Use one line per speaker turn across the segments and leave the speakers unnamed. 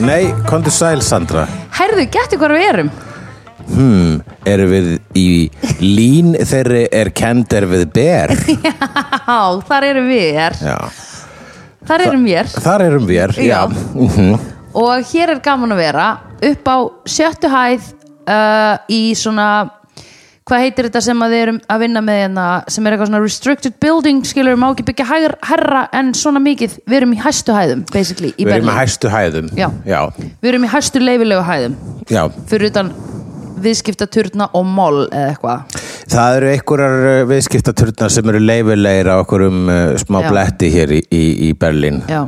Nei, komdu sæl Sandra Hmm,
Herðu, gættu hvar við erum
Erum við í lín þeirri er kend er við ber
Á, þar erum við er
Já
Þar erum við er
Þar erum við, er, já, Mhm.
Já. Og hér er gaman að vera upp á sjöttu hæð uh, í svona hvað heitir þetta sem að við erum að vinna með hérna, sem er eitthvað svona restricted building skilur, má ekki byggja hær, herra en svona mikið, við erum í hæstu hæðum basically, í
Við erum í
Berlín,
hæstu hæðum
Já.
já,
við erum í hæstu leifilegu hæðum
já.
fyrir utan viðskiptaturna og mól eða eitthvað
Það eru einhverjar uh, viðskiptaturnar sem eru leifilegir á okkur um uh, smá
Já.
bletti hér í, í, í Berlín
Já,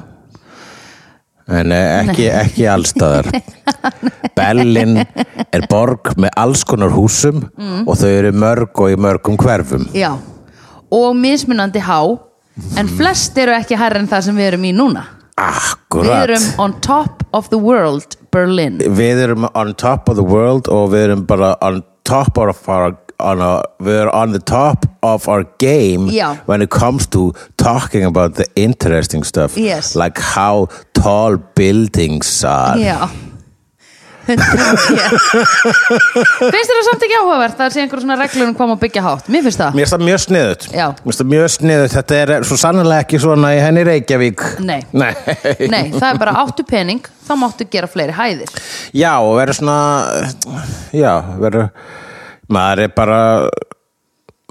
En eh, ekki, ekki allstaðar Berlín er borg með alls konar húsum
Mm.
og þau eru mörg og í mörgum hverfum
já og mismunandi há en
Mhm.
flest eru ekki hærri en það sem við erum í núna Við
Akkurat
erum on top of the world Berlin
við erum on top of the world og við erum bara on top of our on a, við erum on the top of our game
Já.
when it comes to talking about the interesting stuff
Yes.
like how tall buildings are
Já 110. Finnst þér það samt ekki áhugavert að sé einhver svona reglur um hvað maður byggja hátt? Mér finnst það
Mér finnst það mjög sniðut
Já.
Mér finnst það mjög sniðut Þetta er svo sannlega ekki svona í henni Reykjavík
Nei.
Nei.
Nei, það er bara áttu pening þá máttu gera fleiri hæðir
Já, og verður svona Já, verður maður er bara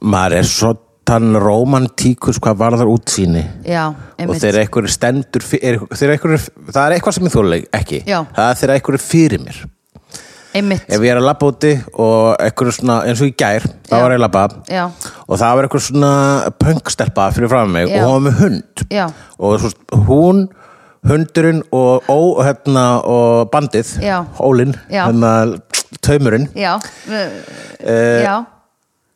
maður er svo tann romantíkus hvað var þar útsýni
Já,
og
einmitt
þegar einhverju stendur fyr- er, þegar einhverju, það er eitthvað sem ég þóla ekki
Já.
það er þegar einhverju fyrir mér
Einmitt,
ef ég er að labba úti og einhverju svona eins og í gær, þá
Já.
var ég að labba
Já.
og það var einhverju svona pöngstelpa fyrir fram mig
Já.
og hún var með hund
Já.
og svo, hún, hundurinn og, ó, hérna, og bandið
Já.
ólinn,
Já.
hérna, taumurinn
já uh,
Eh,
Já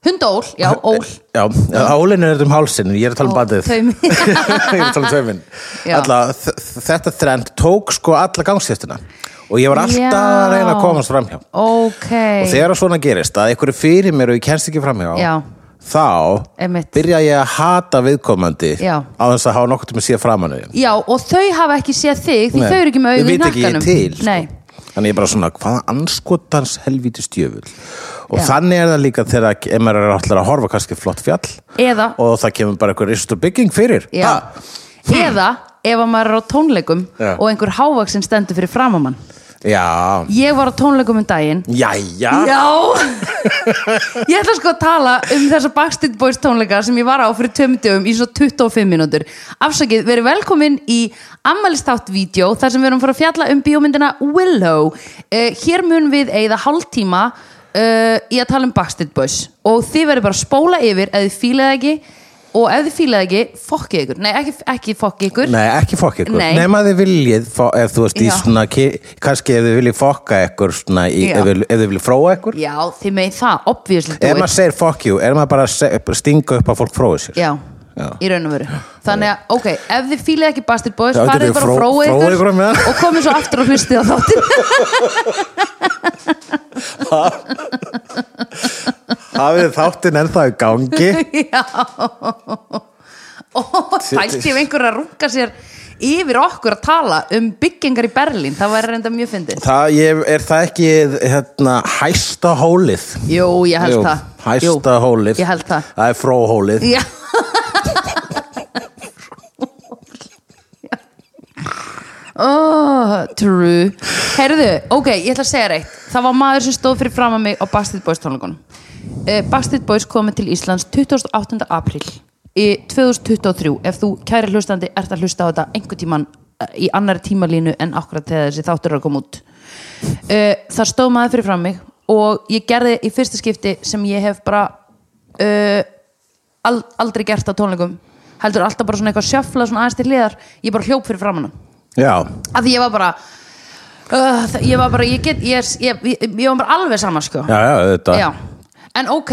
Hundól, já, ól
Já, álinn er þetta um hálsinn, ég er að tala
Ó,
um eh, bandið
taumi.
Ég er að tala um tauminn
Já.
Alla, þ- Þetta þrend tók sko alla gangstéttina og ég var alltaf
Já.
að reyna að komast framhjá
Ok
og þegar svona gerist að einhverju fyrir mér og ég kennst ekki framhjá
Já.
þá
Einmitt.
byrja ég að hata viðkomandi
Já.
á þess að hafa nokkuð með síða framan við
Já, og þau hafa ekki séð þig því
Nei,
þau eru ekki með
þau
auðin í
vita ekki ég er
nakkanum
til sko.
Nei,
þannig ég er bara svona hvaða anskotans helvíti stjöfull og
Já.
þannig er það líka þegar ef maður er alltaf að horfa kannski flott fjall
eða
og það kemur bara einhver ristur bygging fyrir
Já.
Ha?
eða ef að maður er á tónleikum
Já.
og einhver hávaksin stendur fyrir framamann
Já,
ég var á tónleikum um daginn
jæja
já ég ætla sko að tala um þessa Backstreet Boys tónleika sem ég var á fyrir tömdöfum í svo 25 mínútur afsakið, verið velkomin í ammælistátt vídeo þar sem við erum fyrir að fjalla um bíómyndina Willow uh, hér mun við eigða hálftíma uh, í að tala um Backstreet Boys og þið verið bara að spóla yfir ef þið fílaði ekki og ef þið fílaði ekki, fokkið ykkur nei, ekki, ekki fokkið ykkur
Nei, ekki fokk ykkur
Nei.
Nema þið viljið, fá- ef þú veist í
Já.
svona ki- kannski ef þið viljið fokka ykkur svona, í,
Já.
ef, þið- ef þið viljið fróa ykkur
já, þið megin það, obviously do
Ef
it.
maður segir fuck you, er maður bara að se- bara stinga upp að fólk fróið sér
Já,
Já.
í raun og veru Þannig að, ok, ef þið fílið ekki Bastard Boys
Já,
farið
getið
bara að
fró-
fróa
fróa ykkur á
ykkur
meðan.
og komið svo aftur og hlustið á þáttin
Hafið þáttin ennþá í gangi
Já og pælt ég ef einhver að runga sér yfir okkur að tala um byggingar í Berlín, það væri reynda mjög fyndið
Það ég, er það ekki hérna, hæsta hólið
Jú, ég held
Jú,
það Jú,
Hæsta hólið
Ég held það
Það er fróhólið
Já Oh, true Heyrðu, ok, ég ætla að segja reitt Það var maður sem stóð fyrir fram að mig á Bastid Boys tónleikunum uh, Bastid Boys komið til Íslands 28. apríl í 2023 ef þú kæri hlustandi ert að hlusta á þetta einhvern tíman í annari tímalínu en akkurat þegar þessi þáttur er að koma út uh, það stóð maður fyrir fram mig og ég gerði í fyrsta skipti sem ég hef bara uh, al, aldrei gert á tónleikum heldur alltaf bara svona eitthvað sjöfla svona aðeins til hliðar ég bara hljóp fyrir framann
Já,
af því ég var bara uh, það- ég var bara, ég get ég, er- ég, ég, ég var bara alveg sama sko
já, já, þetta
Já. en ok,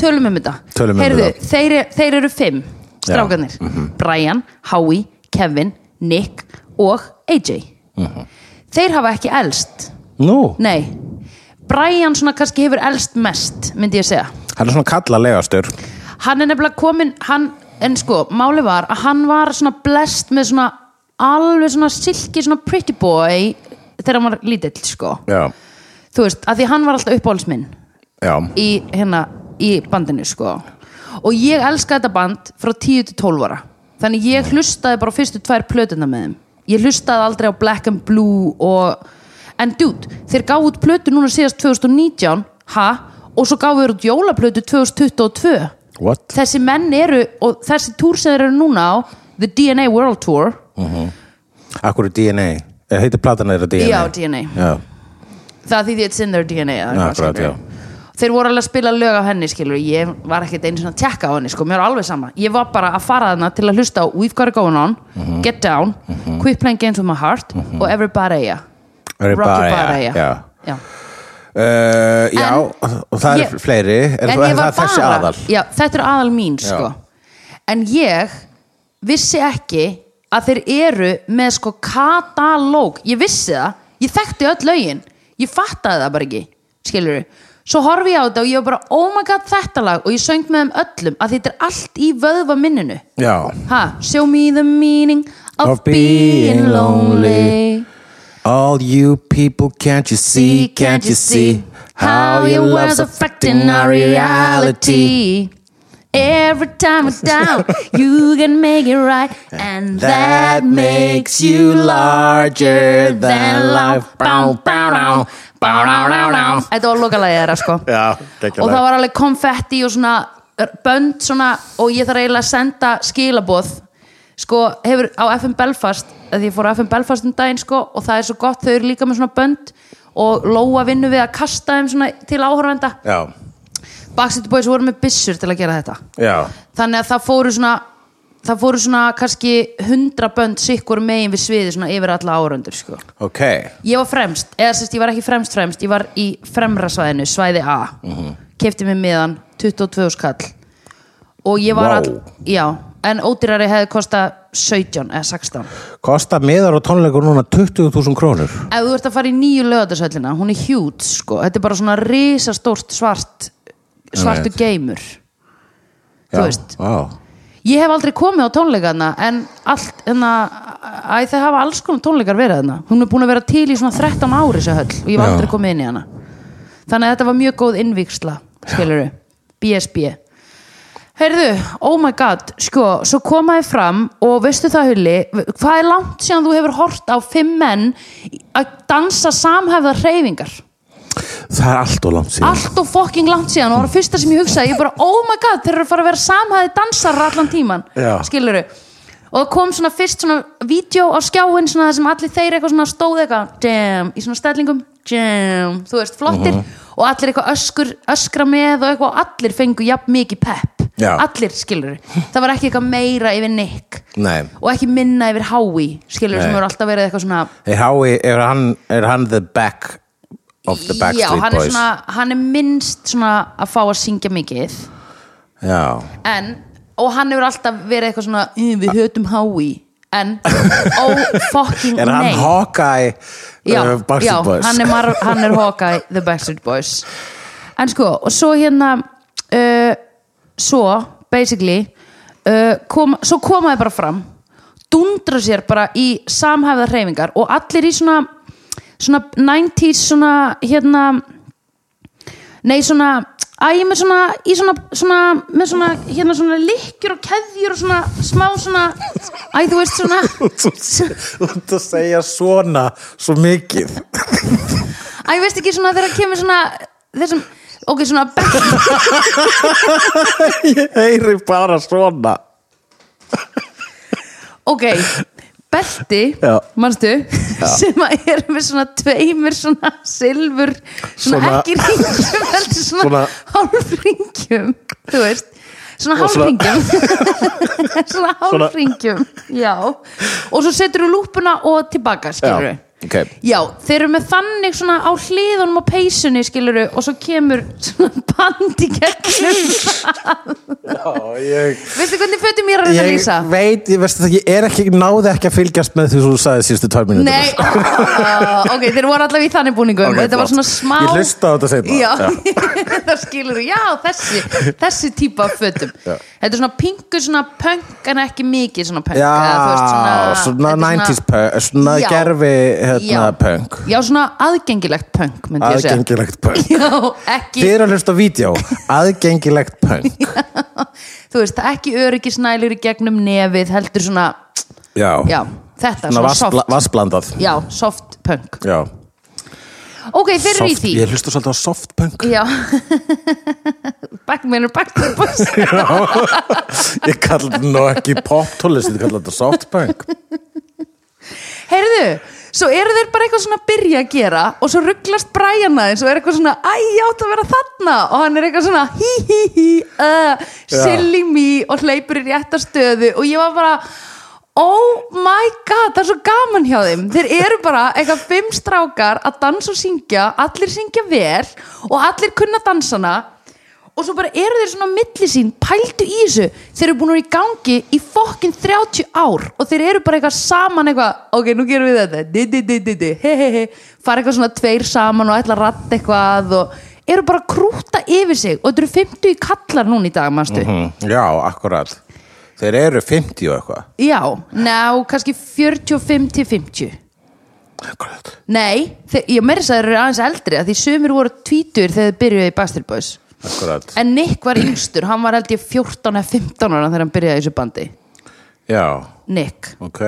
tölum um þetta
Tölum um
Heyrðu,
þetta. mhm.
þeir, þeir eru fimm strákanir, Brian, Howie Kevin, Nick og AJ
Mhm.
þeir hafa ekki elst
Nú,
Nei, Brian svona kannski hefur elst mest, myndi ég segja
hann er svona kallalegastur
Hann er nefnilega komin, hann, en sko, máli var að hann var svona blest með svona alveg svona silki, svona pretty boy þegar hann var lítill sko.
já,
þú veist, að því hann var alltaf uppáhalds minn
já,
í, hérna, í bandinu sko. og ég elska þetta band frá 10 til 12 ára þannig ég hlustaði bara á fyrstu tvær plötuna með þeim ég hlustaði aldrei á Black and Blue og... en dude, þeir gáðu út plötu núna síðast 2019 ha? og svo gáðu þeir út jólaplötu 2022
what?
þessi menn eru og þessi túr sem þeir eru núna á The DNA World Tour
Akkur er DNA? Eh, Heitir platan þeirra DNA?
Já, DNA.
Já,
það því því it's in their DNA eða eitthvað,
Ah, Akkurat,
skilurðu.
já.
þeir voru alveg að spila lög á henni skilur ég var ekkert einu svona að tjekka á henni sko, mér var alveg sama, ég var bara að fara þarna til að hlusta á We've Got It Going On
Mhm.
Get Down, Quit Playing Games With My Heart og Everybody yeah.
Everybody,
yeah.
já.
Já.
uh, já
En-
og það er
Ég-
fleiri En,
En
það
ég
er
var
þessi
bara-
aðal
já, þetta er aðal mín sko. en ég vissi ekki að þeir eru með sko katalóg ég vissi það, ég þekkti öll lögin ég fattaði það bara ekki skilur svo horfi ég á þetta og ég var bara oh my god þetta lag og ég söng með þeim öllum að þetta er allt í vöðva minninu
Já,
ha, show me the meaning of,
Of
being,
being
lonely.
lonely. All you people, can't you see, can't you see How your love's affecting our reality
Every time we're down You can make it right And
That makes you larger than life Bá, bá, bá, bá, bá, bá, bá.
Þetta var lokalagið þeirra sko
Já, gekkjalag.
Og það var alveg konfetti og svona Bönd svona Og ég þarf eiginlega að senda skilaboð Sko, hefur á FM Belfast að Því ég fór á FM Belfast um daginn sko Og það er svo gott, þau eru líka með svona bönd Og Lóa vinnu við að kasta þeim svona Til áhorfenda
Já,
Backstreet Boys voru með byssur til að gera þetta
já,
þannig að það fóru svona það fóru svona kannski hundra bönd sikkur megin við sviði svona yfir alla árundur sko.
ok
ég var fremst, eða sérst ég var ekki fremst fremst ég var í fremra svæðinu, svæði A mm
Mhm.
kefti mig miðan 22 skall og ég var
Vá.
all já, en ódýrari hefði kosta 17 eða 16
Kosta miðar og tónleikur núna 20.000 krónur
ef þú ert að fara í nýju lögatarsöllina hún er hjút sko, þetta er bara svona risastórt svart svartu geimur þú
Já,
veist
vá.
Ég hef aldrei komið á tónleikana en allt, hérna, æ, það hafa alls konar tónleikar verið hérna. Hún er búin að vera til í svona 13 ári þessu höll og ég hef
Já.
aldrei komið inn í hana. Þannig að þetta var mjög góð innvíksla, skilurðu, BSB. Heyrðu, oh my god, sko, svo komaði fram og veistu það hulli, hvað er langt síðan þú hefur hort á fimm menn að dansa samhæfða hreyfingar?
Það er allt og langt síðan
allt og fokking langt síðan og það var fyrsta sem ég hugsaði, ég bara oh my god þeir eru að fara að vera samhæði dansarar allan tíman
Já.
skiluru og það kom svona fyrst svona vídeo á skjáin svona það sem allir þeir eitthvað svona stóð eitthvað jam, í svona stællingum jam, þú veist, flottir
Mhm.
og allir eitthvað öskur, öskra með og eitthvað og allir fengu jafn mikið pepp
Já.
allir skiluru, það var ekki eitthvað meira yfir Nick
Nei,
og ekki minna yfir Howie skiluru sem
Nei.
eru alltaf verið eitthvað svona
er, Howie, er, hann, er hann the back of the
já,
Backstreet
hann er,
Boys
svona, hann er minnst svona að fá að syngja mikið
Já,
en, og hann hefur alltaf verið eitthvað svona, "Eh, við hötum Howie en, oh fucking
er hann
nei
Hawkeye
já, já,
uh, Backstreet Boys
hann er, mar, hann er Hawkeye the Backstreet Boys en sko, og svo hérna uh, svo, basically uh, kom, svo komaði bara fram dundra sér bara í samhæfða hreyfingar og allir í svona svona 90s svona hérna Nei, svona, að ég með svona, í svona, svona, með svona, hérna svona lykkjur og keðjur og svona, smá svona, að þú veist svona,
Þú ert að segja svona svo mikið
að ég veist ekki svona þegar kemur svona, þessum, ok, svona, back-
Ég heyri bara svona
ok, belti,
Já.
manstu, sem að er með svona tveimur svona silfur, svona,
Svona-
ekki ringjum, heldur svona, svona
Svona-
hálfringjum, þú veist, svona
Og svona-
hálfringjum, svona
Svona-
hálfringjum, já, og svo setur þú lúpuna og tilbaka, skilur
Já, ok
Já, þeir eru með þannig svona á hliðunum á peysunni, skiluru, og svo kemur svona band í gegnum.
Já, ég,
Veistu hvernig fötum ég er að reyna að
ég
lýsa?
veit, ég, veist, það, ég er ekki náði ekki að fylgjast með því sem þú sagði síðustu tvær mínútur
Nei, uh, ok, þeir voru allavega í þannig búningum Þetta var svona smá
Ég hlusta á þetta seinna
Já, það skilur, já, þessi þessi típa af fötum
Já.
Þetta er svona pingu, svona punk en ekki mikið svona punk
Já,
eða þú veist, þetta
svona
er
90s punk, svona
Já.
gerfi hérna, punk
Já, svona aðgengilegt punk myndi ég segja
Aðgengilegt punk
Já, ekki,
Þið eru að hlusta á vídeo Aðgengilegt punk
þú veist, ekki öryggisnælur í gegnum nefið, heldur svona
Já,
Já, þetta,
Svona
svona,
vassbla,
soft
vassblandað
Já, soft punk
Já,
Ok, þeir eru í
soft,
því
ég hlusta svolítið á soft punk
Já Backmanur, backmanur, backmanur
Ég kalla þetta nú ekki pop tólest Ég kalla þetta soft punk
Heyrðu, svo eru þeir bara eitthvað svona að byrja að gera og svo rugglast Brian aðeins og er eitthvað svona Æ, ég átt að vera þarna og hann er eitthvað svona hí hí hí uh, silly me og hleypur í rétta stöðu og ég var bara Oh my god, það er svo gaman hjá þeim Þeir eru bara eitthvað fimm strákar að dansa og syngja allir syngja vel og allir kunna dansana og svo bara eru þeir svona á milli sín, pældu í þessu þeir eru búin að vera í gangi í fokkin 30 ár og þeir eru bara eitthvað saman eitthvað, ok, nú gerum við þetta di, di, di, di, di, he, he, he fara eitthvað svona tveir saman og ætla að ratta eitthvað og eru bara að krúta yfir sig og þetta eru 50 kallar núna í dag, manstu
Mm, Já, akkurat Þeir eru 50 og eitthvað
já, ná, kannski 45 til 50
Akkurat
nei, þe- ég meiri þess að þeir eru aðeins eldri að því sumir voru tvítur þegar þeir byrjuðu í Bastard Boys
Akkurat
en Nick var yngstur, hann var held ég 14 eða 15 ára þegar hann byrjaði í þessu bandi
Já,
Nick
ok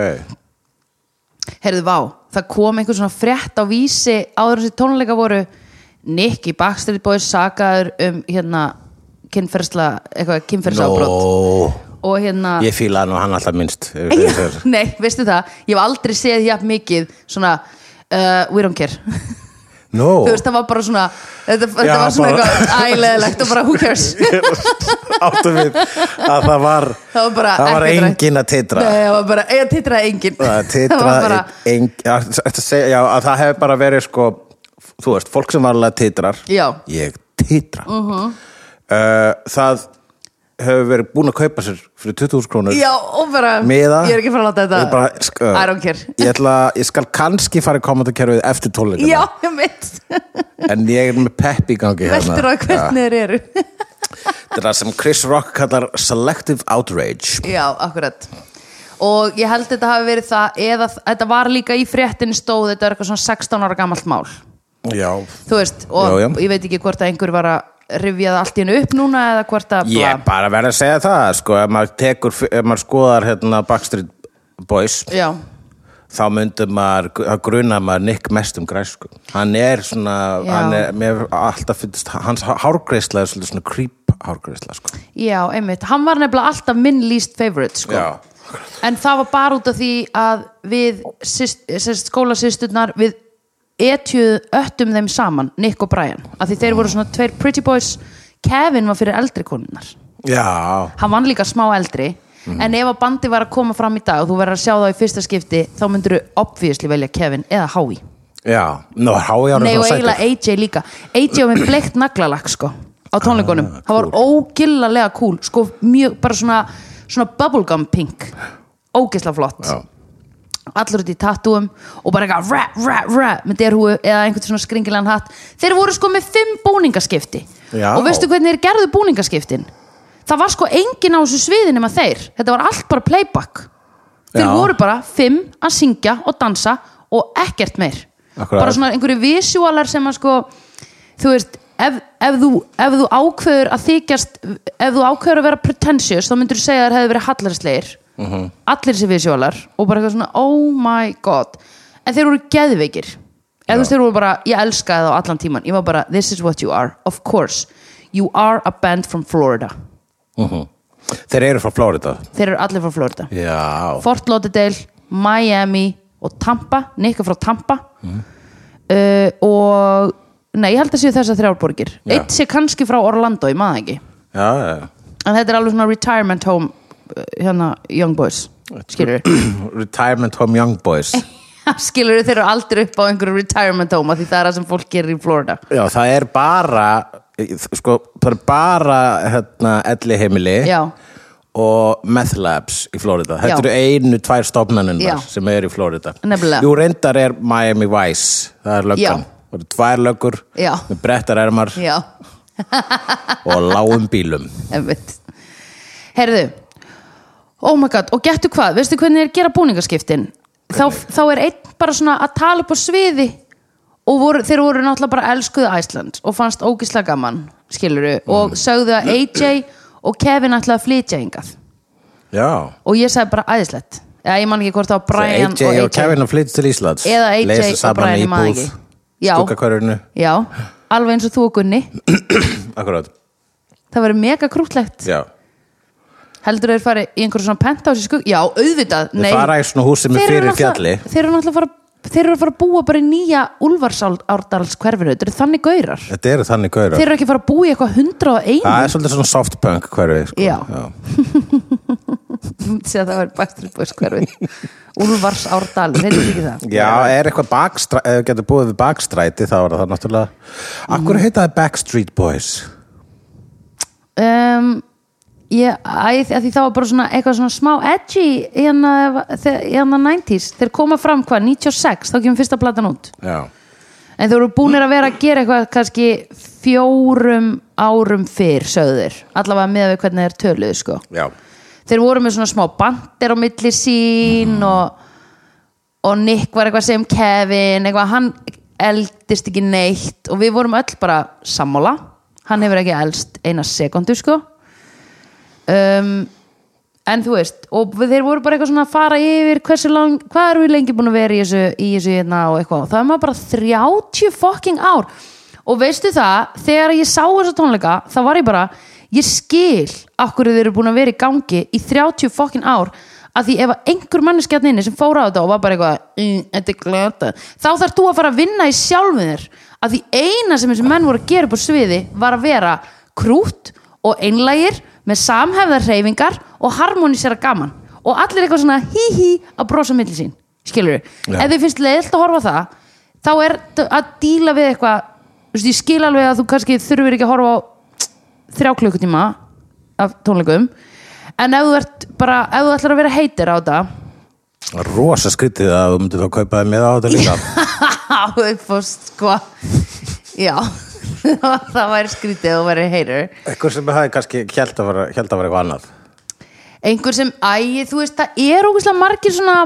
heyrðu vá, það kom einhver svona frétt á vísi áður þessi tónleika voru Nick í Backstreet Boys sakaður um hérna kynferðsla, eitthvað kynferðsábrot
Nó,
og hérna
ég fíla nú hann alltaf minnst ef-
Já,
ef þeir-
nei, veistu það, ég hef aldrei séð jafn mikið svona uh, we don't care
Nó,
þú veist, það var bara svona þetta,
Já,
þetta var svona
bara-
eitthvað æleðilegt og bara who cares
áttu við að það var
það var bara
það var
ekkert rætt.
engin að titra
nei, það var bara, ég titraði engin
það
var
titraði
bara,
ein- já, þetta segja- já, að það hefur bara verið sko, þú veist, fólk sem varlega titrar
Já. Mhm.
ég titra uh það hefur verið búin að kaupa sér fyrir 20.000 krónur
já, og bara
miða
ég er ekki frá að láta þetta
Ég bara, sko,
I don't care
ég, ætla, ég skal kannski fara í komandakerfið eftir tónleikana
já, ég mitt
en ég er með pepp í gangi hérna.
veltur á hvernig þeir eru
þetta er það sem Chris Rock kallar selective outrage
já, akkurat og ég held þetta hafi verið það eða þetta var líka í fréttin stóð þetta er eitthvað svona 16 ára gamalt mál
já,
þú veist, og
Já, já.
ég veit ekki hvort að einhver var að rifja það allt í hennu upp núna eða hvort að
ég
bla.
er bara verið að segja það sko, ef maður, tekur, ef maður skoðar hérna, Backstreet Boys
já,
þá myndum maður, þá grunar maður Nick mest um græsku hann er svona,
Já.
hann er, mér hefur alltaf finnst, hans hárgreisla er svolítið svona creep hárgreisla sko.
já, einmitt hann var nefnilega alltaf minn least favorite sko.
Já.
en það var bara út af því að við syst, syst, skólasýsturnar við etjuð öttum þeim saman, Nick og Brian af því þeir voru svona tveir pretty boys Kevin var fyrir eldri konunnar
já,
hann vann líka smá eldri en ef að bandi var að koma fram í dag og þú verður að sjá það í fyrsta skipti þá myndur þú obviously velja Kevin eða Howie
já nú, hájára
Nei og eiginlega AJ líka AJ var með bleikt naglalakk sko á tónleikunum, hann var ógillalega cool sko mjög, bara svona, svona bubblegum pink, ógisla flott
sko. Já.
allur út í tattúum og bara eitthvað rap, rap, rap með derhúu eða einhvern svona skringilegan hatt þeir voru sko með fimm búningaskipti
Já.
og veistu hvernig þeir gerðu búningaskiptin það var sko engin á þessu sviði nema þeir, þetta var allt bara playback þeir
Já.
voru bara fimm að syngja og dansa og ekkert meir
Akkurat.
bara svona einhverju visualar sem að sko þú veist, ef, ef, þú, ef þú ákveður að þykjast ef þú ákveður að vera pretentious þá myndur þú segja að þær hefði verið hallarsleir
Mhm.
allir þessi visualar og bara eitthvað svona, oh my god en þeir voru geðveikir eða þú veist, þeir voru bara, ég elskaði þá allan tíman ég var bara, this is what you are, of course you are a band from Florida
þeir eru frá Florida
þeir eru allir frá Florida
já,
Fort Lauderdale, Miami og Tampa, Nikka frá Tampa uh, og nei, ég held að séu þessar þrjár borgir
Já.
eitt sé kannski frá Orlando, ég maður ekki
já, já
en þetta er alveg svona retirement home uh, hérna, young boys skilur við
Retirement Home Young Boys
skilur þeir eru aldrei upp á einhverju retirement home af því það er það sem fólk gerir í Florida
Já, það er bara sko, það er bara hérna, elli heimili
Já.
og Meth Labs í Florida
Já.
Þetta eru einu, tvær stofnanunnar
Já.
sem eru í Florida
Nefnilega.
Jú, reyndar er Miami Vice það er löggan
Já.
Það eru tvær löggur
Já.
með brettar ermar
já,
og lágum bílum
ef veit herðu oh my god, og gettu hvað, veistu hvernig þeir gera búningaskiptin þá, þá er einn bara svona að tala upp á sviði og voru, þeir voru náttúrulega bara elskuðu Æsland og fannst ógislega gaman skiluru og
Mm.
sögðu að AJ og Kevin ætlaði að flytja hingað
Já,
og ég sagði bara æðislegt eða ég man ekki hvort það var Brian
AJ og,
og AJ
Kevin að flytja til Íslands
eða AJ
Leysa
og
saman
Brian
í
ég man
búð,
ekki já,
stúkakörfinu,
já, alveg eins og þú og Gunni
akkurát
það verður mega krútlegt
Já,
heldur þeir farið í einhverjum svona penthouse í skugg já, auðvitað,
þið
nei
fara í svona hús sem er
Þeir eru
fyrir fjalli
náttúrulega- þeir eru náttúrulega að fara þeir eru að fara að búa bara í nýja Úlfarsárdals hverfinu, þetta eru þannig gaurar
Þetta eru þannig gauður
þeir eru ekki að fara að búa í eitthvað hundra og einu
Það er svolítið svona softpunk hverfi sko.
Já. sem það var bæstur búið hverfi Úlfarsárdal, heitir þetta ekki það
Já, er eitthvað bakstræti, ef þú getur búið við bakstræti þá er það náttúrulega Akkur heita það Backstreet Boys?
um, ég, æ, að því það var bara svona eitthvað svona smá edgy hérna, í hana, í hana 90s þeir koma fram hvað, 96, þá kemur fyrsta platan út
Já,
En þeir eru búnir að vera að gera eitthvað kannski fjórum árum fyrr sögður, allavega með við hvernig þeir töluðu sko.
já
Þeir voru með svona smá bandir á milli sín og, og Nick var eitthvað sem Kevin, eitthvað hann eldist ekki neitt og við vorum öll bara sammála hann hefur ekki elst eina sekundu sko um, en þú veist og við- þeir voru bara eitthvað svona að fara yfir hversu lang, hvað erum við lengi búin að vera í þessu, í þessu hérna og eitthvað og það er maður bara 30 fucking ár og veistu það, þegar ég sá þessa tónleika þá var ég bara, ég skil akkur þeir eru búin að vera í gangi í 30 fucking ár að því ef að einhver manneskjarn inni sem fór á þetta og var bara eitthvað, "Mm, þetta er glöta þá þarf þú að fara að vinna í sjálfum þér að því eina sem þessi menn voru að gera upp á sviði var að vera krútt og einlægir með samhæfðar hreyfingar og harmonísera gaman og allir eitthvað svona hí hí að brosa milli sín, skilur við
Já.
ef þið finnst leiðilt að horfa á það þá er þetta að díla við eitthvað þú veist, ég skil alveg að þú kannski þurfir ekki að horfa á þrjá klukkutíma af tónleikum en ef þú ert bara, ef þú ætlar að vera heitir á þetta
Rosa skrítið að þú myndir þá kaupa þið með á þetta líka
Já, þú fórst sko já það væri skrítið að þú væri heitir
Eitthvað sem það er kannski held að vera, held að vera eitthvað annað
einhver sem, æ, þú veist, það er ógæslega margir svona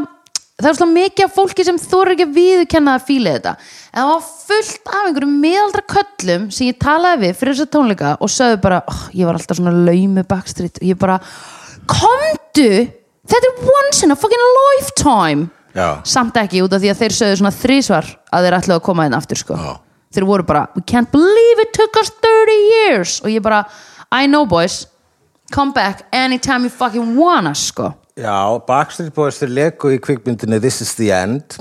það er svona mikið af fólki sem þóru ekki að viðkenna að fíla þetta en það var fullt af einhverjum miðaldra köllum sem ég talaði við fyrir þessa tónleika og sögðu bara, oh, ég var alltaf svona laumi backstreet og ég bara, komdu þetta er once in a fucking lifetime
Já.
samt ekki út af því að þeir sögðu svona þrísvar að þeir ætlaðu að koma inn aftur sko
Já.
þeir voru bara, we can't believe it took us 30 years og ég bara, I know boys come back anytime you fucking wanna sko
Já, Backstreet Boys þeir leku í kvikmyndinni This is the End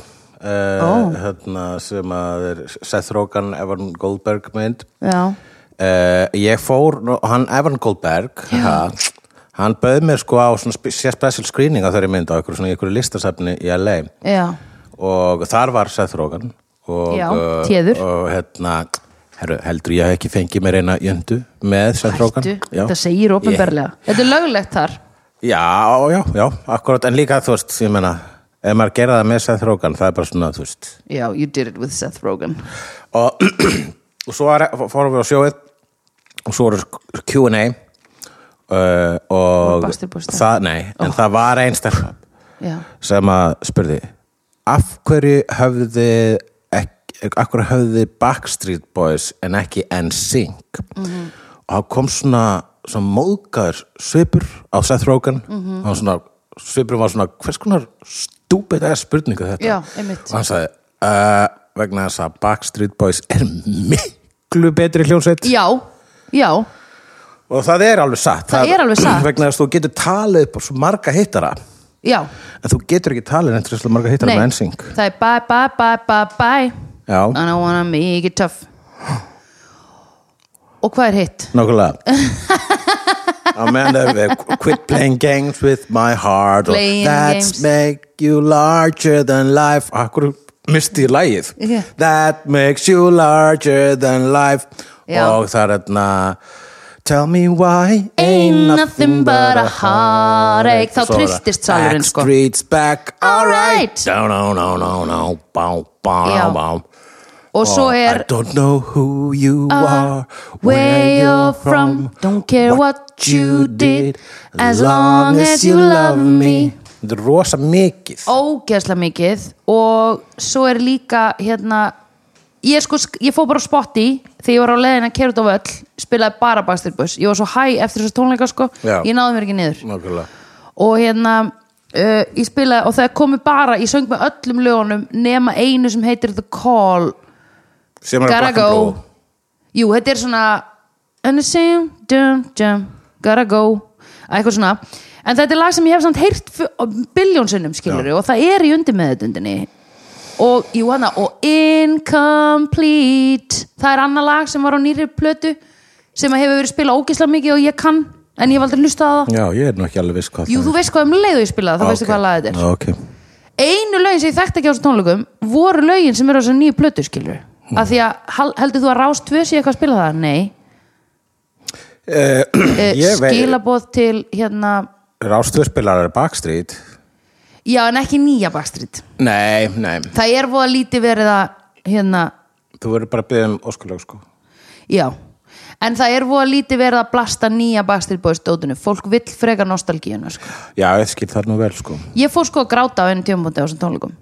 uh,
Ó.
hérna, sem að er Seth Rogen, Evan Goldberg mynd
já,
uh, Ég fór, nú- hann Evan Goldberg ha, hann bauð mér sko á svona spe- sé- special screening á þeirri mynd á einhverju svona í einhverju listasafni í LA
já,
og þar var Seth Rogen og,
Já,
uh,
téður.
og hérna Heru, heldur ég hef ekki fengið mér eina jöndu með Seth Rogen
hættu,
Já.
þetta segir ofinberlega þetta er löglegt þar
Já, já, já, akkurat, en líka þú veist, ég meina, ef maður gera það með Seth Rogen, það er bara svona, þú veist
já, you did it with Seth Rogen
og, og svo er, fórum við á sjóið og svo eru sk- Q&A uh, og
Bastir Bústa.
það, nei, en það var ein stelpa
já,
sem að spurði af hverju höfðu þið ekki- af hverju höfðu þið Backstreet Boys en ekki NSYNC og þá kom svona, svona móðgar svipur á Seth Rogen mm
Mhm.
-hmm. svona, svipur var svona hvers konar stúpid eða spurningu þetta
Já, einmitt.
og hann sagði uh, vegna þess að Backstreet Boys er miklu betri hljónsveit
já, já
og það er alveg satt
Það er alveg satt.
vegna þess að þú getur talið upp á svo marga hittara
já,
En þú getur ekki talið neitt reynslega marga hittar
nei
með NSYNC.
það er bye, bye, bye, bye, bye
Já,
I don't wanna make it tough og hvað er hitt?
nokkulega. A man of a quit playing games with my heart or
Playing
that's
games.
make you larger than life. Ah, Akkur misti í lagið.
Yeah.
That makes you larger than life.
Já.
Og það er þarna Tell me why
Ain't nothing but a heartache. Þá
Svo er það,
tristist salurinn, sko.
Backstreet's back,
Alright.
alright No, no, no, no, no Bá, bá,
Já.
bá
og svo er Uh,
I don't know who you are
where you're from, don't care what you did, as long as you love me. Oh.
þetta er rosa mikið
ógeðslega mikið og svo er líka hérna ég sko, sk- ég fór bara á spotti þegar ég var á leiðin að kera út á völl spilaði bara Backstreet Boys, ég var svo hæ eftir þessu tónleika sko,
Já.
ég náði mér ekki niður
Nákvæmlega.
og hérna uh, ég spilaði og það komi bara, ég söng með öllum lögunum nema einu sem heitir The Call
sem er að
Gotta
Black and
go
Blue
Jú, þetta er svona And the same, dum, dum, gotta go Eitthvað svona En þetta er lag sem ég hef samt heyrt biljónsinnum skilur
Já.
og það er í undir með þetta undinni og jú hana og incomplete það er annað lag sem var á nýri plötu sem að hefur verið spila ógislega mikið og ég kann en ég hef aldrei hlustað á það
já, ég er nú ekki alveg viss hvað
Jú, þú veist hvað um leiðu ég
Ah,
spilaði, þá veistu hvað lag þetta er
okay.
einu lögin sem ég þekkti ekki á þessu tónleikum voru lögin sem eru á þessu nýju plötu skilur
Mhm.
mm. að því að hal- heldur þú að Rás 2 sé eitthvað að spila það? Nei
okay.
eh,
ég veit,
skilaboð til hérna
rástöðspilar er Backstreet
já en ekki nýja Backstreet
nei, nei,
það er voða lítið verið að hérna
þú verður bara að byggja um óskulag sko
já en það er voða lítið verið að blasta nýja Backstreet Boys dótinu fólk vill freka nostalgíuna sko.
já, ég skil það nú vel sko
ég fór sko að gráta á einu tímabóndi á þessum tónleikum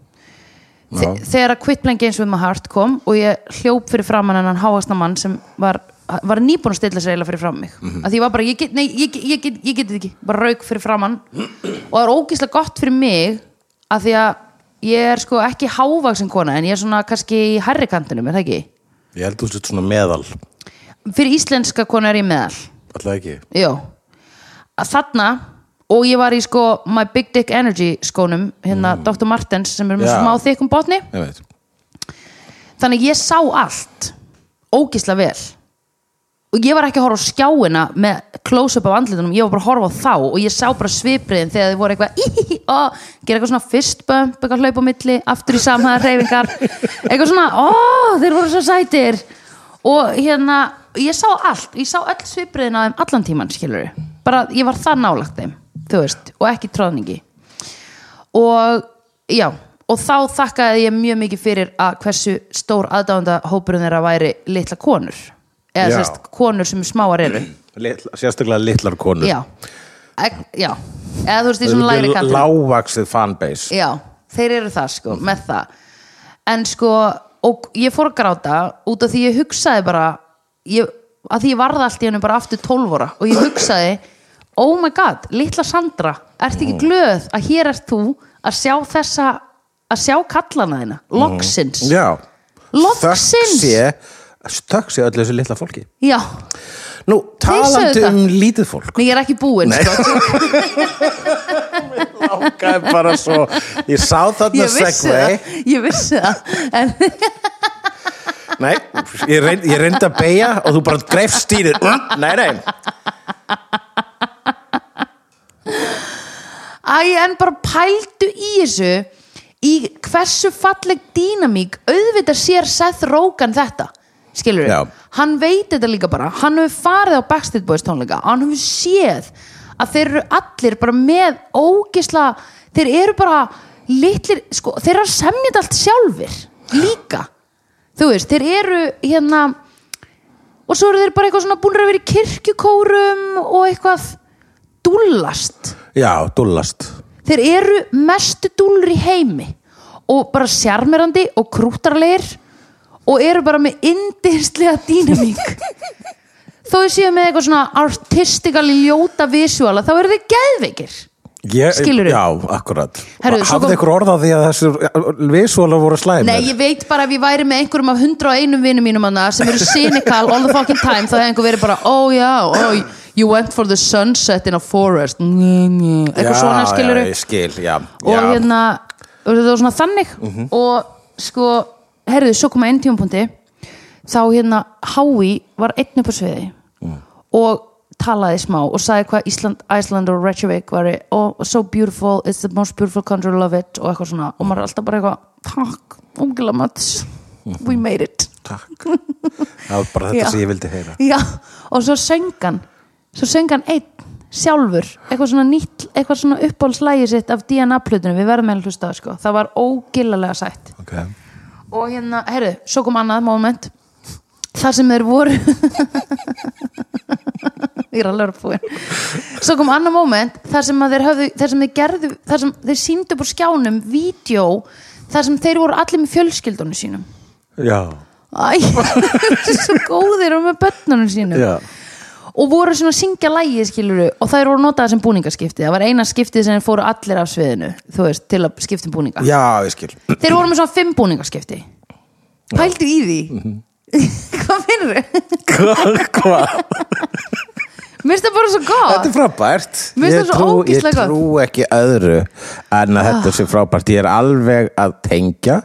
já,
þegar að Quit Playing Games with My Heart kom og ég hljóp fyrir framann hennan hávaxna mann sem var, var nýbúin að stilla sér eiginlega fyrir fram mig
Mhm.
að því ég var bara, ég get, nei, ég, get- ég, get, ég get þetta ekki bara rauk fyrir framann og það er ógeðslega gott fyrir mig að því að ég er sko ekki hávaksin kona en ég er svona kannski í herri kantinum, er það ekki?
ég held þú sett svona meðal
Fyrir íslenska kona er ég meðal
alltaf ekki
Jó að þarna og ég var í sko My Big Dick Energy skónum hérna Dr. Martens sem er með
Mm. Já.
smá þykkum botni
ég veit
þannig að ég sá allt ógisla vel og ég var ekki að horfa á skjáina með close-up á andlitunum, ég var bara að horfa á þá og ég sá bara svipriðin þegar þið voru eitthvað íhíhí, ó, gera eitthvað svona fist bump eitthvað hlaup á milli, aftur í samhæða reyfingar eitthvað svona, ó, þeir voru svo sætir og hérna ég sá allt, ég sá öll svipriðin á þeim allan tíman, skilur bara ég var það nálagt þeim, þú veist og ekki tróðningi og já, og þá þakkaði ég mjög mikið fyrir að hversu stór aðdáðanda hópurinn þeirra væri litla konur eða
Já. Mm.
sérst konur sem smáar eru
Litla, sérstaklega litlar konur
já, Ek, já eða þú veist í
Þetta
svona
er
lægri kantinum
lágvaxið fanbase
já, þeir eru það sko, með það en sko, og ég fór að gráta út af því ég hugsaði bara ég, að því ég varði allt í hennu bara aftur 12 ára og ég hugsaði oh my god, litla Sandra ert ekki glöð að hér ert þú að sjá þessa, að sjá kallana þína, loksins
já
Loksins!
Þökk sé- þökk sé öllu þessu litla fólki
já,
nú,
sögðu
talandi
það.
um lítið fólk
en ég er ekki búin sko.
langaði bara svo ég sá þarna
ég vissi
segvei
það ég vissi það, en
nei, ég, reynd, ég reyndi að beigja og þú bara greif stýrið Uh, nei, nei,
Æ, en bara pældu í þessu í hversu falleg dýnamík auðvitað sér Seth Rogen þetta skilur
Já.
hann veit þetta líka bara hann hefur farið á Backstreet Boys tónleika hann hefur séð að þeir eru allir bara með ógisla þeir eru bara litlir sko, þeir eru að semja þetta allt sjálfir líka, þú veist, þeir eru hérna og svo eru þeir bara eitthvað svona búnir að vera í kirkjukórum og eitthvað dúllast
já, dullast
þeir eru mestu dúlur í heimi og bara sjarmerandi og krútarleir og eru bara með indislega dýnamík þó þau séu með eitthvað svona artistikali ljóta visuala þá eru þeir geðveikir
Ég,
Skilurðu?
Já, akkurat
Herru, svo
Hafði
kom-
ykkur orð á því að þessu visuála voru slæmir
Nei, ég veit bara ef ég væri með einhverjum af 101 vinnum mínum hana sem eru cynical all the fucking time þá hefði einhver verið bara, oh já, oh, you went for the sunset in a forest Nye, nye. eitthvað
já,
svona skilur
Já, ég skil, já,
og
já.
hérna og þetta var svona þannig og sko, herðu, svo koma einn tímapunkti þá hérna Hái var einn upp á sviði og talaði smá og sagði hvað Ísland, Iceland og Reykjavík var oh, so beautiful, it's the most beautiful country love it og eitthvað svona, og maður er alltaf bara eitthvað takk, umgila mats we made it
Takk Það var bara þetta
Já.
sem ég vildi heyra
Já, og svo söng hann svo söng hann einn sjálfur eitthvað svona nýtt, eitthvað svona uppáhaldslægi sitt af DNA-plötunum, við verðum með að hlusta á það, sko. það var ógillalega sætt
okay.
og hérna, herru, svo kom annað moment þar sem þeir voru ég er alveg að búin svo kom annar moment þar sem, að þeir, höfðu, þar sem þeir gerðu þar sem þeir síndu upp á skjánum vídeo þar sem þeir voru allir með fjölskyldunum sínum
já,
Æ, þeir eru svo góðir og með börnunum sínum
já
og voru svona að syngja lægið skiluru og þær voru notaði sem búningaskipti það var eina skiptið sem þeir fóru allir af sviðinu þú veist, til að skipta um búninga
já, ég skil
þeir voru með svona fimm búningaskipti pældu í því
Mhm.
hvað finnur þau?
hvað, hvað
mér finnst það bara svo gott
Þetta er frábært
Mér finnst
Ég
það svo
trú-
ógeðslega gott.
Ég trú ekki öðru en að þetta sé frábært Ég er alveg að tengja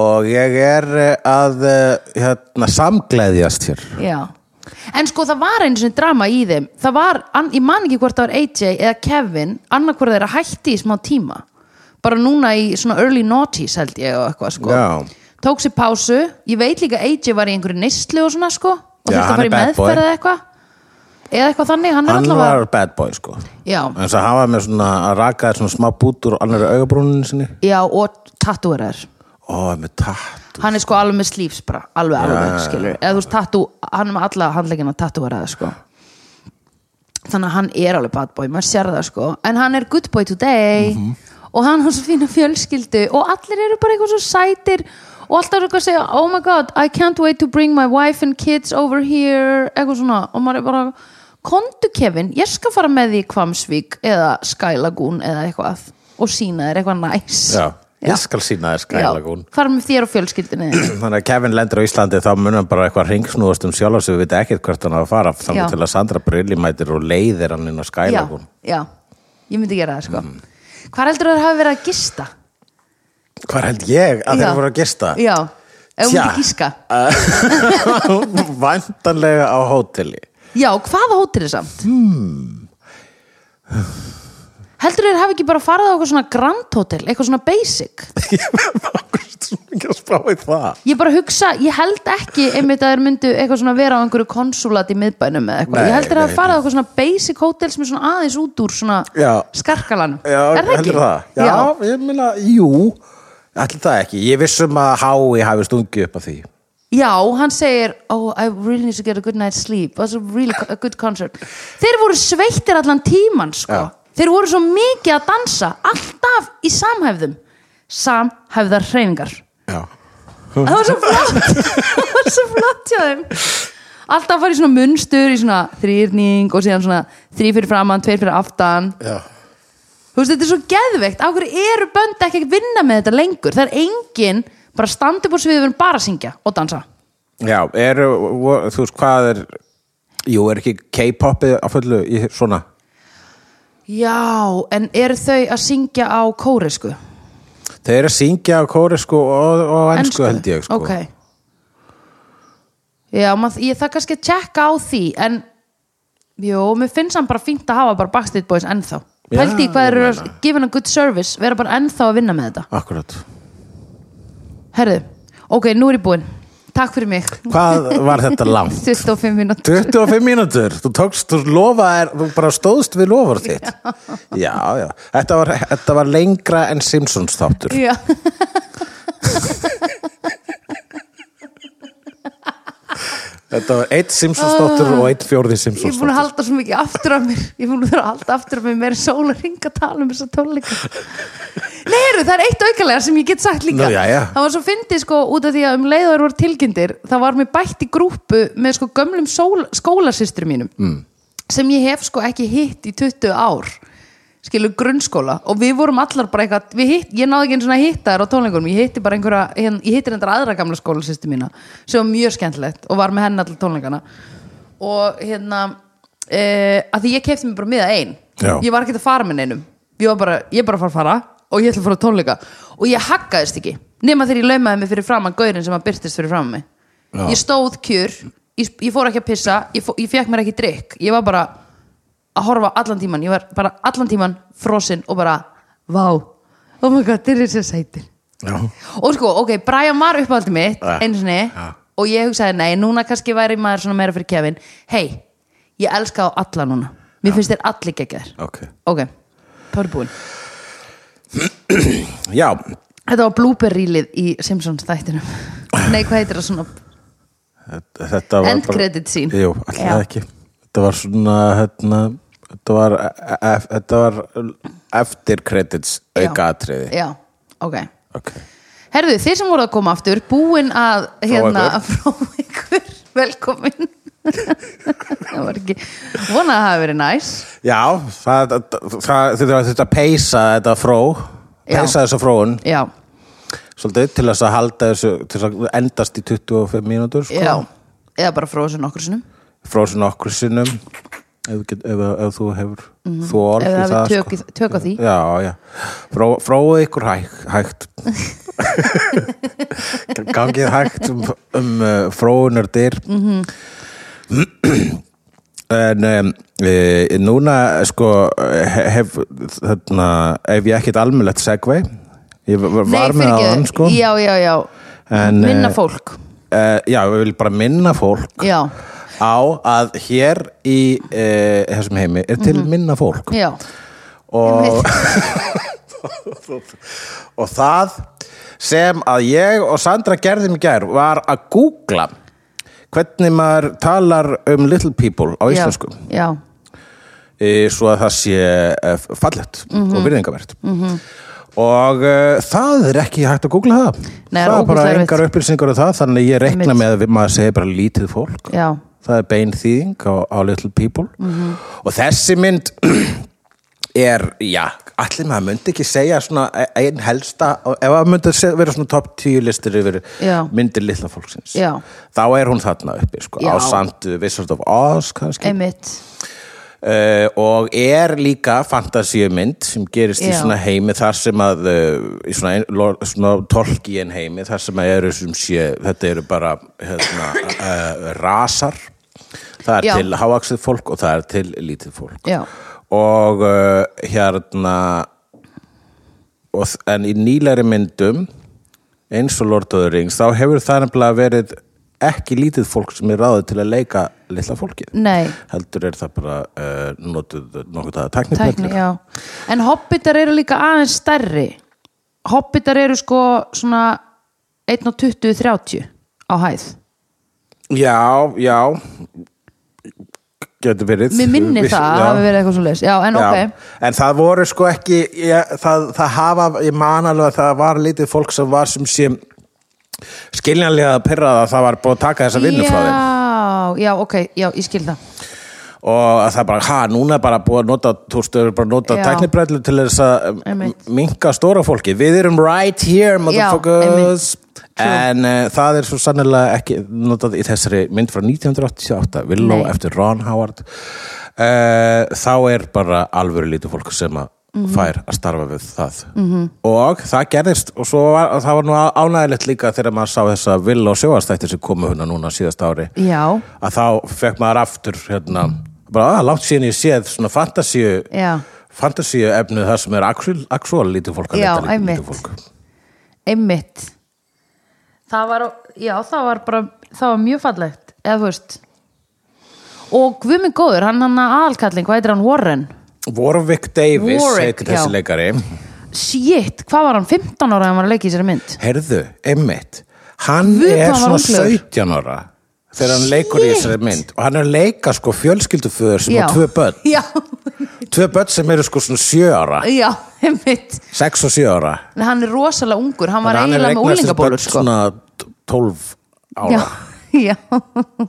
og ég er eh, að eh, hérna, samgleðjast hér
Já. En sko það var einu sinni drama í þeim það var, an, ég man ekki hvort það var AJ eða Kevin, annarkvort þeirra hætti í smá tíma, bara núna í svona early noughties held ég og eitthvað sko
Já.
tók sér pásu ég veit líka AJ var í einhverju neyslu og svona sko og
Já,
þurfti að
hann
fara
er
í
bad boy.
meðferð eða eitthvað eða eitthvað þannig, hann er
Hann
allavega
var bad boy sko
já,
En þess að hafa með svona að raka þér svona smá bút úr annar augabrúninu sinni
já, og tattúrar
Ó, með tatt
hann er sko alveg með slífs bara alveg, alveg,
já,
skilur eða þú veist, tattú, hann er með alla handleggina tattúaraða, sko þannig að hann er alveg bad boy, maður sér það, sko en hann er good boy today
Mhm.
og hann har svo fína fjölskyldu og allir eru bara eitthvað svo sætir og alltaf eru eitthvað að segja, oh my god, I can't wait to bring my wife and kids over here eitthvað svona, og maður er bara kondu Kevin, ég skal fara með því í Kvamsvík eða Sky Lagoon eða eitthvað og sína þér eitthvað næs
Já, ég skal sína þér
Já,
skælagún
fara með þér og fjölskyldinni þinni.
Þannig að Kevin lendur á Íslandi þá munum bara eitthvað ringsnúðast um sjálf sem við veit ekkert hvert hann á að fara
Já.
þannig til að Sandra Brilli mætir og leiðir hann inn á
já,
skælagún
já, ég myndi gera það sko Hvar heldur það hafi verið að gista?
Hvar held ég að
Já.
þeir voru að gista?
Já, ef hún
Tja.
myndi gíska
Væntanlega á hóteli
Já, hvaða hótel er samt? Hmm. Heldur þeir hafi ekki bara farið á eitthvað svona grand hotel, eitthvað svona basic
Ég verð okkur svo mikið að spá í það
Ég bara hugsa, ég held ekki einmitt að þeir myndu eitthvað svona vera á einhverju konsulat í miðbænum eða eitthvað,
Nei,
ég heldur þeir hafi
nei,
farið á eitthvað svona basic hótel sem er svona aðeins út úr svona
Já.
skarkalanum
Já,
Er það ekki?
heldur það? Já, ég meina, jú Ætli það ekki, ég vissum að hái hafi stungið upp að því
Já, hann segir Oh, I really need to get a good night's sleep That's a really co- a good concert Þeir voru sveittir allan tíman sko.
Já.
Þeir voru svo mikið að dansa Alltaf í samhæfðum Samhæfðar hreyfingar
Já,
Það var svo flott Það var svo flott hjá þeim Alltaf að fara í svona munstur Í svona þrýrning og síðan svona Þrý fyrir framann, tveir fyrir aftan
já
Þú veist, þetta er svo geðveikt Af hverju eru bönd ekki að vinna með þetta lengur Það er engin bara að standa upp á sviðið Við erum bara að syngja og dansa
Já, eru, vo- þú veist hvað er Jú, er ekki K-popið á fullu í svona
Já, en eru þau að syngja á kóresku?
Þeir eru að syngja á kóresku og, og ensku, held ég sko.
Ok Já, mað, ég það kannski að tjekka á því en, jú, mér finnst hann bara fínt að hafa bara Backstreet Boys ennþá
Já,
Pældi í hvað
ég
þeir eru
meina.
að givin a good service vera bara ennþá að vinna með þetta
Akkurat
Herðu, ok, nú er ég búin Takk fyrir mig,
Hvað var þetta langt?
25 minútur
25 mínútur, þú tókst, þú lofaðir, þú bara stóðst við lofar þitt. Já, já, þetta var, þetta var lengra en Simpsons þáttur.
Já,
Þetta var eitt Simpsons þáttur og eitt
Ah.
fjórði
ég er
Simpsons
búin að
þáttur.
halda svo mikið aftur af mér Ég er búin að vera að halda aftur af mér meira sóla ringa að tala um þessa tónleika Nei, heyrðu, það er eitt aukalega sem ég get sagt líka
Nú, jæja.
Það var svo fyndið sko út af því að um leiðar voru tilkynntir það var mér bætt í grúpu með sko gömlum sól, skólasystur mínum mm. sem ég hef sko ekki hitt í 20 ár skilur grunnskóla og við vorum allar bara eitthvað við hitt, ég náði ekki einu svona hittar á tónleikunum ég hitti bara einhverja, ég, ég hitti reyndar aðra gamla skólasystur mína sem var mjög skemmtilegt og var með henni allar tónleikana og hérna e, að því ég kefti mér bara miða ein
Já.
ég var ekki að fara með neinum ég var bara, ég er bara að fara að fara og ég ætla að fara á tónleika og ég haggaðist ekki nema þegar ég laumaði mig fyrir framan gaurin sem að byrtist fyrir framan mig
Já.
ég stóð kjur, ég, ég fór ekki að pissa ég, fó, ég fekk mér ekki drikk ég var bara að horfa allan tíman ég var bara allan tíman frosinn og bara vá, oh my god, þeir eru sér sætir
Já.
og sko, ok, Brian var uppáhaldi mitt
Ja.
einu sinni
Ja.
og ég hugsaði, nei, núna kannski væri maður svona meira fyrir Kevin hei, ég elska á alla núna mér finnst þér allir geggjaðir
Ok.
ok, það er búin
Já,
þetta var blúberrýlið í Simpsons þættinum nei, hvað heitir það svona
Þetta var
End credit scene.
Jú, alltaf
Já.
ekki Þetta var svona hérna, þetta, var, e- e- þetta var eftir credits auka atriði
já, ok
Ok
Herðu, þið sem voru að koma aftur búin að hérna að fróa ykkur velkomin það var ekki vona að það hafi verið næs
Já, það, það, þið þurfum að peysa þetta fró
Já.
peysa þessa fróun
já,
svolítið til þess að halda þessu til þess að endast í 25 mínútur sko.
já, eða bara fróa sér nokkur sinnum
frá svona okkur sinnum ef, get, ef, ef þú hefur mm. þól
Mhm. Ef
í
þið hafið
það, sko.
tök í- tök á því.
já, já. Fró, fróið ykkur hæg, hægt gangið hægt um, um uh, fróunar dyr -hmm.
Mhm.
en um, e, núna sko he- hef, þarna, ef ég ekkert almennlegt segvei ég var var með
fyrirgefðu.
aðan sko
já, já, já,
En,
minna
eh,
fólk
Eh, já, við viljum bara minna fólk
já,
á að hér í uh, þessum heimi er til minna fólk
Mhm. já,
og, og það sem að ég og Sandra gerðum í gær var að googla hvernig maður talar um little people á
já,
íslensku
já,
e, svo að það sé e, fallegt
Mhm.
og virðingavert og e, það er ekki hægt að googla það
Nei, það er
það er bara
ógeðslega
engar upplýsingar um það þannig að ég rekna
Einmitt.
með að við- maður segi bara lítið fólk
já
það er bein þýðing á, á Little People og þessi mynd er, já, allir maður myndi ekki segja svona e- ein helsta ef maður myndi se- vera svona top 10 listir yfir
Já.
myndir litla fólksins
Já.
þá er hún þarna uppi sko,
Já.
á sandu Wizard of Oz kannski
einmitt,
uh, og er líka fantasíumynd sem gerist í
Já.
svona heimi þar sem að uh, í svona, ein- lo- svona tolkien heimi þar sem að eru sem sé þetta eru bara hérna, uh, rasar það er
Já.
til háaksið fólk og það er til lítið fólk
Já.
og uh, hérna og, þ- en í nýlegri myndum eins og Lord of the Rings þá hefur það nefnilega verið ekki lítið fólk sem er ráðið til að leika litla fólkið
nei
heldur er það bara uh, notuð nokkuð að teknibrellur
tækni, já en hobbitar eru líka aðeins stærri hobbitar eru sko svona 1.20-30 á hæð
já, já getur verið
mér minni
Viss-
það að
já.
hafi verið eitthvað svo leis já, en
Já.
ok,
en það voru sko ekki ég, það, það hafa, ég man alveg að það var lítið fólk sem var sem sé skiljanlega að pyrra það að það var búið að taka þessa vinnu frá þeim
já, já, ok, já, ég skil það
og að það bara, ha, núna er bara búið að nota þú stöður bara að nota
Já.
teknibrellu til þess að
Einmitt.
minka stóra fólki við erum right here, motherfuckers en uh, það er svo sannilega ekki notað í þessari mynd frá 1988, Willow
Nei.
eftir Ron Howard uh, þá er bara alvöru lítið fólk sem að
Mhm.
fær að starfa við það -hmm. og það gerðist og svo var, það var nú ánægilegt líka þegar maður sá þessa Willow sjóastætti sem komu hérna núna síðast ári
já,
að þá fekk maður aftur hérna, bara að langt síðan ég séð svona fantasíu
já,
fantasíu efnið það sem er actual, actual lítið fólk að
Já,
leita lítið-
einmitt.
lítið fólk
einmitt það var, já, það var bara það var mjög fallegt, eða þú veist og Guðmund Góður hann hann aðalkallin, hvað heitir hann Warren
Warwick Davis
Warwick,
heitir þessi
já.
leikari
shit, hvað var hann, 15 ára þegar hann var að leika í sér mynd
heyrðu, einmitt hann
Guð,
er
hvað hann var
svona
unglegur.
17 ára þegar hann leikur í
Shit.
þessari mynd og hann er að leika sko fjölskylduföður sem á tvö börn
já,
tvö börn sem eru sko svona 7 ára
já, einmitt
6 og 7 ára
en hann er rosalega ungur, hann var
Þannig að hann
eiginlega með
hefur eignast þessi börn
úlingabólur sko.
svona 12 ára
já, já,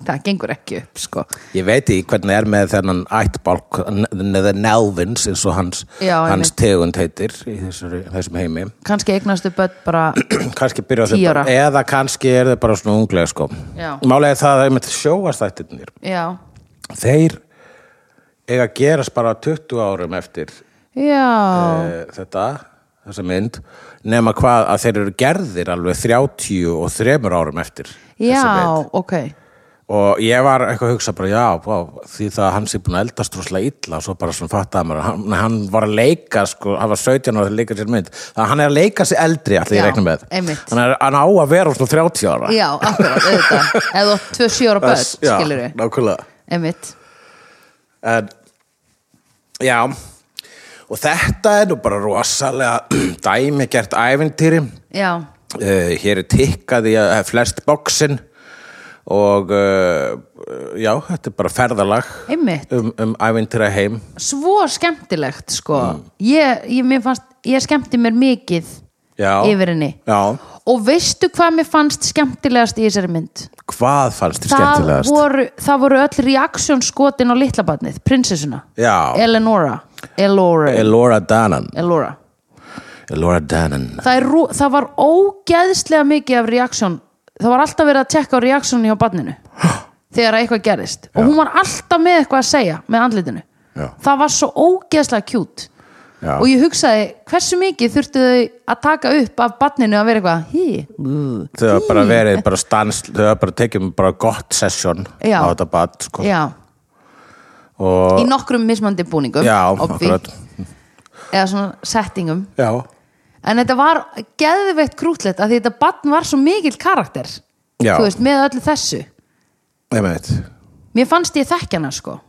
það gengur ekki upp sko.
Ég veit í hvernig er með þennan ættbálk, neða Nelvins eins og hans,
Já,
hans
einmitt.
tegund heitir í þessari, þessum heimi
kannski eignastu börn bara
kannski byrja þau
Tíu
bara-
ára.
eða kannski er þau bara svona unglega sko
Já.
Málega það að einmitt sjóastættirnir
já,
þeir eiga að gerast bara 20 árum eftir
já,
uh, þetta, þessa mynd nema hvað að þeir eru gerðir alveg 33 árum eftir þessa mynd
já, ok
og ég var eitthvað að hugsa bara já, bá, því það að hann sé búin að eldast rosalega illa og svo bara svona fattaði maður hann, hann var að leika, sko, hann var 17 ára að leika sér mynd, þannig að hann er að leika sér eldri allir
Já,
ég reikna með,
einmitt.
hann, er, hann á að vera svona 30 ára
já, akkurat, auðvitað eða þú átt tvö sjö ára börn,
já,
skilur við
nákvæmlega
einmitt,
en, já og þetta er nú bara rosalega dæmigert ævintýri Eh,
já
uh, hér er tikkað í að flest bóksin eh, og uh, já, þetta er bara ferðalag
Einmitt.
um, um ævintýra heim
svo skemmtilegt sko ég, ég, mér fannst, ég skemmti mér mikið
Mm. já,
yfir henni
já,
og veistu hvað mér fannst skemmtilegast í þessari mynd
hvað fannst þér
það
skemmtilegast?
voru, það voru öll reaksjón skotin á litlabarnið, prinsessuna
Já.
Eleonora Elora,
Elora Danan
Elora.
Elora Danan
Það, er, rú- það var ógeðslega mikið af reaksjón það var alltaf verið að tjekka á reaksjónu hjá barninu þegar eitthvað gerðist og hún var alltaf með eitthvað að segja með andlitinu
Já.
það var svo ógeðslega kjút
Já.
og ég hugsaði hversu mikið þurftu þau að taka upp af barninu að vera eitthvað hí, uh,
Þau hafa bara verið bara stans þau hafa bara tekið mig bara gott session
Já.
á þetta bad sko.
já,
og
í nokkrum mismandi búningum
já,
obvi,
akkurat
eða svona settingum
Já,
en þetta var geðveitt krútlegt að því þetta barn var svo mikill karakter
Já.
þú veist, með öllu þessu
ég með þetta
mér fannst ég þekkjana sko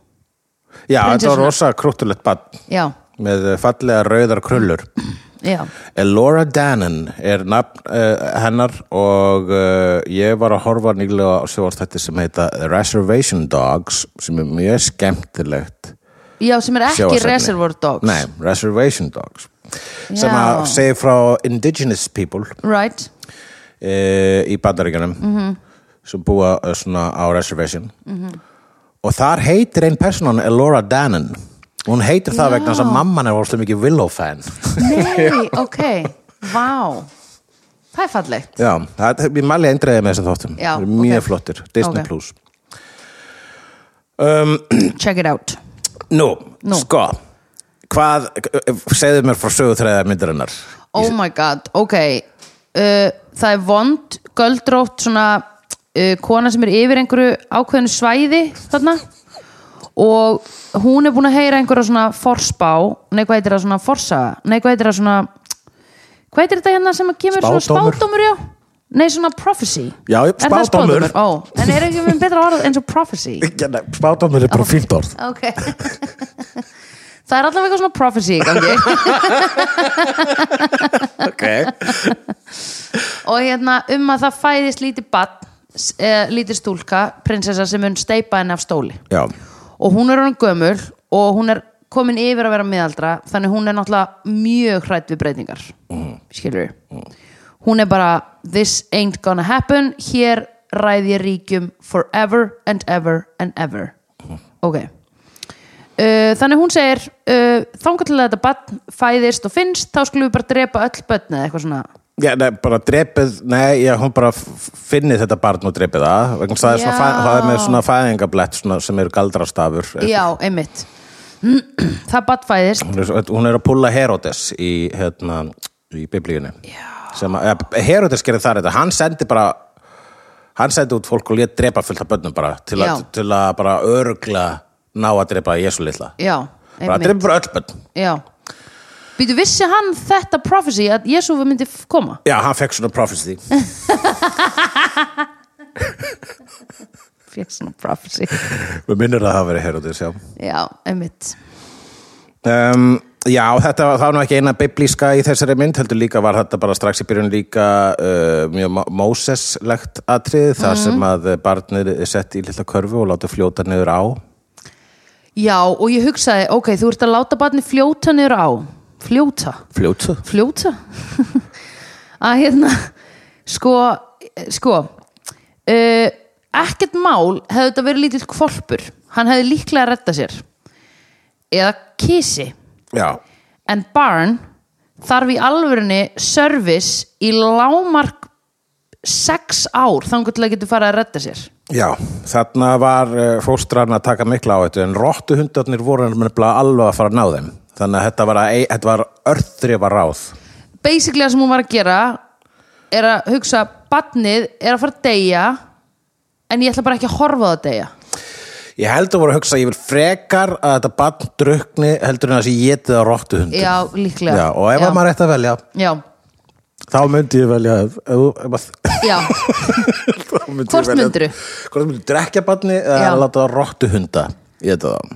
Já, þetta var
Prinsessuna.
rosa krúttulegt bad
já,
með fallega rauðar krullur
já,
Elora Dannon er nafn uh, hennar og uh, ég var að horfa nýlega á sjóðstætti sem heita The Reservation Dogs sem er mjög skemmtilegt
já sem er ekki
sjónvarpsefni.
Reservoir Dogs
Nei, Reservation Dogs
Já.
sem að segja frá indigenous people
right,
e, í bandaríkjunum
Mhm.
-hmm. sem búa eh, svona á reservation -hmm. og þar heitir ein personan Elora Dannon hún heitir það vegna þess að mamman er óslega mikið Willow fan
nei, ok vá, það er fallegt
Já, það, ég mæli eindreiði með þessum þáttum
Já,
Þeir eru mjög
ok.
flottir, Disney
Ok.
Plus
check it out
Nú,
Nú.
sko hvað, segðu mér frá sögutræða myndarinnar
oh my god, ok uh, það er vond, göldrótt svona uh, kona sem er yfir einhverju ákveðinu svæði þarna og hún er búin að heyra einhverja svona forspá, nei hvað heitir það svona forsa, nei hvað heitir það svona hvað heitir þetta hérna sem að kemur
Spádómur.
svona spádómur, já nei svona prophecy
Já,
Er það
spádómur.
ó, en er ekki með betra orð eins og prophecy
Spátumur er bara fínt orð
ok það er allavega eitthvað svona prophecy í gangi
okay.
og hérna um að það fæðist lítið badn, eh, lítið stúlka prinsessa sem mun steipa henni af stóli
Já,
og hún er hann gömul og hún er komin yfir að vera miðaldra þannig hún er náttúrulega mjög hrætt við breytingar mm. skilur hún er bara this ain't gonna happen hér ræð ég ríkjum forever and ever and ever ok Uh, þannig hún segir uh, þangar til að þetta barn fæðist og finnst þá skulum við bara drepa öll börn eða eitthvað svona
Já, nei, bara drepið, nei, já, hún bara f- finni þetta barn og drepið það vegna þess að það er svona
Já.
fæ- það er með svona fæðingablett svona, sem eru galdrastafur
Já, einmitt Það badfæðist
hún er, svo- hún er að pulla Herodes í, hérna, í biblíunni sem að, ja, Herodes gerði þar þetta hann sendi bara hann sendi út fólk og lét drepa fullt af börnum bara til að,
Já.
til að bara örgla ná að drepa Jésu litla
Já,
bara að
einmitt
drepa bara öll börn
Já Býtu, vissi hann þetta prophecy að Jésu myndi f- koma?
Já, hann fekk svona prophecy
Fékk svona prophecy
við minnir að það hafa verið Herodes, já
Já, einmitt
Um, já, þetta var, það var nú ekki eina biblíska í þessari mynd, heldur líka var þetta bara strax í byrjun líka uh, mjög Mo- Móseslegt atrið, þar
Mhm.
sem að barnið er sett í lilla körfu og láta fljóta niður á.
Já, og ég hugsaði, ok, þú ert að láta barni fljóta niður á Fljóta?
Fljóta?
Fljóta? að hérna Sko, sko uh, Ekkert mál hefði þetta verið lítill kvolpur Hann hefði líklega að redda sér Eða kisi
Já,
en barn þarf í alvörinni service í lámark sex ár þangur til að getur fara að redda sér
já, þarna var uh, fóstran að taka mikla á þetta, en rottu hundarnir voru nefnilega alveg að fara að ná þeim. Þannig að þetta var, að, ei- þetta var örþrifa ráð.
basically það sem hún var að gera er að hugsa badnið er að fara að deyja en ég ætla bara ekki að horfa á það að deyja
Ég heldur voru að hugsa að ég vil frekar að þetta barn drukni heldur en að þessi getið á rottu hundum.
já, líklega
Já, og ef
já.
að maður ætti að velja,
já,
Þá myndi ég velja ef, ef, ef,
já,
þá myndi
Hvort
ég velja-
myndirðu?
Hvort myndirðu drekja barni eða
Já.
láta það rottu hunda Ég þetta það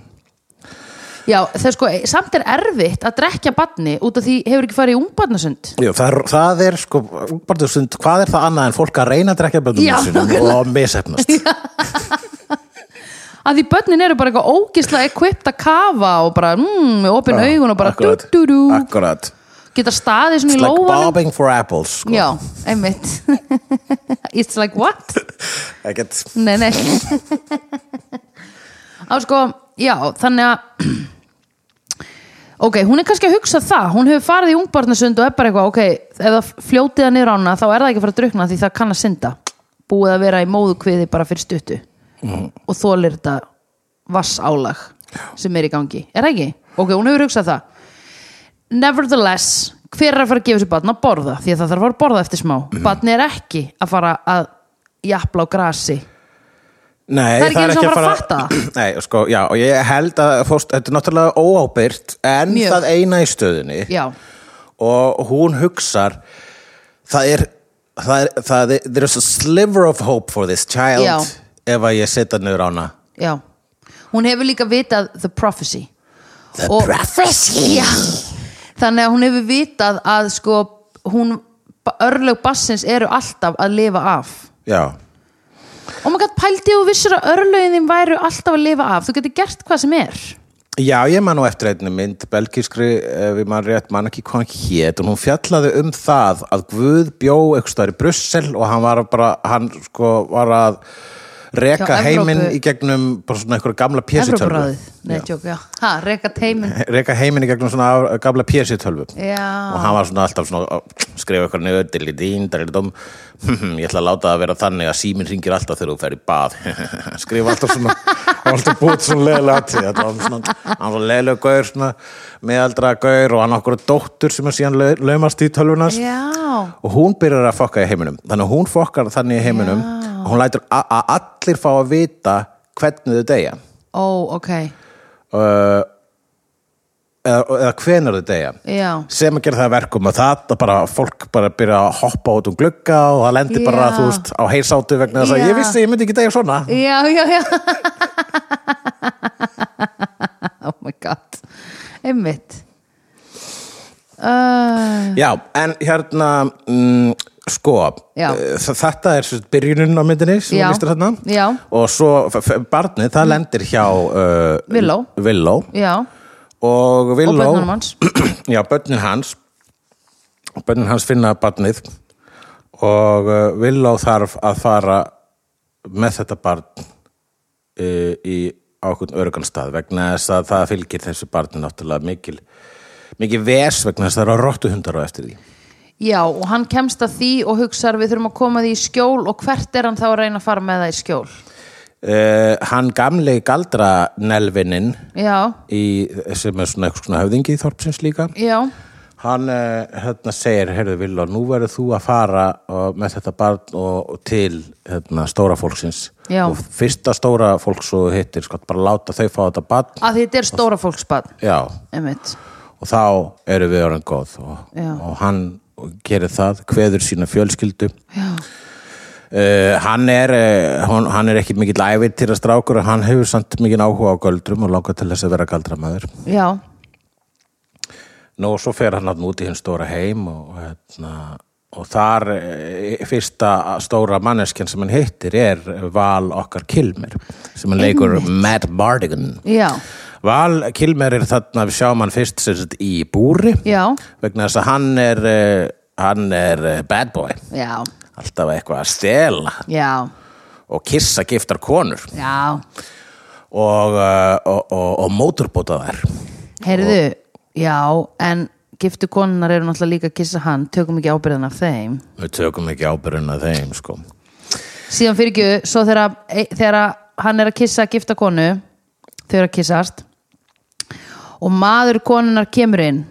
Já, það er sko, samt er erfitt að drekja badni út af því hefur ekki farið í ungbarnasund
Jú, það, er, það er sko, bara stund, hvað er það annað en fólk að reyna að drekja
Já,
bönnum sínum og misefnast?
að því börnin eru bara eitthvað ógisla ekvipt að kafa og bara, mm, með opin augun og bara dú,
Akkurat,
dú, dú,
akkurat.
geta staðið svona í
It's like
lófanum
bobbing for apples, sko.
Já, einmitt It's like what?
Ekkert,
Nei, nei Á sko, já, þannig að Ok, hún er kannski að hugsa það Hún hefur farið í ungbarnasund og er bara eitthvað Ok, ef það fljótið það niður ána þá er það ekki að fara að drukna því það kann að synda Búið að vera í móðukviði bara fyrir stuttu og þólir þetta vassálag sem er í gangi Er það ekki? Ok, hún hefur hugsað það nevertheless hver er að fara að gefa sér batn að borða því að það þarf að fara að borða eftir smá mm. batni er ekki að fara að jafla á grasi
Nei,
Það er ekki eins og hann var að
Nei, sko, já, og ég held að fórst, þetta er náttúrulega óábyrgt en
Mjög.
það eina í stöðunni
já,
og hún hugsar það er, það er, það er there is a sliver of hope for this child
Já.
ef að ég setja niður á hana
já hún hefur líka vitað the prophecy
The
Og-
prophecy
já. þannig að hún hefur vitað að sko hún örlög bassins eru alltaf að lifa af
Já,
og maður gætt pældi og vissur að örlögin þín væru alltaf að lifa af þú getur gert hvað sem er
já ég man nú eftir einni mynd belgískri, eh, ef ég man rétt man ekki hvað hann hét og hún fjallaði um það að Guð bjó einhvers staðar í Brussel og hann var bara, hann sko var að reka
Hjá
heiminn
Evrópu.
í gegnum bara svona einhverja gamla pjessutölvu
Evrópuráðið, nei, tjók, já ha, reka teimin
reka heiminn í gegnum svona gamla pjessutölvu
Já.
og hann var svona alltaf svona að skrifa eitthvað nöður til í dín, til í dóm hm, ég ætla að láta það að vera þannig að síminn ringir alltaf þegar þú fer í bað skrifa alltaf svona, hann var alltaf búið svona leðilega til þetta var svona, hann var svona leðilega gaur svona, meðaldra gaur og hann okkur dóttur sem er síðan lau- laumast í tölvunas
já,
og hún byrjar að fokka í heiminum þannig að hún fokkar þannig í heiminum og hún lætur a- að allir fá að vita hvernig þau deyja
ó, ok
uh, eða, eða hvenar þau deyja
já,
sem að gera það að verkum að það að bara fólk bara byrja að hoppa út um glugga og það lendir
Já.
bara, þú veist, á heilsátu vegna þess að
Já.
ég vissi að ég myndi ekki degja svona
já, já, já oh my god einmitt uh,
Já, en hérna mm, sko,
Já.
eh, þ- þetta er svo sagt byrjunin á myndinni sem
Já.
þú listir þarna
Já. Mm.
og svo f- f- barnið, það lendir hjá uh,
Willow.
Villó
já, og
og Villó
bönnum hans
Já, börnin hans börnin hans finna barnið og uh, Villó þarf að fara með þetta barn uh, í ákveðn örugan stað vegna þess að það fylgir þessu barni náttúrulega mikil mikið ves vegna þess að það eru rottuhundar á eftir því
já, og hann kemst að því og hugsar við þurfum að koma því í skjól og hvert er hann þá að reyna að fara með það í skjól
uh, Hann gamli galdra nelvininn
já,
í, sem er svona eitthvað svona höfðingi í þorpsins líka
já,
Hann uh, hérna segir, heyrðu Villó, nú verður þú að fara uh, með þetta barn og, og til hérna, stóra fólksins.
Já.
Og fyrsta stóra fólks og hittir, sko, bara láta þau fá þetta barn.
að þetta er stóra fólksbad
Já,
einmitt,
og þá eru við orðin góð og,
Já.
og hann gerir það, kveður sína fjölskyldu.
já,
Uh, hann, er, uh, hann, hann er ekki mikill ævið til að strákur og hann hefur samt mikinn áhuga á göldrum og langar til þess að vera galdramæður.
já
Nú, og svo fer hann hann út í hinn stóra heim og, hérna, og þar e, fyrsta stóra manneskjan sem hann hittir er Val okkar Kilmer sem hann leikur Matt Bardigan
já,
Val Kilmer er þarna við sjáum hann fyrst sem sagt í búri
já,
vegna þess að hann er eh, hann er eh, bad boy
já
alltaf eitthvað að stela
já,
og kissa giftar konur
já
og, eh, og, og, og móturbóta þær
Heyrðu, já, en giftu konunar eru náttúrulega líka að kissa hann tökum ekki ábyrðan af þeim
við tökum ekki ábyrjun að þeim sko
síðan fyrir ekki, svo þegar, e, þegar að hann er að kissa gifta konu þau eru að kissast og maður konunar kemur inn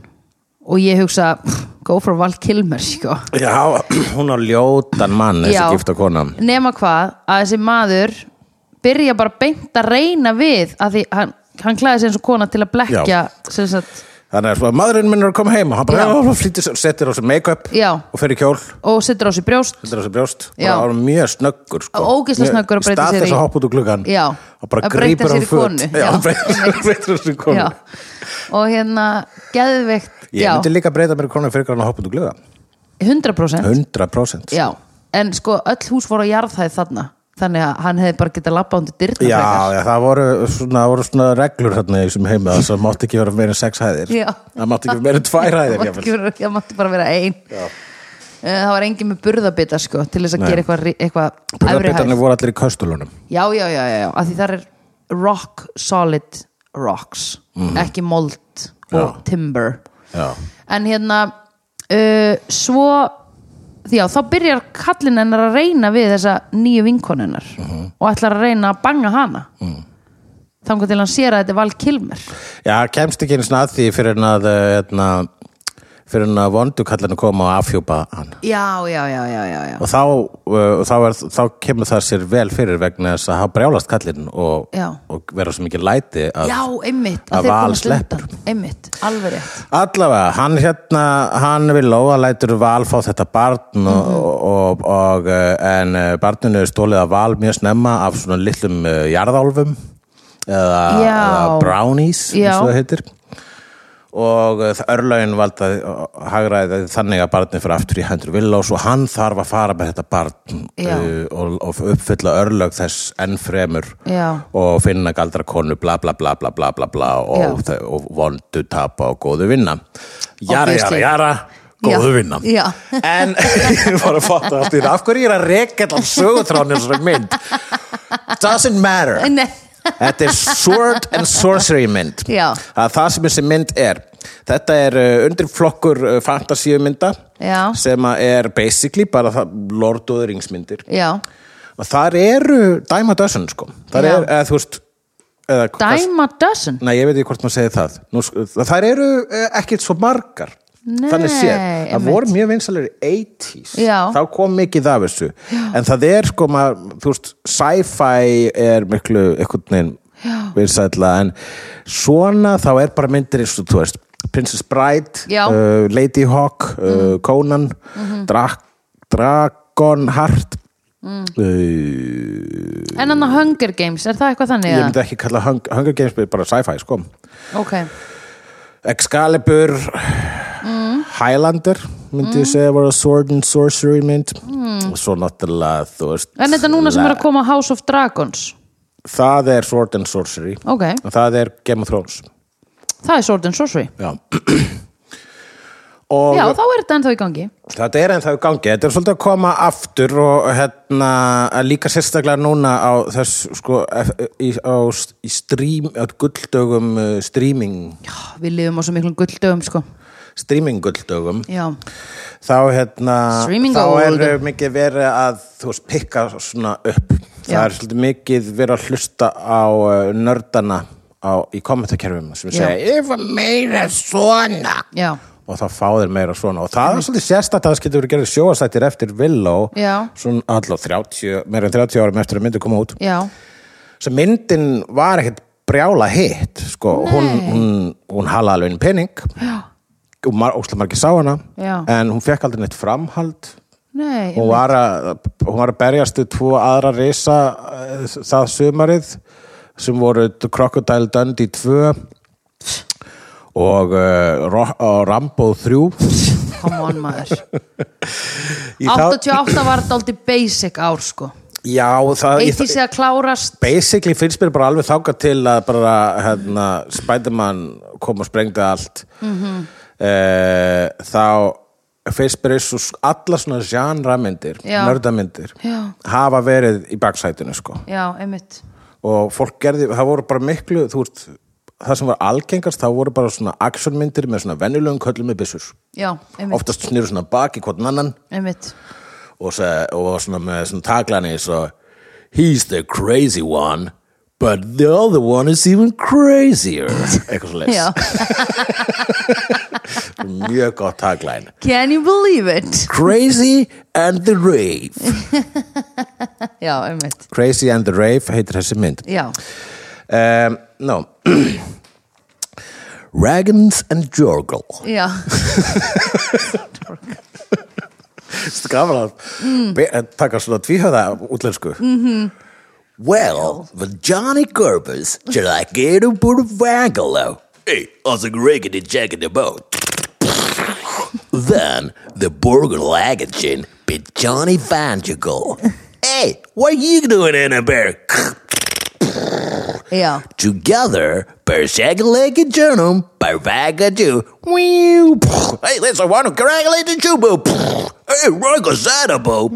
og ég hugsa pff, go for Val Kilmer sko.
Já, hún á ljótan mann
Já.
þessi gifta kona
nema hvað að þessi maður byrja bara beint að reyna við að því hann, hann klæði sér eins og kona til að blekja
Já.
sem sagt,
þannig að svo að maðurinn minn er að koma heim og hann bara
Já.
"Já, já, flýtir sér, setur á sig make-up
Já.
og fer í kjól,
og setur á sig brjóst
setur á sig brjóst
Já.
bara var mjög snöggur sko.
Ógeðslega
Mjög-
snöggur að breyta sér
í stað þess
í-
að hoppa út úr gluggan
Já.
og bara
Að breyta
grípur
sér
hann
í
föt.
konu.
Já,
Já.
hann breytir- hann breytir sér í konu
já. og hérna geðveikt
ég
já,
myndi líka breyta mér í konu fyrir hann að hoppa út úr gluggan
100%
100%
já, en sko öll hús voru á jarðhæð þarna þannig að hann hefði bara getað labba undir dyrna
Já, já, það voru svona, voru svona reglur þarna í þessum heima það mátti ekki vera meira en sex hæðir
Já.
það mátti ekki vera meira en tvær hæðir
það mátti,
jafnvel.
ekki vera- það mátti bara vera ein já. það var engin með burðabita sko til þess að
Nei.
gera eitthvað ri- eitthvað efri hæð.
Burðarbitarnir voru allir í köstulunum
já, já, já, já, já, af því þar er rock solid rocks ekki mold og
Mhm. Já.
timber
Já,
en hérna uh, svo já, þá byrjar kallinn hennar að reyna við þessa nýju vinkonunnar
Mhm.
og ætlar að reyna að banga hana mm. þangar til hann sér að þetta er Val Kilmer
já kemst ekki eins og að því fyrir en að eh, hérna, fyrir en að vondukallinu koma og afhjúpa hann
já, já, já, já, já, já.
og þá, uh, þá, er, þá kemur það sér vel fyrir vegna þess að hafa brjálast kallinn og,
Já.
og vera svo mikið læti að
Já, einmitt,
að
að þeir
Val
komast
sleppur.
undan Einmitt, alveg rétt
Allavega, hann hérna, hann vil lóa lætur Val fá þetta barn og, og, og eh, en eh, barninu er stólið að Val mjög snemma af svona litlum eh, jarðálfum eða,
Já.
eða brownies
Já.
eins og það heitir og eh, það- örlögin valda eh, hagræði þannig að barnið fyrir aftur í hendur Villós og hann þarf að fara með þetta barn
Já.
eh, og, og uppfylla örlög þess enn fremur
Já.
og finna galdra konu bla bla bla bla bla bla bla og, þau- og vondu tapa og góðu vinna jara jara
Obviously.
jara góðu
Já.
vinna
Já.
en ég var að fatta allt í það af hverju ég er að reka allan sögutráni þessari mynd doesn't matter
Nei,
þetta er sword and sorcery mynd
Já.
að það sem þessi mynd er þetta er uh, undirflokkur uh, fantasíumynda
Já.
sem að er basically bara það, Lord of the Rings myndir
já,
og þar eru dæma dösun sko þar
Já.
er, eða þú veist eða, hvers-
dæma dozen
Nei, ég veit ekki hvort maður segir það Nú, sk- þær eru eh, ekkert svo margar
Nei,
þannig sé, það
einmitt.
voru mjög vinsalegri 80s,
Já.
þá kom mikið af þessu, en það er sko maður, þú veist, sci-fi er miklu, einhvern veginn vinsætla, en svona þá er bara myndir eins og, þú veist Princess Bride,
Já. Mhm.
uh, Lady Hawk uh, Conan Dra Dragon Heart
Mm.
uh,
En hann að Hunger Games, er það eitthvað þannig?
ég
eða?
myndi ekki kalla Hung Hunger Games bara sci-fi, sko
Ok,
Excalibur Highlander myndi
Mm.
ég segja var að Sword and Sorcery mynd og svo náttúrulega þú veist
en þetta núna sem er að koma House of Dragons
það er Sword and Sorcery
Ok,
og það er Game of Thrones
það er Sword and Sorcery
já og
Já, þá er þetta ennþá í gangi
þetta er ennþá í gangi þetta er svolítið að koma aftur og hérna að líka sérstaklega núna á þess sko ef- í, á, s- í stream, á gulldögum uh, streaming,
Já, Við lifum á svo miklum gulldögum sko
streaming gulldögum
Já,
þá hérna
Streaming
þá
gold.
er uh, mikið verið að þú veist, pikka svona upp það
Já.
er svolítið mikið verið að hlusta á uh, nördana á, í kommentarkerfum sem
Já.
segja ég var meira svona
já,
og þá fá þeir meira svona og það er svolítið sérstætt að það getur verið gerðið sjóasættir eftir Villó
Já.
svona allavega 30, meira en 30 árum eftir að myndi koma út
já
svo myndin var ekkert brjála hitt sko. hún, hún, hún halaði alveg inn pening og mar, óslega margir sá hana
Já.
en hún fekk aldrei neitt framhald
Nei,
hún var, að, hún var að berjast við tvo aðra risa eh, það sumarið sem voru The Crocodile Dundee 2 og, uh, og Rambo 3
come on maður
Í þá-
88 var þetta aldrei basic ár sko
já, það, í,
80 að klárast
basically finnst mér bara alveg þáka til að bara hérna, Spiderman kom og sprengdi allt mm þá finnst mér eins og s- allar svona genre-myndir,
Já.
nördamyndir
Já.
hafa verið í baksætinu sko.
Já, einmitt
og fólk gerði, það voru bara miklu þú veist, það sem var algengast það voru bara svona actionmyndir með svona venjulegum köllum með byssur,
Já, einmitt,
oftast snýru svona baki hvort annan
einmitt
og, se, og var svona með svona taglani svo he's the crazy one but the other one is even crazier eitthvað svo
Já.
mjög gott tagline
Can you believe it?
crazy and the rave
Já, einmitt
crazy and the rave heitir þessi mynd
Já,
um, no Raggins and Jorgle
Já,
Þetta er gaman að be- að taka svona tvíhöða útlensku -hmm. Well, the Johnny Gerbers til að gera búr vagalo Hey, og svo reikir þið checking the boat Then, the burger lagagin be Johnny Vangigal Hey, what you doing in a bear?
já
Together, per second journum, per vagaju. Hey, listen, want to congratulate the chubu. Hey, Rogo Sadabo.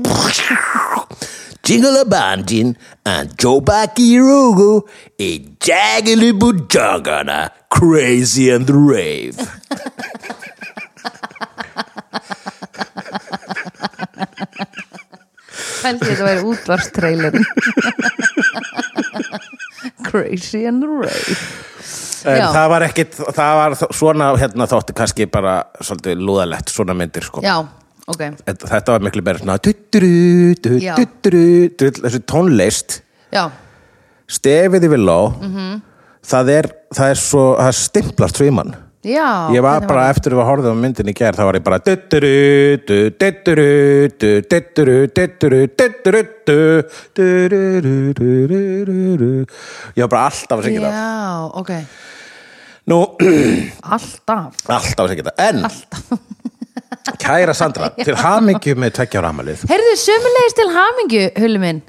Jingle Bandin and Jobaki Rugu. A jagalibu jagana. Crazy and rave.
Held ég þetta væri útvarstreilin Crazy and Ray Já.
það var ekkit, það var þ- svona hérna þótti kannski bara svolítið lúðalett svona myndir sko.
Já, ok
Þetta þetta var miklu meira svona tutturu,
Já.
tutturu, tutturu, þessu tónlist.
Já,
stefið yfir lá það, er, það er svo það stimplast svo í mann
já
ég var
hvernig
bara eftir að við horfðum á myndin í gær þá var ég bara ditturu, du, ditturu, du, ditturu, ditturu, ditturu, du, ditturu, du, du, du, du, du. ég var bara alltaf að syngja það
Já, ok
nú,
Alltaf
alltaf að syngja það en kæra Sandra, til hamingju með tveggja ára amalið
Heyrðu, sömulegis til hamingju, hullu minn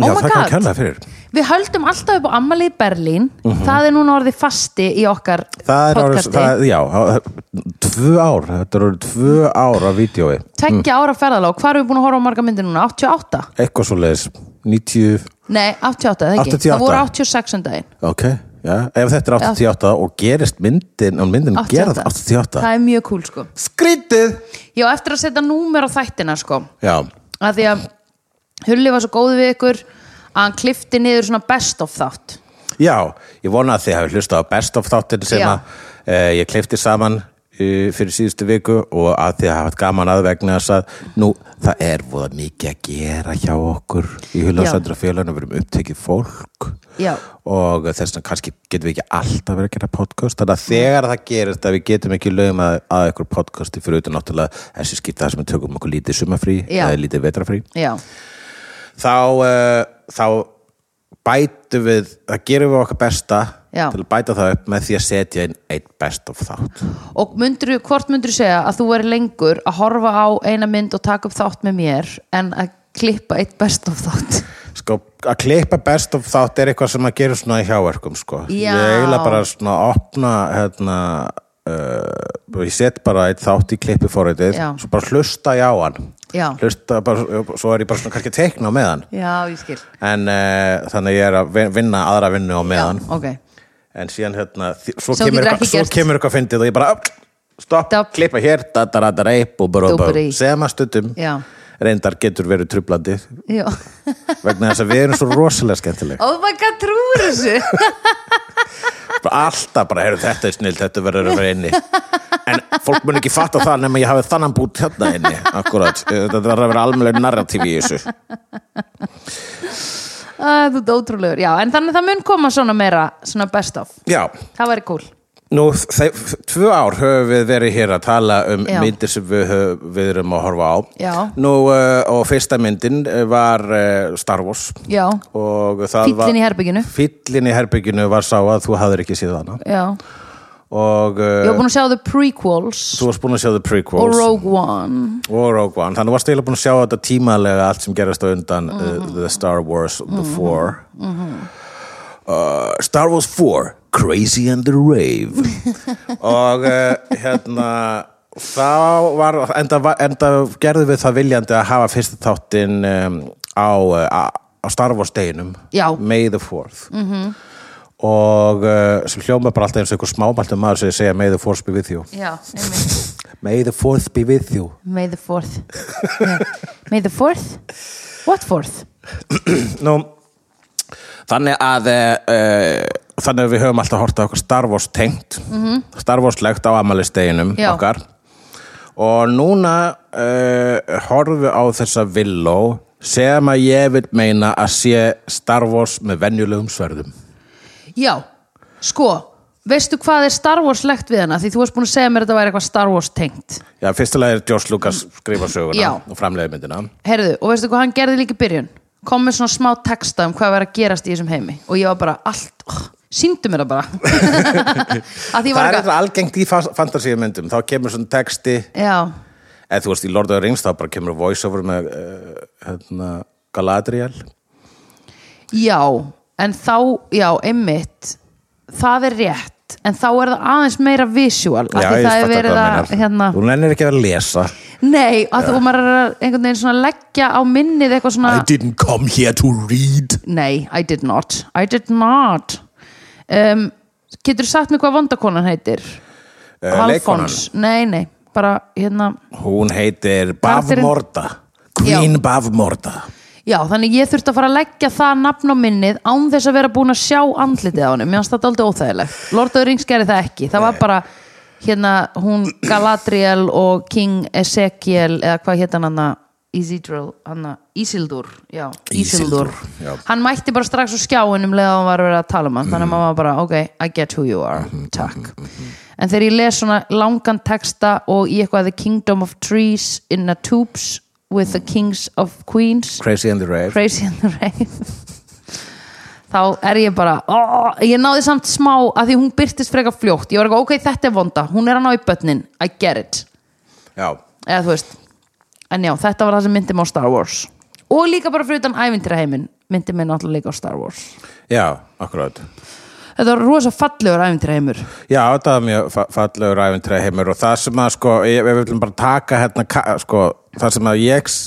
Oh
já,
my
það
god
kann kenna fyrir
Við höldum alltaf upp á ammalið Berlín Það er núna orðið fasti í okkar
Mhm. það er, orðið-
podcasti
það, já, það- tvö ár þetta eru tvö ár á vídjói
Tveggja
Mm.
ára ferðalá, hvað erum við búin að horfa á marga myndir núna? 88?
eitthvað svo leiðis 90,
Nei, 88, eða ekki
88.
Það voru 86 um daginn
ok já, ef þetta er 88 og gerist myndin og myndin
88.
gera það 88
Það er mjög cool sko
skrítið
Já, eftir að setja númer á þættina sko
já,
að Því að Hulli var svo góð við ykkur að hann klifti niður svona best of þátt
já, ég vona að þið hafi hlustað á best of þáttin sem
Já.
að e, ég kleifti saman e, fyrir síðustu viku og að þið hafa haft gaman að vegna þess að nú, það er voða mikið að gera hjá okkur í
Já.
huljóðsandra félaginu, við erum upptekið fólk
Já.
og þess vegna kannski getum við ekki alltaf verið að gera podcast þannig að þegar það gerist að við getum ekki lögum að, að ykkur podcasti fyrir auðvitað náttúrulega þessi skipta það sem við tökum okkur lítið sumafrí
Já.
eða lítið vetrafrí
Já,
þá, uh, þá bætum við, það gerum við okkar besta
Já.
til að bæta það upp með því að setja inn eitt best of þátt
og myndir, hvort myndir segja að þú er lengur að horfa á eina mynd og taka upp þátt með mér en að klippa eitt best of þátt
sko, að klippa best of þátt er eitthvað sem að gera svona í hjáverkum sko.
Já.
ég eiginlega bara svona opna hérna uh, ég set bara eitt þátt í klippi fórhættið
Já.
svo bara hlusta ég á hann
Já.
hlusta bara, svo er ég bara svona kannski að teikna á meðan
Já, ég skil
en uh, þannig að ég er að vin- vinna aðra vinnu á meðan
Ok,
en síðan hérna, þi- svo,
Svo
kemur
getur
eitthvað,
ekki
svo
gert.
kemur eitthvað fyndið og ég bara stopp,
Stopp.
klippa hér da, da, da, da, da, bú, bú, bú, bú,
Dúbrí.
sem að stundum
Já.
reyndar getur verið trublandi
já
vegna þess að við erum svo rosalega skemmtileg
Oh my god, trúur þessu
bara alltaf bara, heyrðu, þetta er snill, þetta verður að vera inni en fólk mun ekki fatta það nema ég hafi þannan bútt hérna inni akkurat, þetta verður að vera almennlega narratíf í þessu
Æ, Þú ert ótrúlegur, já, en þannig að það mun koma svona meira, svona best of
já,
Það væri cool
nú, þe- tvö ár höfum við verið hér að tala um
Já.
myndir sem við, höf, við erum að horfa á
Já.
nú, eh, og fyrsta myndin eh, var eh, Star Wars
Já,
og það var
Fíllinn í herberginu.
Fíllinn í herbygginu var sá að þú hafðir ekki síðan hana
já
og
Ég
uh,
var búin að sjá The Prequels
þú varst búin að sjá The Prequels
og Rogue One
og Rogue One, þannig varst eiginlega búin að sjá þetta tímalega allt sem gerast á undan uh, The Star Wars The Four uh, Star Wars 4 Crazy and the Rave og uh, hérna þá var enda, var- enda gerðum við það viljandi að hafa fyrsta þáttinn um, á, uh, á Star Wars deginum
Já.
May the 4th -hmm. og uh, sem hljóma bara alltaf eins og einhver smámæltum maður sem segja May the 4th be with you
Já, einmitt.
May the 4th be with you
May the fourth yeah. May the fourth? What fourth?
Nú, þannig að uh, þannig að við höfum alltaf horta okkur Star Wars tengt mm -hmm. Star Wars legt á amalisteginum
Mhm. Já.
okkar og núna uh, horfum við á þessa villó sem að ég vil meina að sé Star Wars með venjulegum sverðum
Já, sko veistu hvað er Star Wars legt við hana því þú varst búin að segja mér að þetta væri eitthvað Star Wars tengt
Já, fyrstulega er George Lucas skrifa söguna
Já.
og framleiði myndina
herðu, og veistu hvað hann gerði líka í byrjun kom með svona smá texta um hvað var að gerast í þessum heimi og ég var bara allt oh, síndu mér það bara að því ég
Það
var eitthvað
er eitthvað algengt í fantasíumyndum þá kemur svona texti
já,
eða þú veist í Lord of the Rings þá bara kemur voiceover með uh, hérna, Galadriel
já, en þá já, einmitt, það er rétt en þá er það aðeins meira visual að því
ég
það er
fatta
verið
hvað
að
þú meinar.
hérna,
Þú nennir ekki að vera að lesa
nei, að þú maður er að einhvern veginn svona leggja á minnið eitthvað svona
I didn't come here to read
Nei, I did not I did not um, Getur sagt mér hvað vondakonan heitir?
Eh,
Alfons Nei, nei, bara hérna
Hún heitir Bav
Karakterinn-
Morda Queen Bav Morda
Já, þannig ég þurfti að fara að leggja það nafn á minnið án þess að vera búin að sjá andlitið á henni, mér fannst þetta aldrei óþægilegt Lord of the Rings gerði það ekki, það var bara hérna, hún Galadriel og King Ezekiel eða hvað hétt hann hann Isildur, hann Isildur, já, Isildur,
Isildur, já. Mhm.
hann mætti bara strax á skjáin um leða hann var verið að tala um hann þannig að maður var bara, ok, I get who you are takk, en þegar ég les svona langan texta og í eitthvað The Kingdom of Trees in a Tubes with the Kings of Queens
Crazy and the Rave
Crazy in the Rave þá er ég bara oh, ég náði samt smá að því hún byrtist frekar fljótt, ég var eitthvað ok, þetta er vonda hún er að ná í börnin, I get it
Já,
eða þú veist en já, þetta var það sem myndi mig á Star Wars og líka bara fyrir utan ævintýraheimin myndi mig náttúrulega líka á Star Wars
já, akkurát
þetta var rosa fallegur ævintýraheimur
Já, þetta var mjög fa- fallegur æfintræði heimur og það sem að sko, ég, við viljum bara taka hérna, ka- sko, það sem að ég s-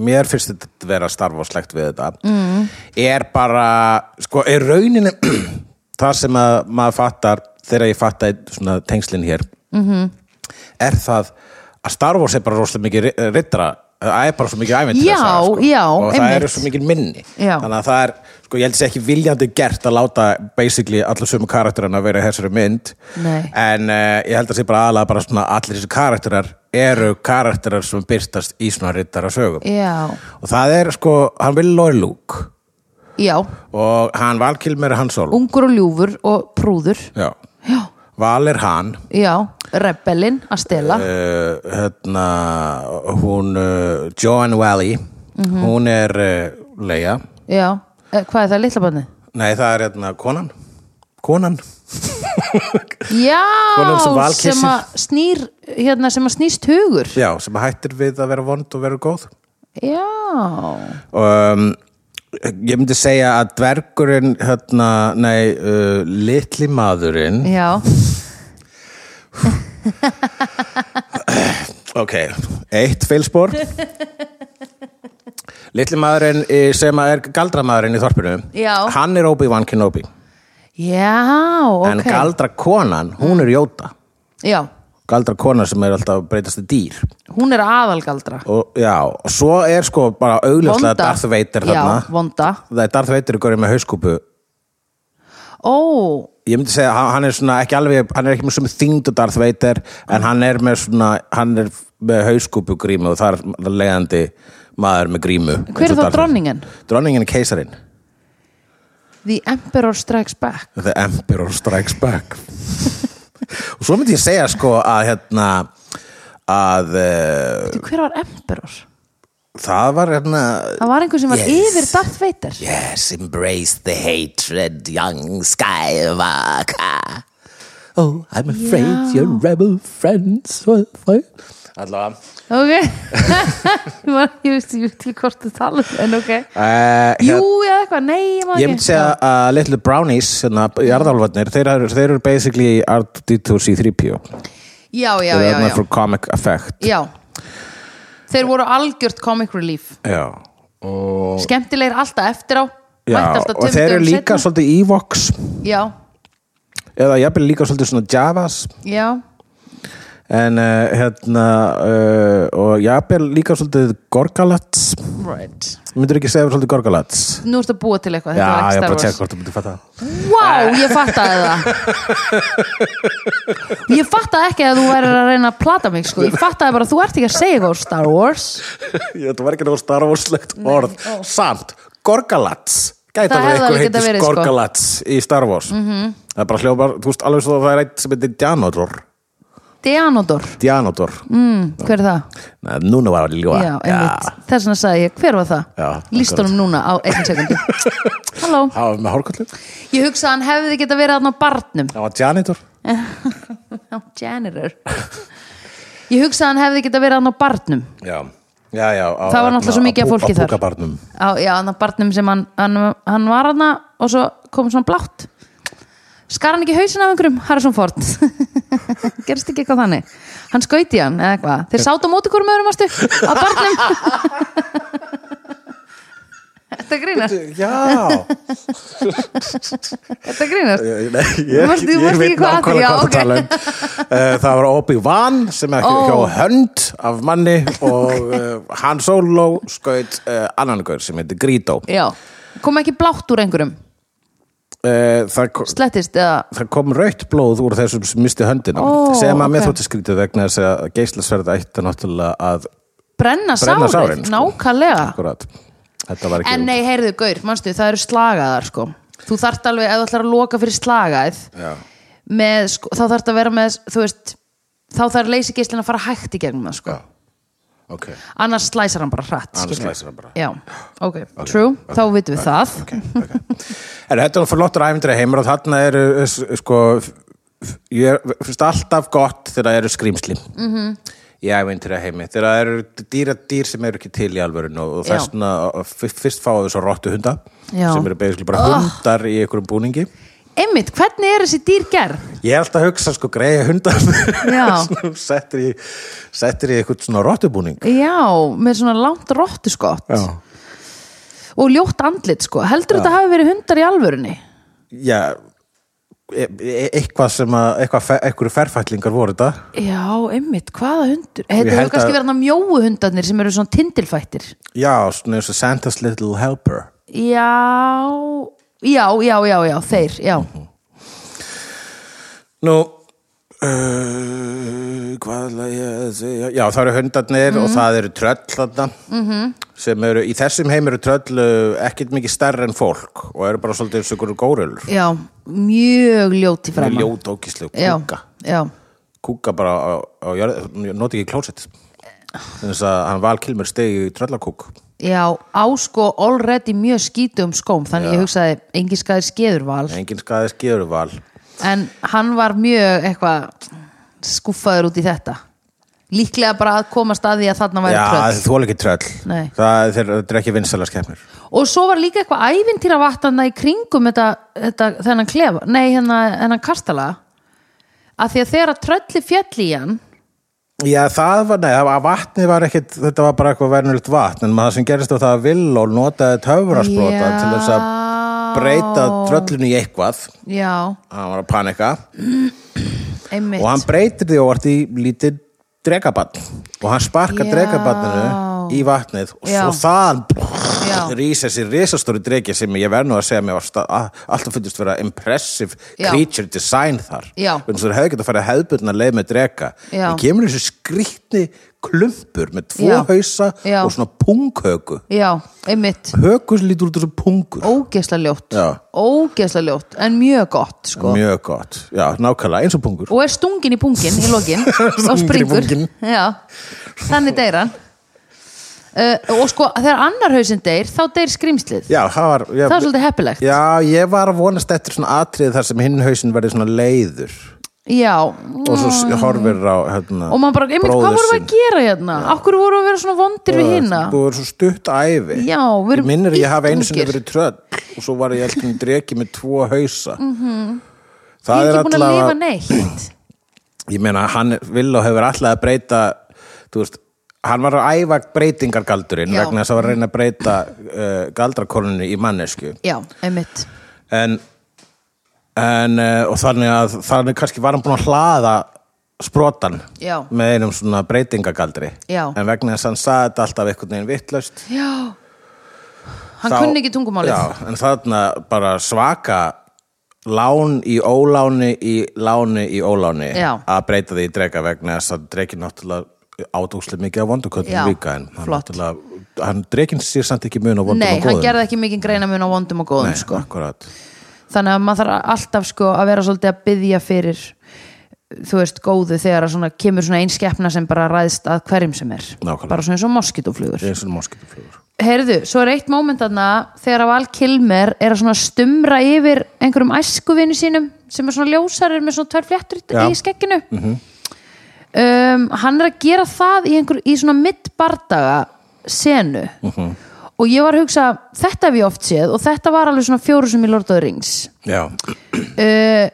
mér finnst þetta vera starfoslegt við þetta mm. er bara, sko, er rauninni það sem að maður fattar, þegar ég fatta svona tengslin hér mm
Mhm.
-hmm. er það að starfos er bara rosalega mikið ri- riddara það er bara svo mikið æfintræði
Já, já,
og það
einmitt.
eru svo mikið minni
Já.
þannig að það er, sko, ég held þessi ekki viljandi gert að láta basically allar sömu karakterina að vera í þessari mynd
Nei.
en uh, ég held að sé bara aðalega bara svona allir þessi karakterar eru karakterar sem byrstast í svona rittara sögum
já,
og það er sko, hann vil lói lúk
já,
og hann valkilmer er hann sól
ungur og ljúfur og prúður
já,
já,
val er hann
já, rebellin að stela
uh, hérna hún, uh, Joan Wally
Mhm.
hún er uh, Leia,
já, Eh, hvað er það litla barnið?
nei það er hérna konan, konan
Já,
Konan sem valkyssir.
sem að snýr hérna, sem að snýst hugur
Já, sem hættir við að vera vond og vera góð
Já,
um, Ég myndi segja að dvergurinn hérna, nei, uh, litli maðurinn
já
Ok, eitt fylspor Litli maðurinn eh, sem að er galdramaðurinn í þorpinu
Já.
Hann er Obi-Wan Kenobi
Já, ok Mm.
En galdrakonan, hún er Jóta
Já,
Galdrakonan sem er alltaf að breytast í dýr
hún er aðalgaldra
og, Já, og svo er sko bara
Vonda.
augljóslega Darth Vader
Já,
þarna
vonda
Það er Darth Vader í görið með hauskúpu
Ó,
ég myndi segja að hann er svona ekki alveg hann er ekki með svona þyngd og Darth Vader en hann er með svona hann er með hauskúpu grímu og það er leiðandi maður með grímu
Hver er
eins og
þá
Darth Vader.
dronningin?
dronningin er keisarin
The Emperor Strikes Back
The Emperor Strikes Back og svo myndi ég segja sko að hérna að uh,
Þú, Hver var Emperor?
það var hérna
Það var einhver sem var
Yes.
yfir Darth Vader
Yes, embrace the hatred, young Skywalker. Oh, I'm afraid
Já.
your rebel friends will fight. Allavega.
Ok Var- Ég veist ég til hvort þú tala um, En ok
Uh,
Jú, eða eitthvað, nei, ég má ekki
hérna, Ég myndi segja að litlu brownies, hérna, jarðalvarnir, þeir, eru- þeir eru basically R2-C3PO.
Já, já,
Þeir
já,
eru þarna
já
for comic effect.
Já Þeir voru algjört comic relief
Já. Og,
Skemmtilegir alltaf eftir á
já,
mætti alltaf
og
tveimur
þeir eru
dögum
líka
seinna.
svolítið Evox,
Já,
eða jafnvel líka svolítið svona Javas,
já,
en uh, hérna, uh, og jafnvel líka svolítið Gorgalats.
right
Myndur ekki segja svolítið Gorgalats?
Nú ertu að búa til eitthvað
Já,
þetta var
ég
ekki Star
er bara að
Wars.
tjekka hvort þú myndir fatta
Vá, ég
það.
fattaði það Ég fattaði ekki að þú væri að reyna að plata mig sko. Ég fattaði bara að þú ert ekki að segja eitthvað úr Star Wars
Ég þetta var ekki náttúrulega starfórslegt orð Samt, Gorgalats Gæti
Það
alveg
hefði
eitthvað
alveg geta
heitist
verið, sko. Mhm.
Gorgalats í Star Wars mm -hmm. það er bara hljópar, þú veist alveg svo það er eitt sem heitir Djanodor
Deanodor,
Djanodor,
mm, hver er það?
Nei, núna var að ljóa
Já, einmitt, þess vegna sagði ég, hver var
Já,
það? Lýst honum núna á einn sekundi Halló,
það var með hárkallin
ég hugsa að hann hefði geta verið þarna á barnum
það var Janitor,
Já, Janitor Ég hugsa að hann hefði geta verið þarna á barnum
já, já, já á, hérna,
Það var náttúrulega svo mikið af fólki
á, á, á
þar.
búkabarnum,
á, Já, hann á barnum sem hann, hann, hann var hann og svo kom svona blátt Skar hann ekki hausin af einhverjum Harrison Ford Gerist ekki eitthvað þannig Hann skauti hann eða eitthvað Þeir sátu á móti hverjum öðrum ástu á barnum Þetta grínast
já
Þetta grínast
Nei,
Þú
ég,
varst- þú
ég
varst
veit
ekki hvað að því,
nákvæmlega
já,
hvað
ok.
það tala um Eh, það var Obi-Wan sem ekki
Ó.
hjá hönd af manni og uh, Han Solo skaut uh, annan gaur sem heitir Greedo uh,
Já, kom ekki blátt úr einhverjum
Eh, það, ko-
Slettist eða
það kom rautt blóð úr þessum sem misti höndina
Ó,
sem að mér
ok.
þótti skrítið vegna þess að geislasverða ætti náttúrulega að
Brenna
Brenna
sárið,
sárin, sko.
nákvæmlega
akkurat, þetta var ekki um-
En nei, heyrðu, Gaur, manstu, það eru slagaðar sko. Þú þarft alveg, ef þú ætlar að loka fyrir slagaðið
Já.
með, sko, þá þarft að vera með, þú veist þá þarf leysigeislinn að fara hægt í gegnum það sko.
Já. ok,
annars slæsar hann bara hratt
Annars
skilurðu.
slæsar hann bara.
Já, ok, true, þá vitum við það
ok, ok En þetta er fyrir lottur æfindri heimur og þarna eru uh, s- sko f- f- ég er- finnst alltaf gott þegar það eru skrýmsli mm
Mhm.
-hmm. í æfindri heimi þegar það eru dýra dýr sem eru ekki til í alvörun og, og
Já.
þessna fyrst fáið svo rottu hunda
Já. Ah.
sem eru basically bara hundar í einhverjum búningi
Einmitt, hvernig er þessi dýr gerð?
ég er alltaf að hugsa sko greiði hundar
Já.
sem settir í settir í eitthvað svona rottubúning
Já, með svona langt rottu skott
Já.
og ljótt andlit sko, heldur þetta hafi verið hundar í alvörunni?
Já, e- e- eitthvað sem að eitthvað, fe- einhverju ferfætlingar voru þetta
Já, einmitt, hvaða hundur? Þetta
held
hefur kannski
að-
verið hann að mjóu hundarnir sem eru svona tindilfættir
Já, svona eins og Santa's Little Helper
Já, já, já, já, já, þeir, já.
Nú uh, Hvað ætla ég að segja Já, það eru hundarnir og það eru tröll þarna -hmm. sem eru, í þessum heim eru tröll uh, ekkert mikið stærri en fólk og eru bara svolítið eins og ykkur górulur
Já, mjög ljóti
Þeir
framan.
ljóta ókíslega
Já,
kúka
já.
Kúka bara á, á jörð, noti ekki klósett þess að hann val kilmur stegi í tröllakúk
Já, á sko already mjög skítum skóm, þannig ég hugsaði engi skaði skeðurval,
Engin skaði skefur val
en hann var mjög eitthvað skúffaður út í þetta. Líklega bara að komast að því að þarna væri
Já,
tröll.
þú er ekki tröll
Nei.
það, þeir, Þetta er ekki vinsæla skefnir
Og svo var líka eitthvað ævintýra vatnana í kringum þetta, þetta, þennan klefa, nei, hennan, hennan kastala, að því að þegar að trölli fjall í hann,
Já, það var, nei, það var- vatnið var ekkit, þetta var bara eitthvað verðnulegt vatn, en maður sem gerist á það að vill og notaði töfrasprota
Já.
til þess að breyta tröllinu í eitthvað,
Já,
hann var að panika,
einmitt
og hann breytir því óvart í lítið dregabann, og hann sparkar
Já.
dregabanninu í vatnið, og
Já.
svo þaðan
Já.
rísa þessi risastóri dregi sem ég verð nú að segja mér var sta- a- alltaf fundist vera impressive
Já.
creature design þar,
Já.
þannig að það hefði getað að fara hefðbundna leið með drega,
Já.
en kemur þessu skrýtni klumpur með tvo
Já.
hausa
Já.
og svona punghöku
Já, einmitt
höku sem lítur út þessu pungur
Ógesla ljótt
Já.
Ógesla ljótt, en mjög gott sko.
mjög gott, já, nákvæmlega eins og pungur
Og er stungin í pungin í lokin Og
Stunginn í
springur
punginn.
Já, þannig deyr hann uh, Og sko, þegar annar hausinn deyr Þá deyr skrýmslið
já, það var já,
Það er svolítið heppilegt
já, ég var að vonast eftir svona atrið þar sem hinn hausin verði svona leiður
Já.
og svo s- horfir á hérna,
Mm. Og maður bara, einmitt, hvað vorum við að gera hérna? Akkur vorum við að vera svona vondir við hina?
þú er svo stutt æfi
Já, við erum
Ég minnir að ég hafi einu sinni
illungir.
verið tröll og svo var ég alltaf dregi með tvo hausa mm -hmm.
Mhm. Ég er ekki búin að lifa neitt
ég meina hann vil og hefur alltaf að breyta þú veist hann var að æfa breytingargaldurinn
Já.
vegna þess að var að reyna að breyta uh, galdrakonunni í mannesku
Já, einmitt
en, en uh, og þannig að þannig kannski var hann búin að hlaða sprotan
Já.
með einum svona breytingagaldri
Já.
en vegna þess að hann saði þetta alltaf einhvern veginn vittlaust
Já Hann kunni ekki tungumálið
já, en þarna bara svaka lán í óláni í láni í óláni
Já.
að breyta því í drega vegna þess að drekin náttúrulega átókslega mikið af
Já,
vonduköllum líka en hann,
flott.
náttúrulega- hann drekin sér samt ekki mun á vondum
Nei,
og
hann
góðum
gerði ekki mikið greina mun á vondum og góðum
Nei,
sko.
akkurat
þannig að maður þarf alltaf sko að vera svolítið að byðja fyrir þú veist, góðu þegar að svona kemur svona einskeppna sem bara ræðst að hverjum sem er
Nákvæmlega.
bara svona eins og moskitoflugur
eins og moskituflugur
Heyrðu, svo er eitt moment þarna þegar Val Kilmer er að svona stumra yfir einhverjum æskuvinu sínum sem er svona ljósarir með svona tvær fléttur
Já.
í skekkinu um, hann er að gera það í, einhver, í svona mittbardaga senu og ég var að hugsa þetta hef ég oft séð og þetta var alveg svona fjóru sem í Lord of the Rings
já,
uh,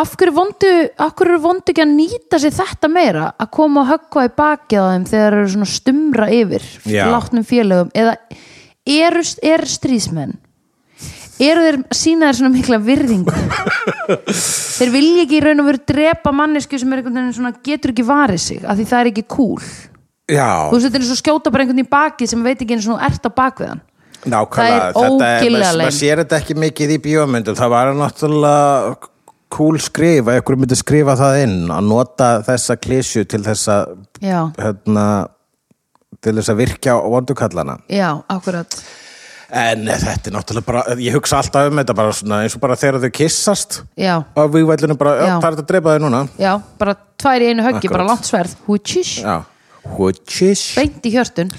af hverju vondu af hverju eru vondu ekki að nýta sér þetta meira að koma og höggva í bakið á þeim þegar þeir eru svona að stumra yfir
Já.
látnum félögum eða eru er stríðsmenn eru þeir sína þeir svona mikla virðingu þeir vilja ekki í raun og veru drepa mannesku sem er einhvern veginn svona getur ekki varið sig af því það er ekki cool þú
já
veist þetta er eins og skjóta bara einhvern í bakið sem veit ekki eins og þú ert á bakvið hann
Nákvæmlega,
Það er
þetta er,
ógillega
maður- maður
lame.
sér þetta ekki mikið í bíómyndum, það var náttúrulega cool skrif að ykkur myndi skrifa það inn að nota þessa klísju til þess að
já,
hérna, til þess að virkja á vondukallana
já, akkurat
en þetta er náttúrulega bara, ég hugsa alltaf um þetta bara svona, eins og bara þegar þau kissast
já,
og við vællinu bara, já,
Já.
það er þetta að dreipa þau núna
já, bara tvær í einu höggi,
Akkurat.
bara langt sverð húchish
já, which is
beint í hjörtun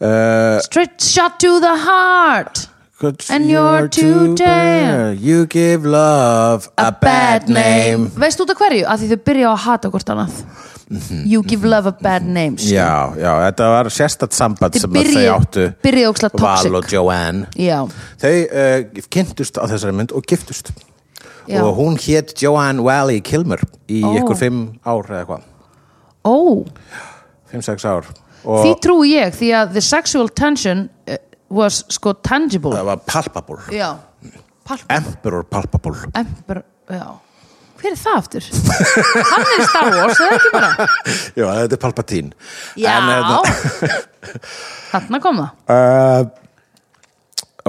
uh,
straight shot to the heart And you're too damn.
you give love a, bad name
veist út af hverju? að því þau byrja á að hata hvort annað you give love a bad name skilur.
Mhm. Já, já, þetta var sérstætt samband
Þið
sem að þau
byrjuðu-
áttu
byrjuðu ógeðslega toxic.
Val og Joanne
já,
Þau uh, kynntust á þessari mynd og giftust
Já.
og hún hétt Joanne Wally Kilmer í
Ó.
ykkur fimm ár eða hvað,
ó
fimm, sex ár og
því trúi ég, því að the sexual tension eh, was sko tangible
það var palpable
já, palpa
Emperor palpable
ember, já hver er það aftur? hann er í Star Wars, það er ekki bara
Já, þetta er Palpatine
já,
En, hérna,
þarna kom það
Uh,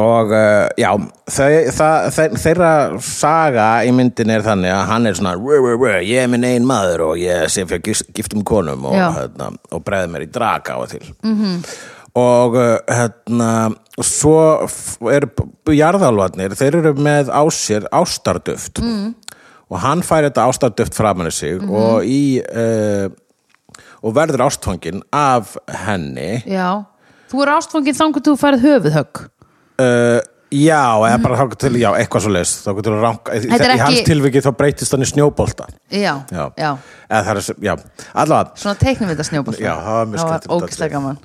og uh, já þau, það, þeir, þeirra saga í myndin er þannig að hann er svona rö, rö, rö, ég er minn ein maður og ég sem fyrir gist, giftum konum og,
Já.
hérna, og bregði mér í draka á og til -hmm. og uh, hérna og svo f- eru b- jarðalvarnir, þeir eru með á sér ástarduft mm. og hann fær þetta ástarduft framan í sig og í uh, og verður ástfangin af henni
já, þú er ástfangin þangur þú færið höfuðhögg
Uh, já, eða bara þá til, já, eitthvað svo leist þá til að ranka, í,
Þetta er
í hans
ekki-
tilviki þá breytist hann í snjóbolta
já,
já,
já.
eða það er, sem- já, allavega
svona teiknum þetta snjóbolta
Já, það var mjög skemmtilegt
ógeðslega
atriði.
gaman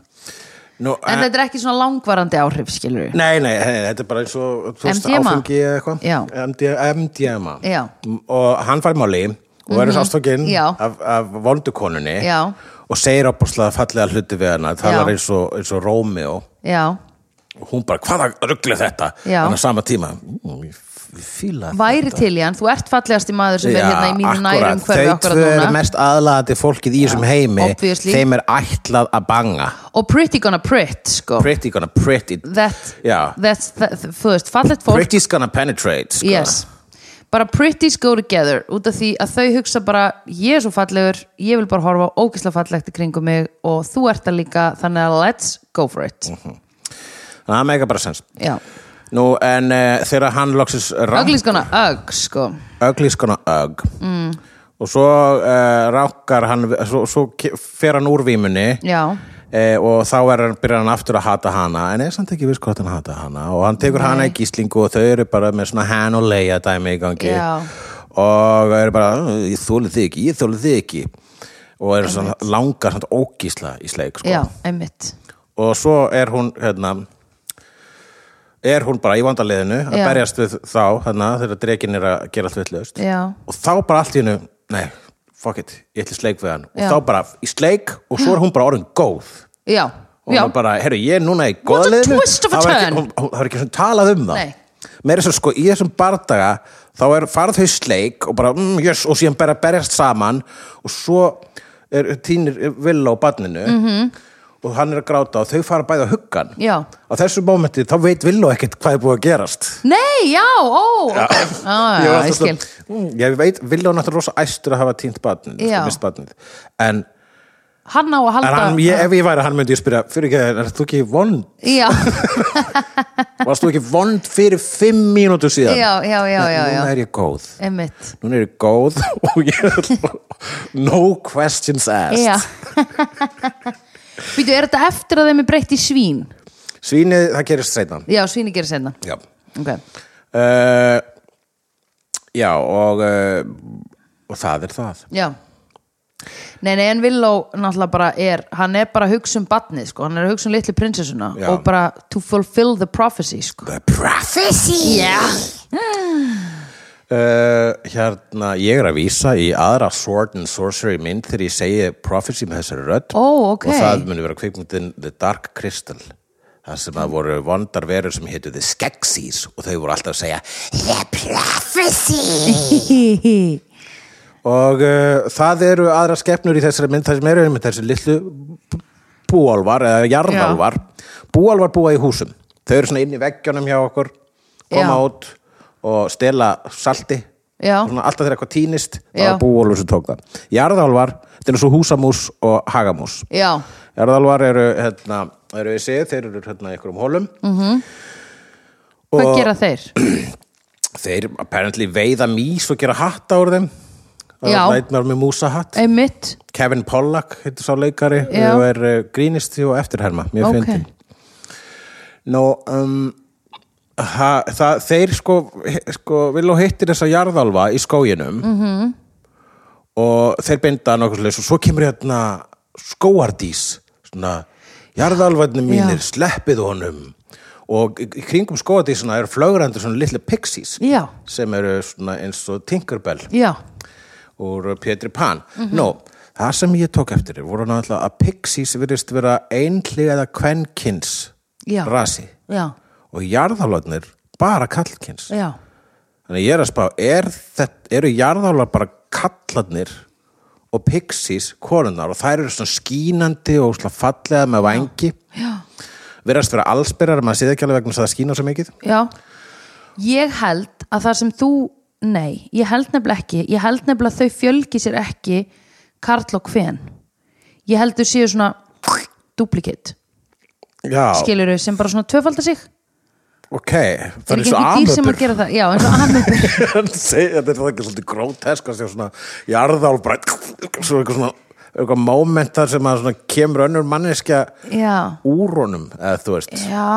nú, eh,
en þetta er ekki svona langvarandi áhrif skilur við
nei, nei, hei, þetta er bara eins og þú veist,
MDMA?
áfengi eða eitthvað
Já.
MD- MDMA
Já. Mhm.
M- og hann fær máli og verður sástókin
Já.
af, af vondukonunni
Já.
og segir opaslega fallega hluti við hana
Já.
talar eins og, eins og Rómeo
já,
og hún bara, hvaða ruggli þetta
Já.
þannig að sama tíma mm, ég f- ég fíla
væri til í hann þú ert fallegasti maður sem er hérna í mínu nærum hverfi
þau
akkurat
tvö eru
núna
mest aðlaðandi fólkið í þessum heimi
obviously.
þeim er ætlað að banga
og pretty gonna prit sko.
pretty gonna pretty
that,
Já.
that's, that, þú veist, fallegt fólk
pretty's gonna penetrate sko.
yes. bara pretties go together út af því að þau hugsa bara ég er svo fallegur, ég vil bara horfa á ógeðslega fallegt í kringum mig og þú ert það líka þannig að let's go for it
Mhm. það er mega bara sens
já,
nú en uh, þegar hann loksins
ugly's gonna ugg sko,
öglískona ög mm. og svo uh, rákar hann við- svo, svo ke- fer hann úr vímunni
já
Eh, og þá er hann, byrjar hann aftur að hata hana en er samt ekki viss hvort hann hata hana og hann tekur hana í gíslingu og þau eru bara með svona hann og leia dæmi í gangi
Já.
og þau eru bara, "Ugh, ég þólu þig ekki ég þólu þig ekki og eru svona langar svona ógísla í sleik sko.
já, einmitt
og svo er hún hérna er hún bara í vandaliðinu að
Já.
berjast við þá hérna, þegar drekin er að gera allt vitlaust
Já.
og þá bara allt í hennu nei, fuck it, ég ætli í sleik við hann
Já.
og þá bara í sleik og svo er hún bara orðin góð
já,
og
já,
hún bara, herru, ég er núna í
What a
goðaliðinu
twist of a
Það var ekki-
turn.
hún- hún- það var ekki svona talað um það
Nei.
meira svo sko, í þessum bardaga þá er farð þau í sleik og bara, mm, jöss, og síðan bara berjast saman og svo er, týnir Villa á barninu -hmm. og hann er að gráta og þau fara bæði á huggan
Mhm. Já.
á þessu mómenti þá veit Villa ekkert hvað er búið að gerast
nei, já, ó ok. Á,
ég,
já,
var
já, ég
alltaf
skil
svona, mm, ég veit, Villa er náttúrulega rosa æstur að hafa týnt barnið,
Já.
mist barnið en
hann á að halda
En hann, ég, ef ég væri hann myndi ég spyrja fyrir ekki, er þú ekki vond?
já,
Varst þú ekki vond fyrir fimm mínútu síðan?
já, já, já, já, já.
Núna er ég góð
Einmitt.
Núna er ég góð og ég ætla- No questions asked
Já Býtu, er þetta eftir að þeim er breytt í svín?
Svínið, það gerist seinna
Já, svíni gerir senna
Já
okay.
uh, Já, og uh, og það er það
Já Nei, nei, en Villó náttúrulega bara er hann er bara að hugsa um batnið, sko hann er að hugsa um litlu prinsessuna
Já.
og bara to fulfill the prophecy, sko
The prophecy
yeah.
Uh, hérna, ég er að vísa í aðra Sword and Sorcery mynd þegar ég segi Prophecy með þessari rödd
Ó, ok.
og það muni vera kvikmyndin The Dark Crystal þar sem það voru vondar verur sem hétu The Skeksis og þau voru alltaf að segja The Prophecy og uh, það eru aðra skepnur í þessari mynd þar sem eru einmitt þessi litlu b- búálfar eða jarðálfar búálfar búa í húsum þau eru svona inn í veggjónum hjá okkur koma
Já.
út og stela salti
Já,
svona, alltaf þegar eitthvað týnist það
Já.
var búólfur sem tók það jarðálfar, þetta er svo húsamús og hagamús
já,
jarðálfar eru, hérna, eru við séð, þeir eru hérna í einhverjum hólum
Mm. hvað gera þeir?
þeir apparently veiða mís og gera hatta úr þeim
Já.
nætnar með músahatt
Einmitt,
Kevin Pollack, heitir sá leikari
Já.
og er uh, grínisti og eftirherma
Ok.
mjög okay. fyndin Nú, um, ha, það, þeir sko, he- sko Villó hittir þessa jarðalva í skóginum -hmm.
Mhm.
og þeir binda nokkursleis og svo kemur hérna skóardís svona, jarðalvarnir mínir, sleppið honum og í, í kringum skóardísina eru flögrandi svona litli pixies
Já.
sem eru svona eins og Tinkerbell
já,
úr Pétri Pan Nú, það sem ég tók eftir er, voru náttúrulega að Pixies virðist vera einhliða kvenkins
Já.
rasi
já,
og jarðálotnir bara kallkins
já
þannig að ég er að spá, er þetta, eru jarðálar bara kallarnir og Pixies konunar og þær eru svona skínandi og svona fallega með vangi
Já.
virðast vera allsbyrjar maður séð ekki alveg vegna þess að það skína svo mikið
Já, ég held að það sem þú, nei, ég held nefnilega ekki, ég held nefnilega að þau fjölgi sér ekki karl og kven. Ég held þau séu svona duplicate,
Já,
skilur þau, sem bara svona tvöfalda sig.
ok Það
er
er
ekki
svo
einhver dýr sem
amöbur
að gera það, já, eins og amöbur.
hann segir þetta er það ekki svolítið grótesk að sjá svona jarðál bara svo eitthvað svona eitthvað moment þar sem að svona kemur önnur manneskja
Já,
úr honum eða þú veist
já,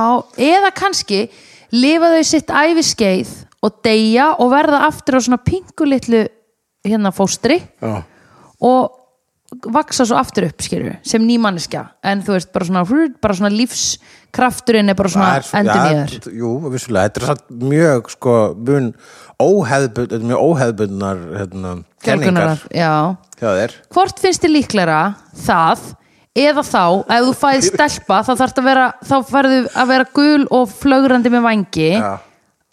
eða kannski lifa þau sitt æviskeið og deyja og verða aftur á svona pingulitlu hérna fóstri.
já,
og vaksa svo aftur upp skilur, sem nýmanniska en þú veist, bara svona, hrrr, bara svona lífskrafturinn er bara svona
Það er svo-
endur
já,
nýður
t- jú, vissulega, þetta er satt mjög sko, mun óheðbund þetta er mjög óheðbundnar hérna, kenningar
já.
hjá þér
hvort finnst þið líklegra það eða þá, ef þú fæði stelpa þá þarf að vera, þá færðu að vera gul og flögrandi með vangi
Já.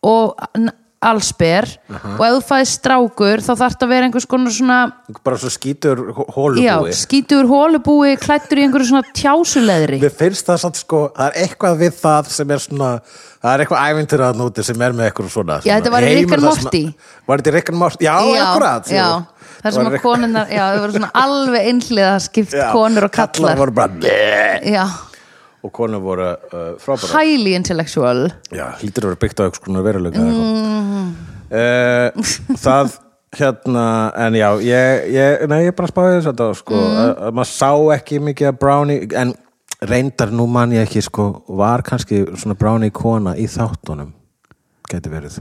og n- allsber og ef þú fæði strákur þá þarf að vera einhvers konar svona
bara svo skítur hó-
já,
hólubúi
skítur hólubúi klættur í einhverju svona tjásuleðri
Mér finnst það satt sko, það er eitthvað við það sem er svona, það er eitthvað ævintur að núti sem er með eitthvað svona
Já, þetta var í
heimur
Rick and
þar sem að-
Morty.
Var þetta í Rick and Morty? Já, já akkurat
já, þar sem að konunnar já, þau voru svona alveg einhliða skipt konur og kallar,
voru bara bleh,
já,
Og konur voru uh, frábæra
highly intellectual
Já, hlýtur að vera byggt á eitthvað svona veruleika mm. uh, Það hérna, en já ég, ég, nei, ég bara spáði þess að það sko,
Mm.
að, að maður sá ekki mikið að Brownie en reyndar nú man ég ekki sko, var kannski svona Brownie kona í þáttunum gæti verið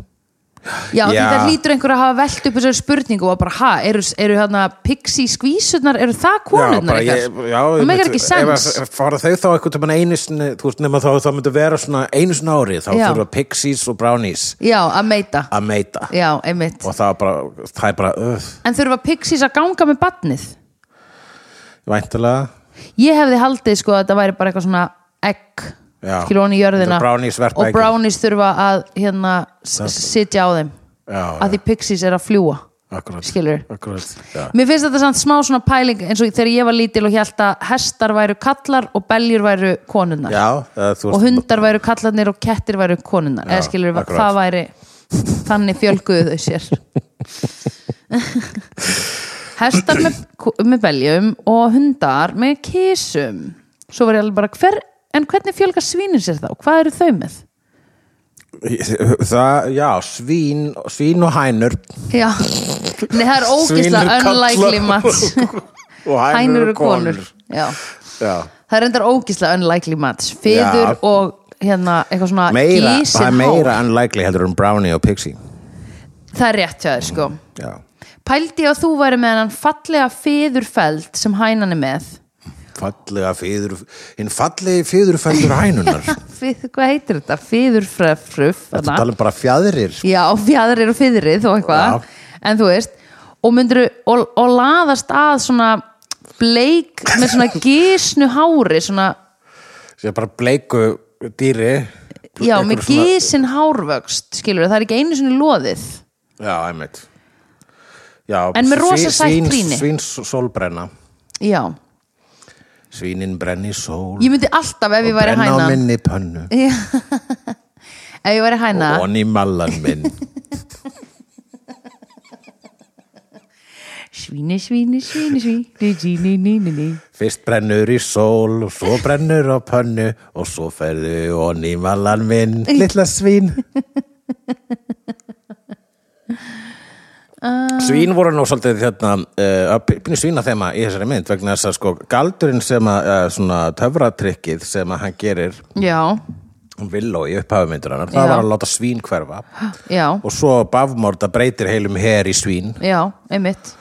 já, því
Já.
það hlýtur einhver að hafa velt upp þessari spurningu og bara, ha, eru, eru hérna pixie skvísurnar, eru það konurnar
bara ég-
ykkar?
já,
það
ég
megar
myndi-
ekki
ef
sens
að- ef fara þau þá eitthvað tímann einu sinni þú veist, nema þá, þá myndi vera svona einu sinni ári þá
Já.
þurfa Pixies og Brownies
já, að meita,
að meita
já, einmitt
og það er bara, það er bara uh, öð,
en þurfa pixies að ganga með batnið
væntalega
ég hefði haldið sko að það væri bara eitthvað svona egg,
Já.
skilur hún í jörðina
Þetta brownies verpa
og
eggjum.
brownies þurfa að hérna s- sitja á þeim
Já,
að því pixies er að fljúa
akkurat,
skilur,
akkurat já.
mér finnst þetta samt smá svona pæling eins og þegar ég var lítil og held að hestar væru kallar og beljur væru konunnar
Já, eða, þú
og
veist,
hundar væru kallarnir og kettir væru konunnar eða skilur,
akkurat.
það væri þannig fjölguðu þau sér hestar með, með beljum og hundar með kísum svo var ég alveg bara hver, en hvernig fjölga svínir sér þá, hvað eru þau með
Það, já, svín, svín og hænur
já, Nei, það er ógisla
Svínur kallar
unlikely match
og
hænur eru konur já.
Já.
það er endar ógisla unlikely match fyður
Já.
og hérna eitthvað svona
Meira, það er
gísin
meira unlikely heldur um Brownie og Pixie
það er rétt hjá þér sko
Já,
pældi ég að þú væri með hann fallega fyðurfeld sem hænan er með
fallega fýður hinn fallegi fýðurfældur hænunar
Fyð, hvað heitir þetta? Fyðurfröf
Þetta tala um bara fjæðrir
Já, fjæðrir og fyðrið og eitthvað En þú veist Og myndir og, og laðast að svona bleik með svona gísnu hári svona,
sem bara bleiku dýri
já,
Einhver
með
svona-
gísin hárvöxt skilur það er ekki einu svona loðið
Já, einmitt Já,
En með rosa
svín-
sætt
svín-
trýni.
Svín sólbrenna
já,
Svínin brenni sól
ég myndi alltaf ef ég væri
Brenna á
hæna
minni pönnu
ef ég væri hæna,
Og onni mallan minn
svíni, svíni, svíni svíni, svíni, svíni, svíni
Fyrst brennur í sól og svo brennur á pönnu og svo ferðu onni mallan minn Lilla svín Svín voru nú svolítið hérna, uh, pínu svína þema í þessari mynd vegna þess að sko galdurinn sem að uh, svona töfratrikkið sem að hann gerir
já,
villó í upphafumyndurinnar, það
Já.
var að láta svín hverfa
já,
og svo bafmorda breytir heilum her í svín
já, einmitt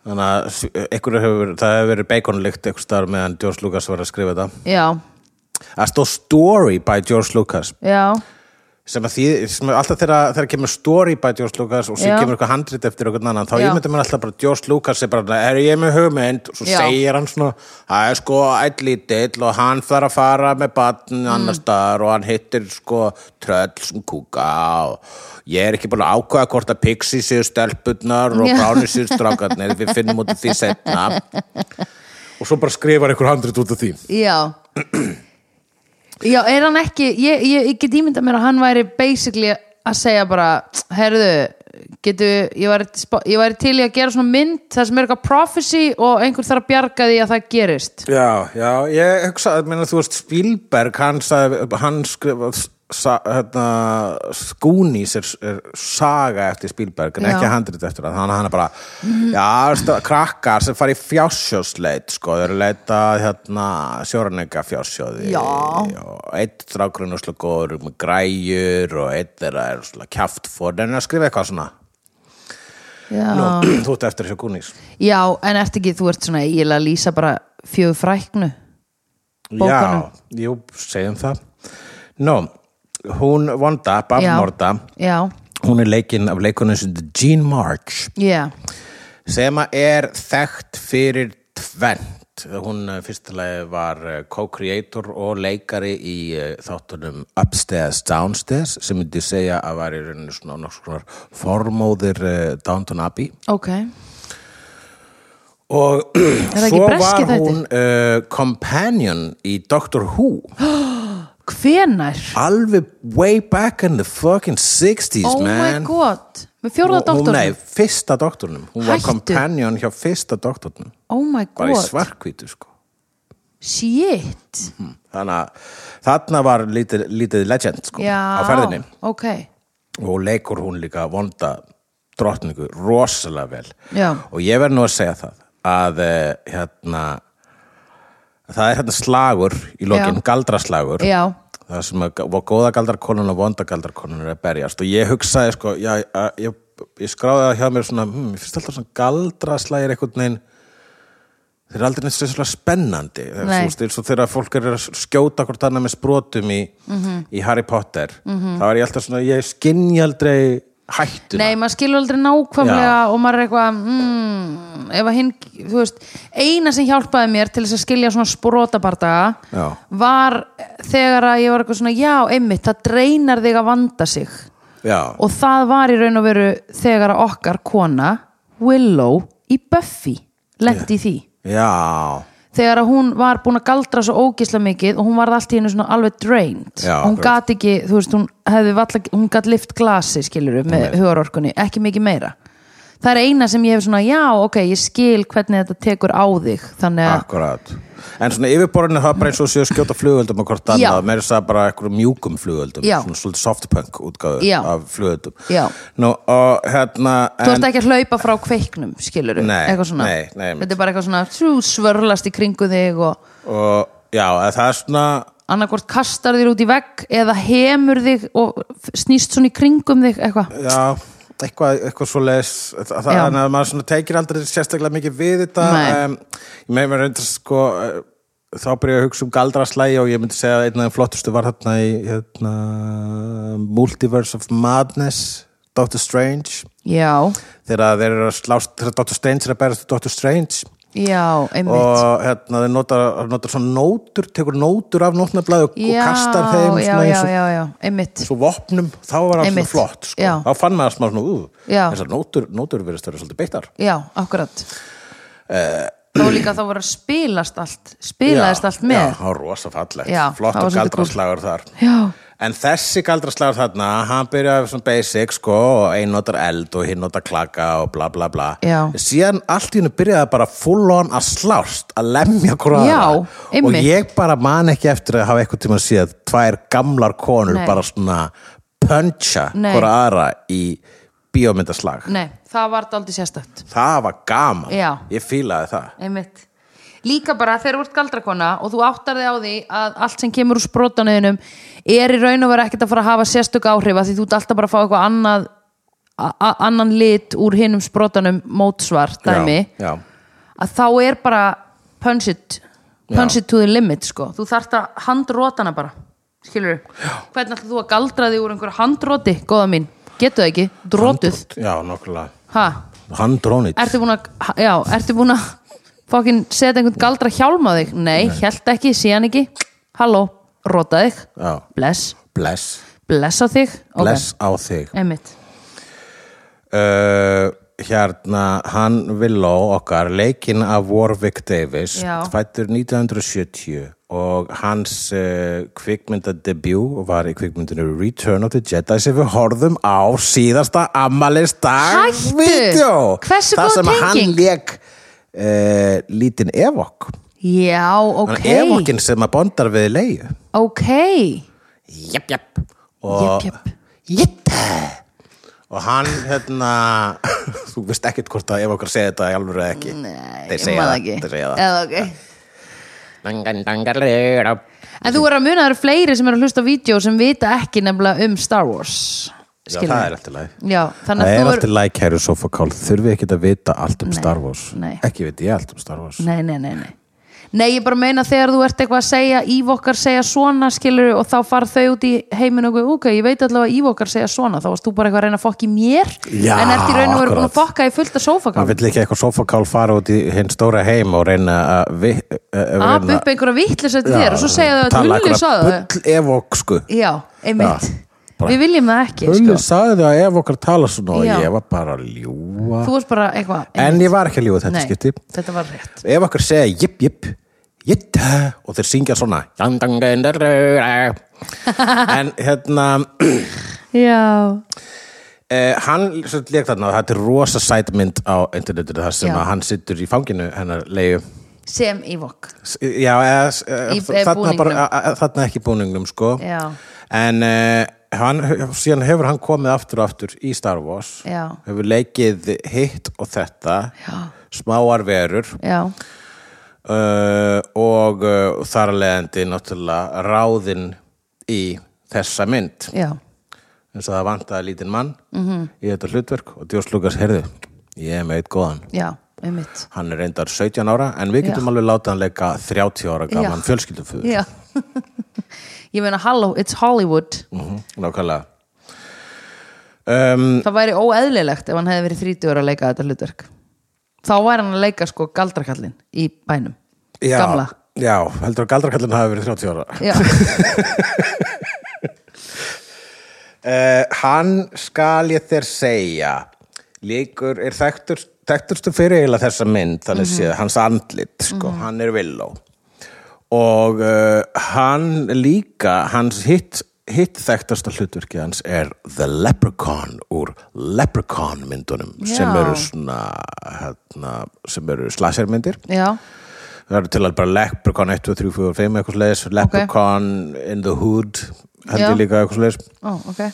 þannig að sv- einhverju hefur, það hefur verið beikonlykt einhvers staðar meðan George Lucas var að skrifa þetta
já,
það stóð story by George Lucas
já,
sem að því, sem að alltaf þegar, þegar kemur story by George Lucas og svo
Já.
kemur eitthvað handrit eftir eitthvað annan, þá
Já.
ég myndi mér alltaf bara George Lucas er bara, er ég með hugmynd og svo
Já.
segir hann svona, það er sko eitt lítill og hann þarf að fara með
Mm.
batn annars staðar og hann hittir sko tröll sem kúka og ég er ekki búin að ákvæða hvort að Pixie séu stelpurnar og
Já.
Brownie séu strákarnir, við finnum út af því setna og svo bara skrifar einhver handrit út af því
Já Já, er hann ekki ég, ég, ég get ímyndað mér að hann væri basically að segja bara herðu, getu, ég væri, sp- ég væri til í að gera svona mynd það sem er eitthvað prophecy og einhver þarf að bjarga því að það gerist
Já, já, ég hugsa að minna, þú veist Spielberg, hann, sagði, hann skrifa sa, hérna, Skúnís er, er saga eftir Spielberg, en
Já.
ekki handrit eftir hann, hann hann er bara já, stá- krakkar sem fara í fjársjóðsleit sko, þau eru að leita hérna, sjóranega fjársjóði
Já.
og eitt strákurinn er slá góður með græjur og eitt þeirra er slá kjaft fór, en að skrifa eitthvað svona
Já,
Nú, þú ert eftir þessu Skúnís
Já en ert ekki, þú ert svona eiginlega að lýsa bara fjöðu fræknu bókunum.
Já, jú, segjum það Nó, hún Vonda, Bafmorda
Já,
hún er leikinn af leikunum sem heitir Jean March
já,
sem að er þekkt fyrir tvent hún eh, fyrstulega var eh, co-creator og leikari í eh, þáttunum Upstairs Downstairs sem myndi segja að var í rauninu svona nokkuð svona formóðir eh, Downton Abbey
ok
og
það ekki
svo
breski
var
þættir?
hún uh, companion í Doctor Who
Hvenær?
alveg way back in the fucking 60s,
Oh my
man
god, með fjórða
Hún- hún- Nei,
doktornum
fyrsta doktornum Hún var
Hættu.
companion hjá fyrsta doktornum
Oh my
Bara í
god,
svarkvítu, sko Mm.
shit
Þannig að þarna var lítið, lítið legend, sko
Já,
Á ferðinni
ok,
Og leikur hún líka vonda drottningu rosalega vel
Já.
Og ég verð nú að segja það Að, eh, hérna Það er hérna slagur í lokin,
Já.
galdraslagur
já
það sem að var góða galdarkonun og vonda galdarkonun er að berjast og ég hugsaði sko, já, ég, ég, ég skráði það hjá mér svona, hm, ég finnst alltaf svona galdraslægir einhvern veginn þeir eru aldrei neitt sérslega spennandi þeir,
Nei.
þú veist, eins og þegar fólk er að skjóta hvort annað með sprótum í,
Mhm.
í Harry Potter þá er ég alltaf svona, ég skinni aldrei hættuna
Nei, maður skilur aldrei nákvæmlega og maður er eitthvað mm, ef að hinn, þú veist eina sem hjálpaði mér til þess að skilja svona sprótabardaga
Já.
var þegar að ég var eitthvað svona já, einmitt, það dreinar þig að vanda sig
já,
og það var í raun og veru þegar að okkar kona Willow í Buffy lendi í því
já,
þegar að hún var búin að galdra svo ógisla mikið og hún varð allt í hennu svona alveg drained
Já,
Og hún
akkurat.
gat ekki, þú veist, hún hefði valla, hún gat lift glasi skilur með hugarorkunni, ekki mikið meira það er eina sem ég hef svona já, ok, ég skil hvernig þetta tekur á þig þannig að
Akkurát. En svona yfirborðinu það er bara eins og séu að skjóta flugöldum og hvort
Já.
annað, meira þess að bara eitthvað mjúkum flugöldum,
Já.
svona svolítið softpunk útgáðu
Já.
af flugöldum.
Já.
Nú, og hérna,
Þú ert ekki að hlaupa frá kveiknum, skilur við
Nei,
eitthvað svona,
nei, nei, einmitt.
þetta er bara eitthvað svona trú, svörlast í kringu þig og
og já, eða það er svona,
annarkvort kastar þér út í vegg eða hemur þig og f- snýst svona í kringum þig eitthvað,
já, eitthvað, eitthvað svo leis, það
Já.
er að maður svona teikir aldrei sérstaklega mikið við þetta.
Nei.
Em, ég meina mér reyndar sko, eh, þá byrja ég að hugsa um galdraslægi og ég myndi segja að einn af þeim flottustu var þarna í hérna, Multiverse of Madness, Doctor Strange.
já
þegar þeir eru að slást þegar Dr. Strange er að berast Dr. Strange
Já, einmitt
og hérna þeir notar, notar svona nótur tekur nótur af nótnablaði og, og
já,
kastar þeim
já,
svona
já,
eins og
já, já, einmitt
svo vopnum, þá var það
Einmitt,
svona flott sko.
já.
þá fann maður smá svona, ú,
Já.
þessar nótur, nótur verðist þeirra svolítið beittar
Já, akkurat Þá líka þá voru að spilast allt spilaðist allt
Eh, já,
með
það var rosa fallegt,
Já,
flott
það var
og
svolítið
galdraslagur þar
Já.
en þessi galdraslagur þarna hann byrjaði svona basic sko og ein notar eld og hinn notar klaka og bla bla bla
Já.
síðan allt í hennu byrjaði bara full on að slást að lemja hvora
Já,
aðra. og
einmitt.
ég bara man ekki eftir að hafa eitthvað tíma að sé að tvær gamlar konur
Nei.
bara svona puncha
Nei.
hvora aðra í bíómyndaslag
Nei, það var daldið sérstætt
það var gaman,
Já.
ég fílaði það
Einmitt Líka bara þegar þú ert galdrakona og þú áttar þig á því að allt sem kemur úr sprótanuðinum er í raun og vera ekkert að fara að hafa sérstök áhrif að því þú ert alltaf bara að fá eitthvað annað a- a- annan lit úr hinum sprótanum mótsvar dæmi
já, já.
að þá er bara punch it punch it to the limit sko þú þarft að handrótana bara skilur hvernig ætlar þú að galdra þig úr einhverju handróti, góða mín, getur það ekki drótuð,
já, nokkulega
ha
Handrónit
ertu búin að, já, ertu búin að fokkin setja einhvern galdra hjálma á þig nei, nei. held ekki, síðan ekki halló, róta þig
Já.
bless,
Bless,
bless á þig Ok.
bless á þig
einmitt,
uh, Hérna, hann Villó okkar, leikinn af Warwick Davis
Já.
fættur 1970 og hans uh, kvikmyndadebut var í kvikmyndinu Return of the Jedi sem við horfðum á síðasta ammalisdag
Hættu!
vídeo
Hversu
Það
góð
sem hann
tenging?
leik uh, lítinn Evok
já, ok
okay. Evokin sem að bondar við leiðu
ok,
Jep, jep og
Jep,
jep og hann hérna þú veist ekkert hvort að ef okkar segja þetta í alvöru eða ekki
Nei,
þeir
ég
segja
man
það,
ekki.
þeir segja
Eða, ok
það
En þú er að muna að það eru fleiri sem eru að hlusta á vídeo sem vita ekki nefnilega um Star Wars
Já,
Skilurðu?
það er allt í lagi.
Já,
það
þannig
er
að þú
allt í læk hæru sofakál þurfi ekkert að vita allt um Star Wars
nei.
ekki veit ég allt um Star Wars
Nei, nei, nei, nei Nei, ég bara meina þegar þú ert eitthvað að segja Ívokkar segja svona, skilur og þá fara þau út í heiminu og eitthvað, ok, ég veit allavega að Ívokkar segja svona, þá varst þú bara eitthvað að reyna að fokka í mér
Já,
en ert í raun og veru búin að
akkurat.
fokka í fullta sófakál
hann vill ekki eitthvað sofakál fara út í hinn stóra heim og reyna að vi, uh,
Apa upp einhverja vittlis eftir þér og svo segja þau að
tala
Hulli sagði það
eitthvað bull ef okkur sko
Já, einmitt
Já, bara-
Við viljum það ekki,
Hulli
sko
sagði það að ef okkar tala svona og
Já.
ég var bara að ljúga
Þú varst bara eitthvað
en ég var ekki að ljúga þetta
Nei,
skipti
þetta var rétt
ef okkur segja jip jip jip og þeir syngja svona dang, dang, dang, dang, dang, dang. en hérna
Já,
eh, hann leik þarna og þetta er rosa sætmynd á internetinu þar sem
Já.
að hann sittur í fanginu hennar leiðu
sem í vokk
já, eða, s- eh,
Í- eh,
þarna, bara,
búningnum.
eh, eh, þarna ekki búningnum sko
Já.
en eh, hann, síðan hefur hann komið aftur og aftur í Star Wars
Já.
hefur leikið hitt og þetta já. smáar verur
Já,
uh, og uh, þar að leiðandi náttúrulega ráðin í þessa mynd
já,
eins og það vantaði lítinn mann -hmm. í þetta hlutverk og Djós Lukas heyrðu ég er með eitt góðan
já, einmitt
hann er reyndar 17 ára en við getum alveg látið hann leika 30 ára gaman
Já.
fjölskylduföður
Já Ég meina, halló, it's Hollywood
mm -hmm. nákvæmlega um,
Það væri óeðlilegt ef hann hefði verið 30 ára að leika þetta hlutverk Þá væri hann að leika sko galdrakallin í bænum
já,
Gamla
já, heldur að galdrakallin hafi verið 30 ára
Já,
Uh, hann skal ég þér segja líkur er þekktur, þekkturstu fyrir eiginlega þessa mynd þannig
Mhm.
mm séð, hans andlit sko, hann er villó og uh, hann eh, líka hans hitt hitt þekktasta hlutverki hans er The Leprechaun úr Leprechaun myndunum
Já.
sem eru svona hérna, sem eru slashermyndir
já,
það eru til að bara Leprechaun 1, 2, 3, 4, 5 eitthvað slæðis, Leprechaun in the Hood held
Já.
ég líka eitthvað slæðis
ó, ok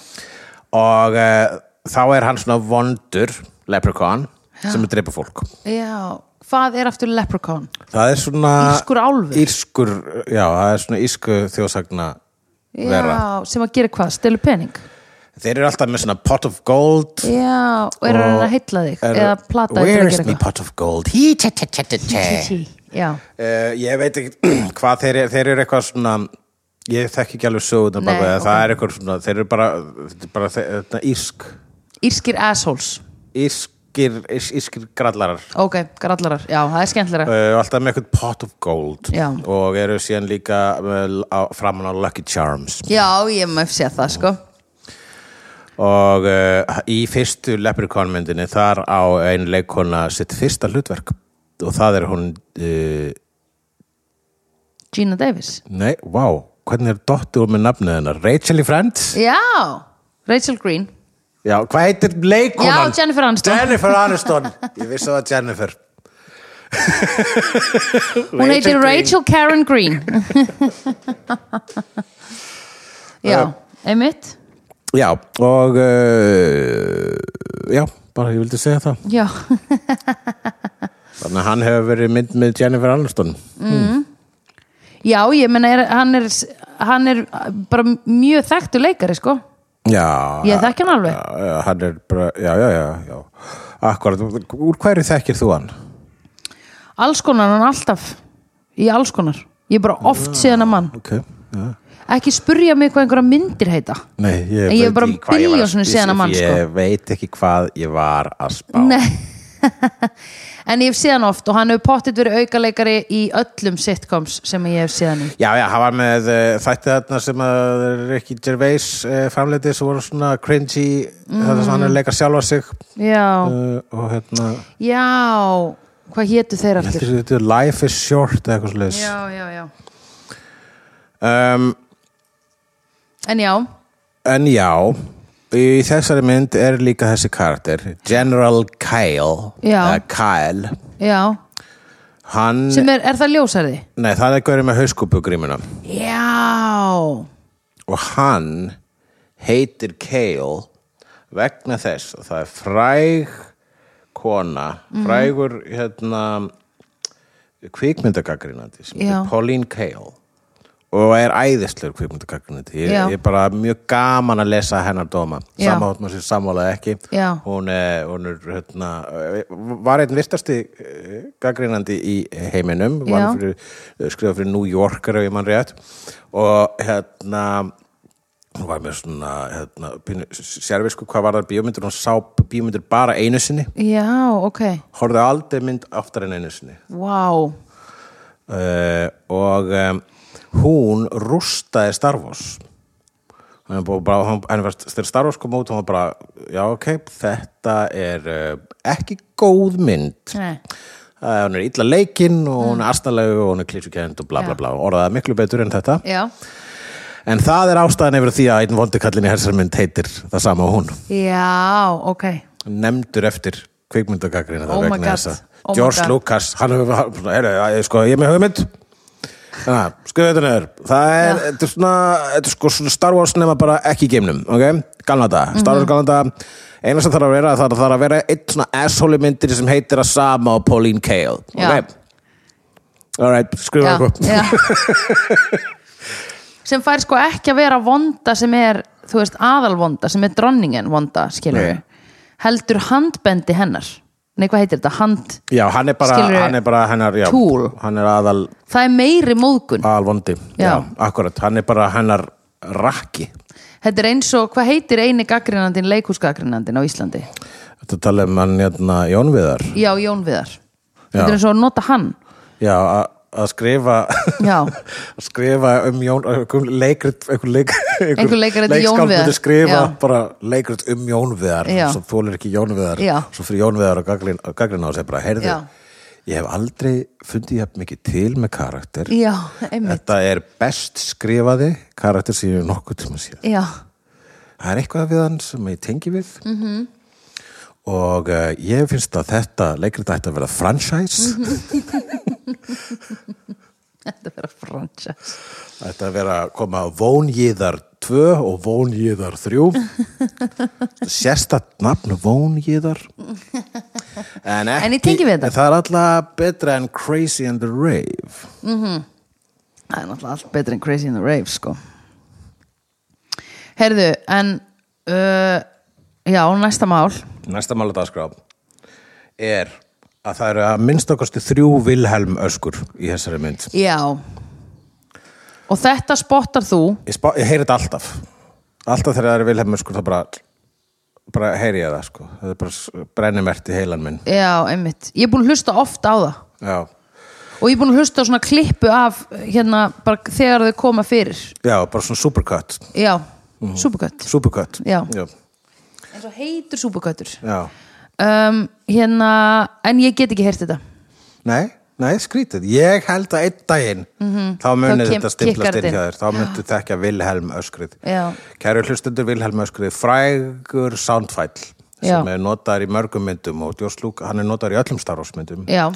og uh, þá er hann svona vondur Leprechaun sem er dreipa fólk
já, hvað er aftur leprechaun?
það er svona
Írskur álfur?
írskur, já, það er svona írsku þjóðsagna
já,
vera
sem að gera hvað, stelu pening
þeir eru alltaf með svona pot of gold
já, og er að reyna að heilla þig
Er-
eða plata þig til
Where
að
is
gera
my pot of gold? Hí, tja, tja, tja, tja, tja.
eitthvað já,
Uh, Ég veit ekki hvað þeir, eru- þeir eru eitthvað svona Ég þekki ekki alveg söguna
Nei,
bak við það,
ok.
Það er eitthvað svona, þeir eru bara, þetta er bara þe- þetta, írsk
írskir assholes
Írskir, ís, írskir grallarar
ok, grallarar, já, það er skemmtilega
uh, Alltaf með eitthvað pot of gold
Já.
Og eru síðan líka uh, á- framan á Lucky Charms
já, ég maður sé það, sko
Og uh, í fyrstu Leprechaun myndinni Þar á ein leikona sitt fyrsta hlutverk Og það er hún uh,
Gina Davis
Nei, vá, hvernig er dottur úr með nafnið hennar? Rachel í Friends?
já, Rachel Green
Já, hvað heitir leikonan?
Já, Jennifer Aniston.
Jennifer Aniston, ég vissi að það var Jennifer
hún heitir
Green.
Rachel Karen Green já, einmitt
Já, og uh, já, bara ég vildi segja það
já,
Þannig að hann hefur verið í mynd með Jennifer Aniston
já ég menna er, hann, er, hann er uh, bara mjög þekktu leikari sko
Já
Ég þekki hann alveg.
Já, já, hann er bara, já, já, já, já. Akkurat, úr hverju þekkir þú hann?
alls konar hann alltaf í alls konar, ég er bara oft síðan að mann
Ok, já
ekki spurja mig hvað einhverja myndir heita
Nei, ég,
En ég er
veit
bara
ekki hvað ég var að
billjón sinnum
spyrja-
síðan að mann,
Ég veit ekki hvað ég var að spá
Nei En ég hef séðan oft og hann hefur pottit verið aukaleikari í öllum sitcoms sem ég hef séðan í
Já, já, hann var með uh, þætti þarna sem að Ricky Gervais uh, framleiti sem voru svona cringy þetta sem
Mm.
hann er að leika sjálfa sig uh,
Já,
og hérna
já Hvað hétu þeir
þetta
aftur?
er- þetta er Life is Short eða eitthvað sliðis
Já, já, já
um,
En já,
En já, í þessari mynd er líka þessi karakter General Kyle
Já.
eða Kyle
já
Hann,
Sem er, er það ljósarði?
nei það er gaurið með hauskúpugrímuna
Já
og hann heitir Kale vegna þess að það er fræg kona,
Mhm.
frægur hérna kvikmyndagagrinandi sem
Já.
heitir Pauline Kale og er æðislegur kvikmyndagagrinandi ég,
Já.
ég er bara mjög gaman að lesa hennar dóma
Já.
samátt maður sér samálað ekki
Já.
hún er, hún er hérna, var einn virtasti gaggrinandi í heiminum
Já.
vann fyrir, skrifa fyrir New Yorker ef ég mann rétt og hérna hún var með svona hérna, pínu- sérvisku hvað var það bíómyndur hún sá bíómyndur bara einu sinni
Já, ok
horfði aldrei mynd aftar en einu sinni
Vá wow.
uh, og um, hún rústaði Star Wars hann var bara, hann, hann var þegar Star Wars kom út, hann var bara já ok, þetta er uh, ekki góð mynd
Nei.
Uh, hún er illa leikinn og hún er astanlegu og hún er klísukend og bla
Mm.
bla
Já.
bla og orðaði miklu betur en þetta
Já,
en það er ástæðan yfir því að einn vondikallin í þessar mynd heitir það sama og hún
já, ok
nefndur eftir kvikmyndagagrina
Oh my God. Oh my
George
God.
Lucas, hann hefur hann- svona, heyrðu, ég- sko, ég er með hugmynd Ah, skrifa þetta neður það er, þetta er svona, þetta er sko svona Star Wars nema bara ekki í geimnum ok, galna
Mhm.
þetta, Star Wars mm galna þetta eina sem þarf að vera, það þarf að vera eitt svona asshole myndir sem heitir að sama og Pauline Kael,
Já.
ok alright, skrifa
já,
eitthvað
já. sem fær sko ekki að vera vonda sem er, þú veist, aðalvonda sem er dronningin vonda, skilur
Nei.
heldur handbendi hennar nei, hvað heitir þetta, hand
já, hann er bara,
Skilurðu?
hann er bara hennar, já,
Tool.
hann er aðal
það er meiri móðgun
aðalvondi, já.
Já.
akkurat hann er bara hennar rakki
þetta er eins og, hvað heitir eini gaggrinandin leikhúsgaggrinandin á Íslandi
Þetta tala um hann hérna Jón Viðar
já, Jón Viðar
Já.
þetta er eins og að nota hann
Já, a- að skrifa
Já.
að skrifa um Jón einhver leikrit einhver, leik,
Einhver leikrit í Jón
leikskáld
Viðar.
myndi skrifa
Já.
bara leikrit um Jón Viðar
Já.
svo þólir ekki Jón Viðar
Já.
svo fyrir Jón Viðar að gaglina á sig bara heyrðu,
Já.
ég hef aldrei fundið jafn mikið til með karakter
já, einmitt
þetta er best skrifaði karakter sem ég er nokkuð tíma síðan
já,
það er eitthvað við hann sem ég tengi við -hmm.
Mhm.
og uh, ég finnst að þetta leikrit ætti að vera franchise
Mhm. þetta verður að fransa
ætti að vera að koma Vónjíðar 2 og Vónjíðar 3 sérstætt nafn Vónjíðar en, ekki,
En ég tengi við þetta.
en það er alltaf betra en Crazy and the Rave
það er náttúrulega allt betra en Crazy in the Rave sko herðu, en uh, já, næsta mál
næsta mál að dagskrá er að það eru að minnst okkastu þrjú Vilhelm öskur í þessari mynd
já og þetta spottar þú
ég, spá, ég heyri þetta alltaf alltaf þegar það eru Vilhelm öskur þá bara bara heyri ég það sko það er bara brennimert í heilan minn
já, einmitt, ég er búin að hlusta oft á það
já,
og ég er búin að hlusta á svona klippu af hérna, bara þegar þau koma fyrir
já bara svona supercut
já, mm supercut
supercut
Já.
já,
eins og heitur supercuttur
já.
um, hérna, en ég get ekki heyrt þetta
Nei, nei, skrítið. Ég held að einn daginn þá
Mhm. Þá
munið
kem-
þetta stimplast
kikkar
inn hjá
þetta
þér. Þá myndu þekkja Vilhelm öskrið.
Já.
Kæru hlustendur Vilhelm öskrið, frægur soundfæll sem
Já.
er notaður í mörgum myndum og Joss Luke, hann er notaður í öllum Star Wars myndum.
já,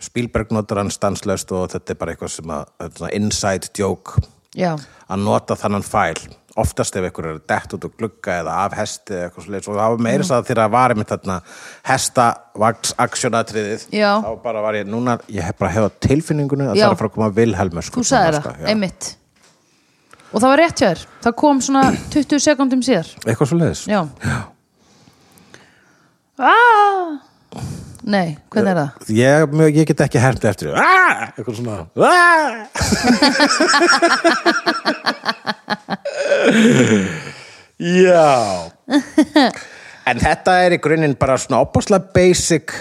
Spielberg notar hann stanslöst og þetta er bara eitthvað sem að, þetta er svona inside joke
já,
að nota þannan fæl oftast ef einhver er dett út og glugga eða af hesti eða eitthvað sliðis og það var meira þess að þegar var ég mitt þarna hesta vaks aksjónatriðið
Já.
þá bara var ég núna, ég hef bara hefða tilfinningunni að
Já.
það er að fara að koma Vilhelm öskur
þú sagði
núna,
það,
sko, já.
einmitt og það var rétt hjá þér, það kom svona 20 sekundum síðar
eitthvað svo leiðis
já, já. Ah! nei, hvernig er það?
ég, mjög- ég get ekki hermt eftir því. ah! eitthvað svona ah! já en þetta er í grunninn bara svona opaslega basic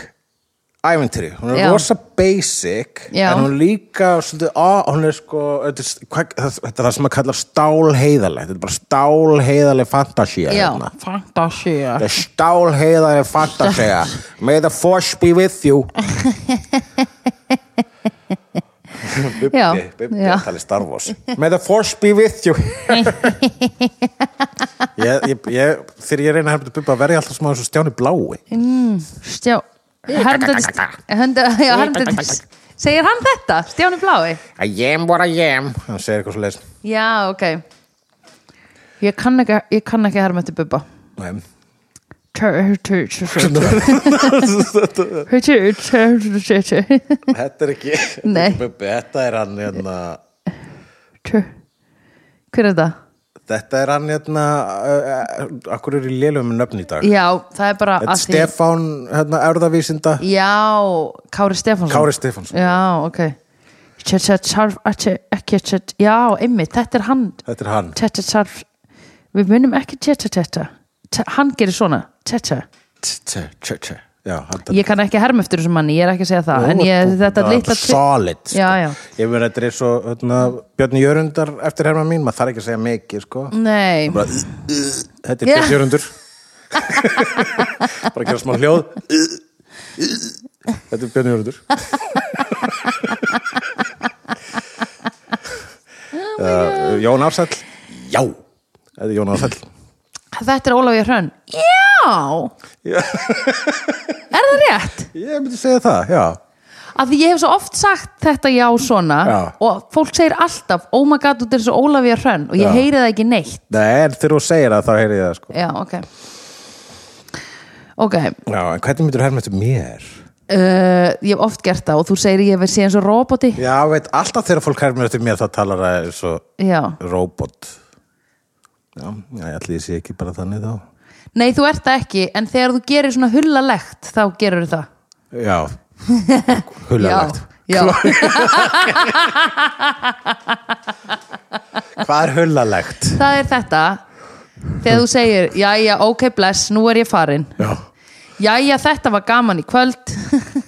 æventýri, hún er
Já.
rosa basic
Já.
en hún er líka svolítið, á, hún er sko þetta er s- hvað- þetta er það sem að kalla stálheiðarleg þetta er bara stálheiðarleg fantasía
já,
hérna.
fantasía
The stálheiðari fantasía May the force be with you Bubbi,
Já,
Bubbi
já.
að tala í Star Wars May the force be with you ég, ég, ég, Þegar ég reyna að hefna Bubba verði ég alltaf smá eins og stjáni blái
Mm, stjá, herndöldis já, herndöldis segir hann þetta, Stjáni Blái?
I am what I am Hann segir eitthvað svo leis
já, ok ég kann ekki, ég kann ekki hermötti bubba Nei
Þetta er ekki
Nei.
Bubbi, þetta er hann hérna,
Hver er það?
Þetta er hann hérna, uh, uh, Akkur er í lélum með nöfn í dag
Já, það er bara
Þetta
að
er Stefán, hérna, erðavísinda
Já, Kári Stefánsson
Kári Stefánsson.
Já, ok Tjá, tjá, tjá, ekki, ekki, tjá, Já, einmitt, þetta er hann
Þetta er hann
Tjá, tjá, tjá Við munum ekki tjá, tjá, tjá, tjá Tjá, Hann gerir svona, tjá, tjá
Já, hann
Ég kann ekki herma eftir þessum manni, ég er ekki að segja það En ég, þetta er litla tri-
Solid sko.
Já, já.
Ég verið þetta er svo hérna, Björn Jörundar eftir herma mín maður þarf ekki að segja mikið sko.
Nei,
bara, Þetta er
Mm. Já.
Björn Jörundur Bara að gera smá hljóð Þetta er Björn Jörundur oh Jón Ársæll Já Þetta er Jón Ársæll
þetta er Ólafía Hrönn Já,
Já,
er það rétt?
Ég myndi segja það, já
Af því ég hef svo oft sagt þetta já svona
Já.
og fólk segir alltaf oh my god, þú ert svo Ólafía Hrönn og ég
Já.
heyri það ekki neitt
Nei, en þegar þú segir það þá heyri ég það sko
Já, ok Ok, uh,
Já, en hvernig myndir þú herma eftir mér?
ég hef oft gert það og þú segir ég verið síðan svo roboti Já,
Já, veit, alltaf þegar fólk herma eftir mér þá talar það eins og robot Já, já, ég ætli ég sé ekki bara þannig þá
Nei, þú ert það ekki en þegar þú gerir svona hullalegt þá gerur það
Já, hullalegt
Já, já.
Hvað er hullalegt?
það er þetta þegar þú segir, jæja, ok, bless nú er ég farin
Já
Jæja, þetta var gaman í kvöld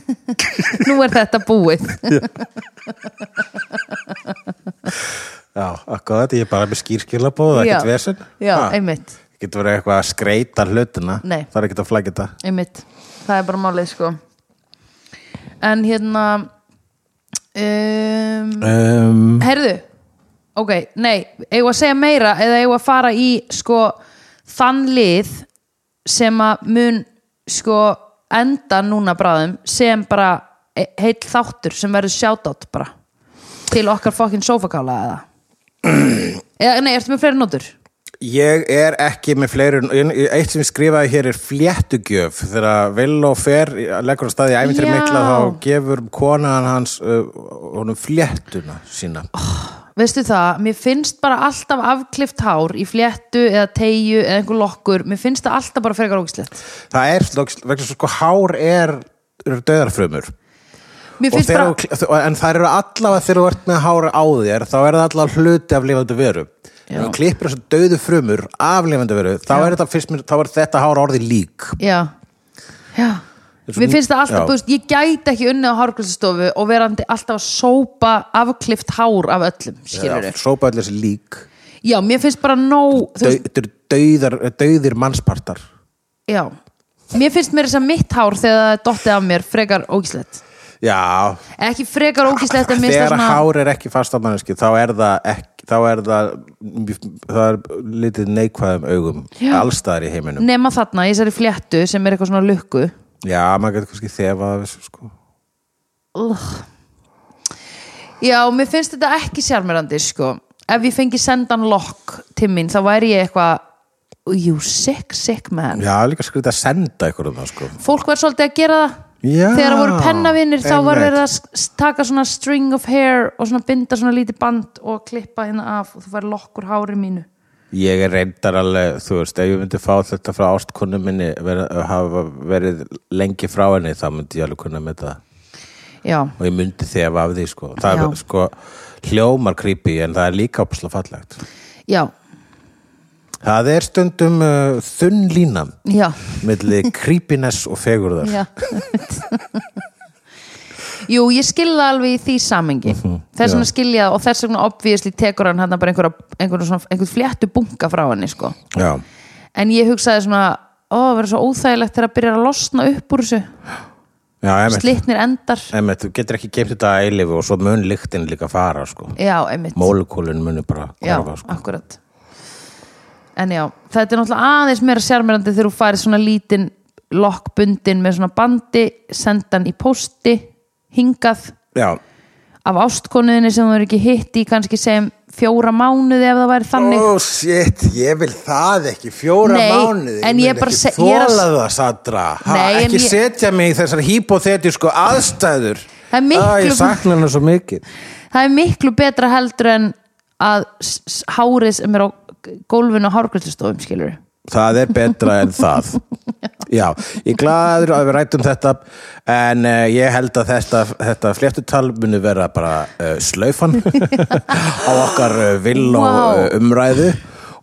Nú er þetta búið
Já, akkurat, ég er bara með skýrskilabóð,
Já.
ekkert vesinn
Já, einmitt,
Getur verið eitthvað að skreita hlutina
Nei.
Það er ekkert að flækja þetta
einmitt Það er bara málið, sko en hérna um,
um,
Herðu, ok, nei, eigum við að segja meira eða eigum við að fara í sko þann lið sem að mun sko enda núna bráðum sem bara e- heill þáttur sem verður shoutout bara til okkar fokkin sofakála eða eða nei, ertu með fleiri nótur?
Ég er ekki með fleiri Eitt sem ég skrifaði hér er fléttugjöf Þegar Villó fer leggur á staði í æfintri
Já.
mikla þá gefur konaðan hans uh, honum fléttuna sína
Oh. Veistu það, mér finnst bara alltaf afklift hár í fléttu eða teyu eða einhver lokkur, mér finnst það alltaf bara frekar ógislegt.
Það er slags, vegna svo sko hár er, er döðarfrumur
Mér
og
finnst
þegar,
bara,
þú- en það eru allavega þegar þú ert með hára á þér þá er það allavega hluti af lifandi veru
Já.
en þú klippir þessu döðu frumur af lifandi veru þá er þetta, fyrst, mér, þá er þetta hára orði lík
Já, já
Eins og
Mér
hún-
finnst það alltaf,
já.
búst, ég gæti ekki unnið á hárgræsastofu og verandi alltaf að sópa afklift hár af öllum, skilur við.
sópa allir þessi lík
Já. mér finnst bara nóg, þú
Dau-
veist,
þetta eru döðar, döðir mannspartar
já. Mér finnst mér þess að mitt hár þegar það er dottið af mér frekar ógíslegt.
já
Ekki frekar ógíslegt en mér finnst það
þegar
svona...
hár er ekki fast á manneski þá er það ekki þá er það, það er litið neikvæðum augum
Já.
allstaðar í heiminum
Nema þarna, ég særi fléttu sem er eitthvað svona lukku.
já, maður getur kannski þefað af þessu sko
Já, mér finnst þetta ekki sjarmerandi, sko. Ef ég fengi sendan lokk til mín, þá væri ég eitthvað, you sick, sick man.
já, líka skrítið að senda ykkur um það sko
fólk var svolítið að gera það
Já,
þegar það voru pennavinir þá var
einmitt.
verið að s- taka svona string of hair og svona binda svona lítið band og klippa hérna af og þú fær lokkur hári mínu
Ég er reyndar alveg, þú veist, ef ég myndi fá þetta frá ástkonu minni verið, hafa verið lengi frá henni þá myndi ég alveg kunna með það
já,
og ég myndi þegar af því, sko það
Já.
er sko hljómar creepy en það er líka opsla fallegt
já,
Það er stundum uh, þunn lína
já
milli creepiness og fegurðar
já jú, ég skilða alveg í því samengi þess vegna skilja það og þess vegna obviously tekur hann hann bara einhverja, einhverja svona, einhver fléttu bunga frá henni sko.
Já.
en ég hugsaði svona ó, það verður svo óþægilegt þegar það byrjar að losna upp úr þessu,
Já, emmitt,
slitnir endar
emmitt, þú getur ekki geimt þetta að eilifu og svo mun lyktin líka fara, sko
já, einmitt
Mólukúlin muni bara
já,
korfa, sko
akkurat en já, þetta er náttúrulega aðeins meira sérmerandi þegar þú færi svona lítinn lokkbundin með svona bandi sendan í pósti hingað
Já,
af ástkonuðinni sem þú eru ekki hitt í kannski sem fjóra mánuði ef það væri þannig
Ó, shit, ég vil það ekki fjóra
Nei,
mánuði,
en ég
vil
bara
ekki
se- ég er
þóla
að-
það, Sandra ha,
Nei, en
ekki
ég-
setja mig í þessar hypothetísku aðstæður
Það er miklu-
Æ, ég sakna hennar svo mikið
það er miklu betra heldur en að s- s- hárið sem er á gólfinu á hárgræslustofum skilur
það er betra en það já, ég er glaður að við rættum þetta en uh, ég held að þetta, þetta fléttutal muni vera bara uh, slaufan á okkar uh, vill og
Vá.
uh, umræðu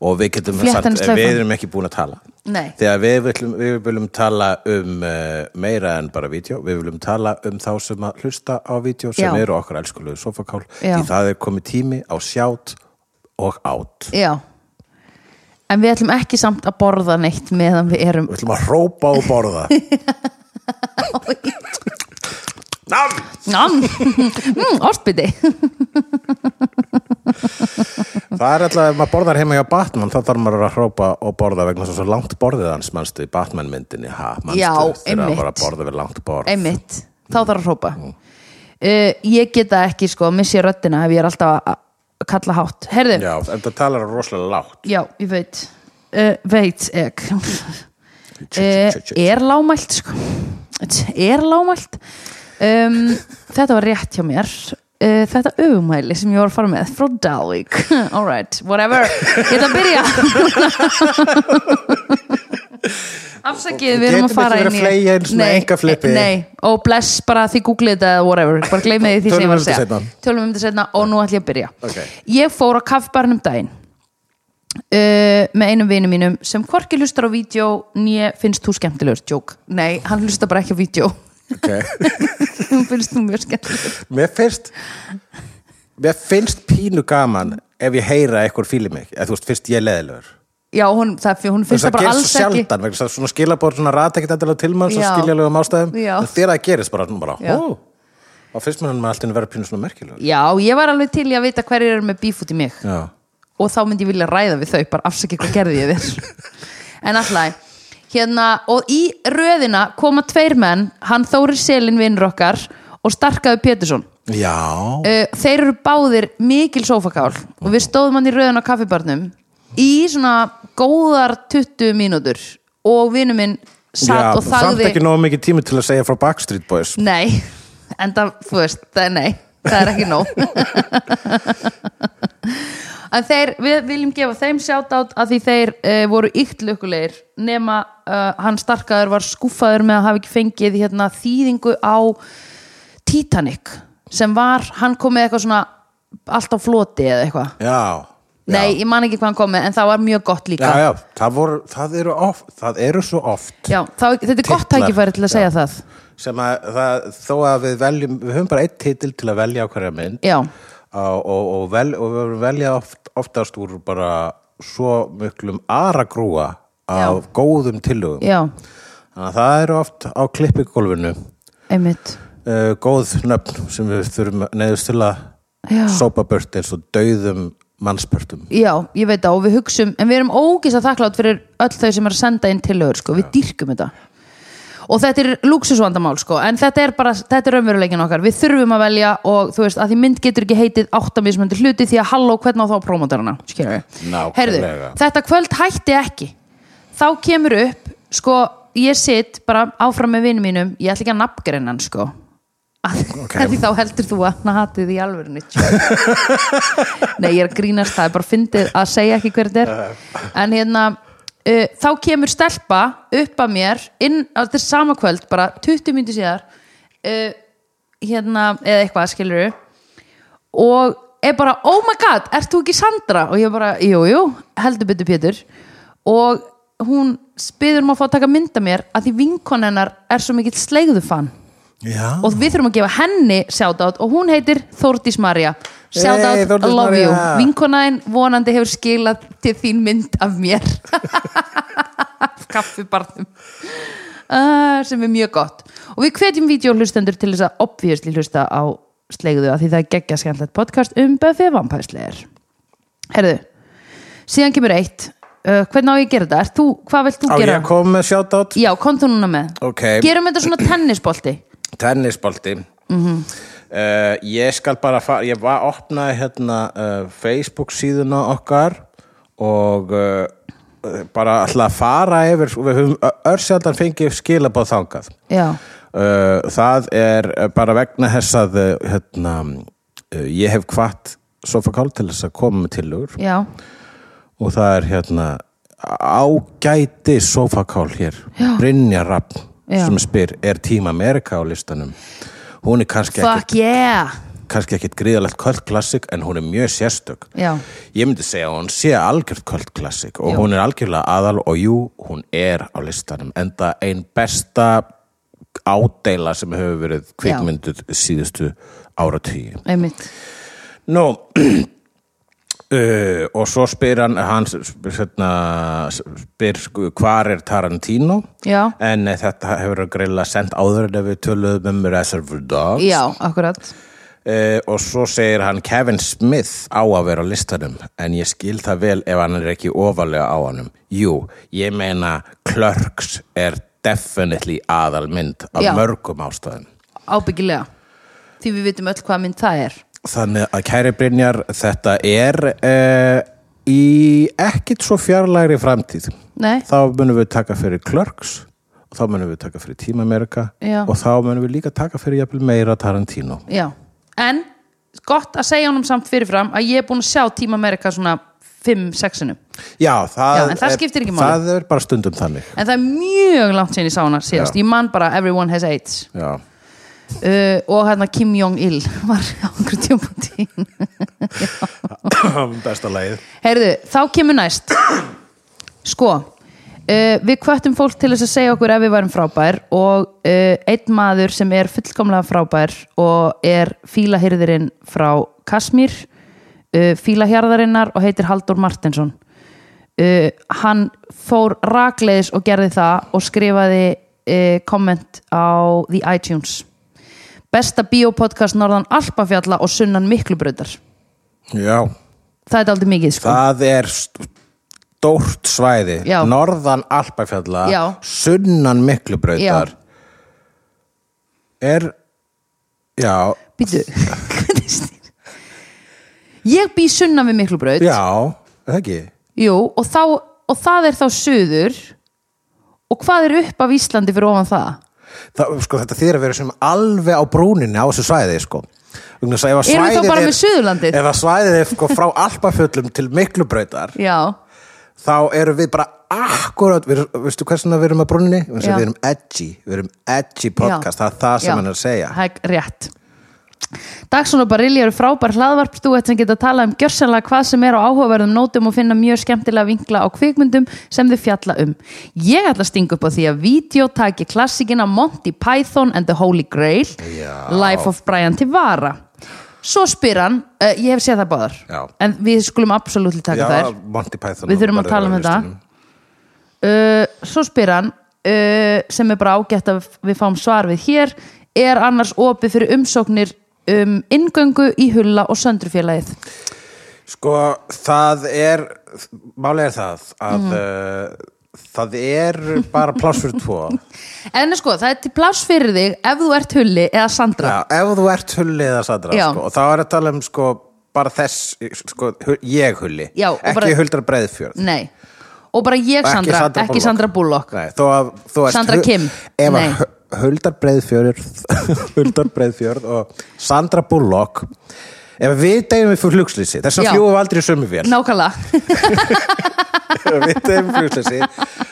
og við getum
Fléttan er
sagt,
slaufan.
við erum ekki búin að tala
Nei.
þegar við viljum, við viljum tala um uh, meira en bara vídeo við viljum tala um þá sem að hlusta á vídeo sem
Já.
eru okkar elskulegu sofakál
Já.
því það er komið tími á sjátt og átt
já en við ætlum ekki samt að borða neitt meðan við erum
Við ætlum að hrópa og borða Nam!
Nam, mm, ástbytti
Það er alltaf, ef maður borðar heima hjá Batman þá þarf maður að hrópa og borða vegna þess að svo langt borðið hans, mannstu, í Batman myndinni ha, mannstu,
Já,
þegar
einmitt.
að bara borða við langt borð
einmitt, þá þarf að hrópa uh, ég geta ekki sko missi ég röddina ef ég er alltaf að- að kalla hátt herðu, já,
Já, en það talar rosalega lágt
ég veit uh, veit ek uh, er lágmælt sko er lágmælt um, þetta var rétt hjá mér Uh, þetta öfumæli sem ég var að fara með frá Dalvik, alright, whatever ég ætla að byrja afsakið, við erum
getum
að fara
ekki verið
inn í
að fleygja inn svona
Nei,
einkaflipi.
nei, og bless bara því googlið þetta eða whatever, bara gleymið því sem ég
Tölum
var
um
að
þetta
segja
seinna.
tölum um þetta setna og nú ætlum ég að byrja
Ok.
ég fór á kaffbarnum daginn uh, með einum vinum mínum sem hvorki hlustar á vídeo nýja finnst þú skemmtilegur, joke nei, hann hlustar bara ekki á vídeo
okay.
hún finnst þú mjög skemmtilegur
Mér finnst Mér finnst pínu gaman ef ég heyra eitthvað fíli mig eða þú veist, finnst ég leðilegur
já, hún, það, hún finnst það
það
bara
gerist
alls
svo
ekki
sjaldan vegna þess að svona skilabóð svona rata ekkert endilega til mann svo
Já.
skiljalegum ástæðum
Já.
en þegar það gerist bara, svona bara
Já.
ó, á fyrst munum maður alltaf vera pínu svona merkilegur
já, ég var alveg til í að vita hverjir eru með bíf út í mig
já,
og þá myndi ég vilja ræða við þau bara afsakið hvað gerði ég þér en alltaf, hérna og í röðina koma tveir menn hann Þóri Selin vinnur okkar og starkaðu Pétursson
já.
uh, þeir eru báðir mikil sófakál og við stóðum hann í rauðan á kaffibarnum í svona góðar 20 mínútur og vinur minn satt
já
og
samt
þagði
ekki nóg mikið tími til að segja frá Backstreet Boys
nei, en það, þú veist, það er nei það er ekki nóg en þeir, við viljum gefa þeim shoutout að því þeir uh, voru ykt lukkulegir nema uh, hann starkaður var skúffaður með að hafa ekki fengið hérna, þýðingu á Titanic sem var, hann kom með eitthvað svona allt á floti eða eitthvað
já,
nei,
já.
ég man ekki hvað hann kom með en það var mjög gott
Já,
líka
já, það, voru, það, eru oft, það eru svo oft
Já, þá, þetta er gott
Titlar.
tækifæri til að segja það
sem að það, þó að við veljum við höfum bara eitt titil til að velja á hverja mynd
Já.
og, og, og, vel, og við velja oft, oftast úr bara svo miklum aragrúa af góðum tillögum
Já,
þannig að það eru oft á klippigólfinu
einmitt
uh, góð nöfn sem við þurfum neðust til að
Já.
sópa bört eins og dauðum mannspörtum
Já, ég veit það og við hugsum en við erum ógist að þakklátt fyrir öll þau sem er að senda inn tillögur, sko, við dýrkum þetta og þetta er lúksusvandamál sko, en þetta er bara, þetta er raunveruleikin okkar við þurfum að velja og þú veist að því mynd getur ekki heitið áttamismöndu hluti því að halló hvernig á þá prómotarana, skilur
Nákvæmlega.
Herðu, þetta kvöld hætti ekki þá kemur upp, sko ég sitt bara áfram með vinum mínum ég ætla ekki að nafngreina hann, sko
Ok.
okay. því þá heldur þú að hann hatið í alvörinu Nei, ég er að grínast það er bara fyndið að segja ekki hver þetta er en hérna uh, þá kemur stelpa upp að mér inn á þetta er sama kvöld bara 20 mínútur síðar uh, hérna, eða eitthvað skilur og er bara, oh my god, ert þú ekki Sandra? og ég bara, jú, jú, heldur betur Pétur og hún spyður um að fá að taka mynda mér að því vinkon hennar er svo mikill sleigðufann
Já.
og við þurfum að gefa henni shoutout og hún heitir Þórdís Marja shoutout,
Hey, Þórdís
I love
María.
you vinkonaðin vonandi hefur skilað til þín mynd af mér af kaffibarnum uh, sem er mjög gott og við hvetjum vídeohlustendur til þess að obviously hlusta á sleigðu að því það er geggja skemmtlegt podcast um Buffy vampæslegar herðu, síðan kemur eitt uh, hvernig á ég að gera þetta? Ert Þú, hvað vilt þú
Á ég
gera?
að koma með shoutout?
Já, kom þú núna með
Ok.
gerum þetta svona tennisbolti
tennisbolti mm ég skal bara fara ég var opnaði hérna uh, Facebook síðuna okkar og uh, bara alltaf að fara yfir við höfum örsjaldan fengið skilabóð þangað
já,
uh, það er uh, bara vegna þess að uh, hérna, uh, ég hef kvart sofakál til þess að koma með tillögur
já
og það er hérna ágæti sofakál hér
Já.
Brynja Rapp
Já.
sem spyr, er Team America á listanum hún er kannski ekkit,
Fuck yeah
kannski ekkit gríðalegt kvöld klassik en hún er mjög sérstök
Já.
ég myndi segja að hún sé algjörð kvöld klassik og
Já.
hún er algjörlega aðal og jú, hún er á listanum enda ein besta ádeila sem hefur verið kvikmynduð síðustu áratíu
Einmitt.
Nú uh, og svo spyr hann hann spyr, hérna, spyr sko, hvar er Tarantino
Já.
en eh, þetta hefur greiðlega sendt áður en við töluðum um Reservoir Dogs
Já, akkurat
uh, og svo segir hann Kevin Smith á að vera á listanum en ég skil það vel ef hann er ekki ofalega á hannum jú, ég meina Clerks er definitely aðalmynd af
Já.
mörgum ástæðum
Ábyggilega Því við vitum öll hvað mynd það er
Þannig að kæri Brynjar, þetta er uh, í ekkit svo fjarlægri framtíð.
Nei,
Þá munum við taka fyrir Clerks og þá munum við taka fyrir Team America
Já.
og þá munum við líka taka fyrir jafnvel meira Tarantino.
já En gott að segja honum samt fyrirfram að ég er búin að sjá Team America svona 5-6 En
Já, það,
Já, en það
er,
skiptir ekki máli.
það er bara stundum þannig.
það er mjög langt síðan ég sá hana síðast Ég man bara Everyone Has AIDS
Já.
uh, og hérna Kim Jong-il var á einhverjum tjómpúti
Besta leið.
Heyrðu, þá kemur næst Sko uh, Við kvöttum fólk til þess að segja okkur ef við værum frábær og uh, einn maður sem er fullkomlega frábær og er fílahyrðirinn eh, frá Kasmír uh, fílahjarðarinnar og heitir Haldur Martinsson uh, hann fór rakleiðis og gerði það og skrifaði uh, komment á The iTunes besta biopodcast norðan Alpafjalla og sunnan Miklubrautar
Já,
það er aldrei mikið sko
það er stórt svæði
Já.
norðan Alpafjalla
Já.
sunnan Miklubrautar er já,
býtu hvernig snýr- ég bý sunnan við Miklubraut
já er það ekki
Jú, og, þá, og það er þá suður og hvað er upp af Íslandi fyrir ofan það?
það, sko, þetta þýðir að vera sem alveg á brúninni á þessu svæði sko. Vegna þess að ef
Erum við
að
þá
svæðið
bara
er-
með Suðurlandið?
ef að svæðið er sko, frá Alpafjöllum til Miklubrautar
Já,
þá erum við bara akkurat við, veistu hversna við erum að brúninni við
Já.
erum edgy, við erum edgy podcast það er það sem
Já.
hann er að segja
Það er rétt Dagson og Barilli eru frábær hlaðvarpstúett sem geta talað um gjörsanlega hvað sem er á áhugaverðum nótum og finna mjög skemmtilega vinkla á kvikmyndum sem þau fjalla um. Ég ætla að stinga upp á því að vídeo taki klassikina Monty Python and the Holy Grail
Já.
Life of Brian Tivara Svo spyr hann, uh, ég hef séð það báðar
Já.
en við skulum absolutt taka þær
Monty Python
Við þurfum að
verður
tala um
á
þetta.
listanum.
uh, svo spyr hann uh, sem er bara ágætt að við fáum svar við hér er annars opið fyrir umsóknir um ingöngu í hulla og söndrufélagið
Sko, það er málega er það að
Mhm.
uh, það er bara pláss fyrir tvo
en sko það er til pláss fyrir þig ef þú ert hulli eða sandra
Já, ef þú ert hulli eða sadra
Já.
sko, og þá er að tala um sko bara þess, sko, hu- ég hulli
Já, og
ekki
bara-
huldra breiðfjörð
nei og bara ég
Ekki
Sandra,
Sandra
ekki
Bullock.
Sandra Bullock
Nei, þó að, þó að
Sandra Kim.
Ef
Nei.
að huldar breiðfjörð huldar breiðfjörð og Sandra Bullock ef við deyjum við fyrir flugslýsi þess að
Já.
fljúum við aldrei sömu vél
nákvæmlega,
ef við deyjum við flugslýsi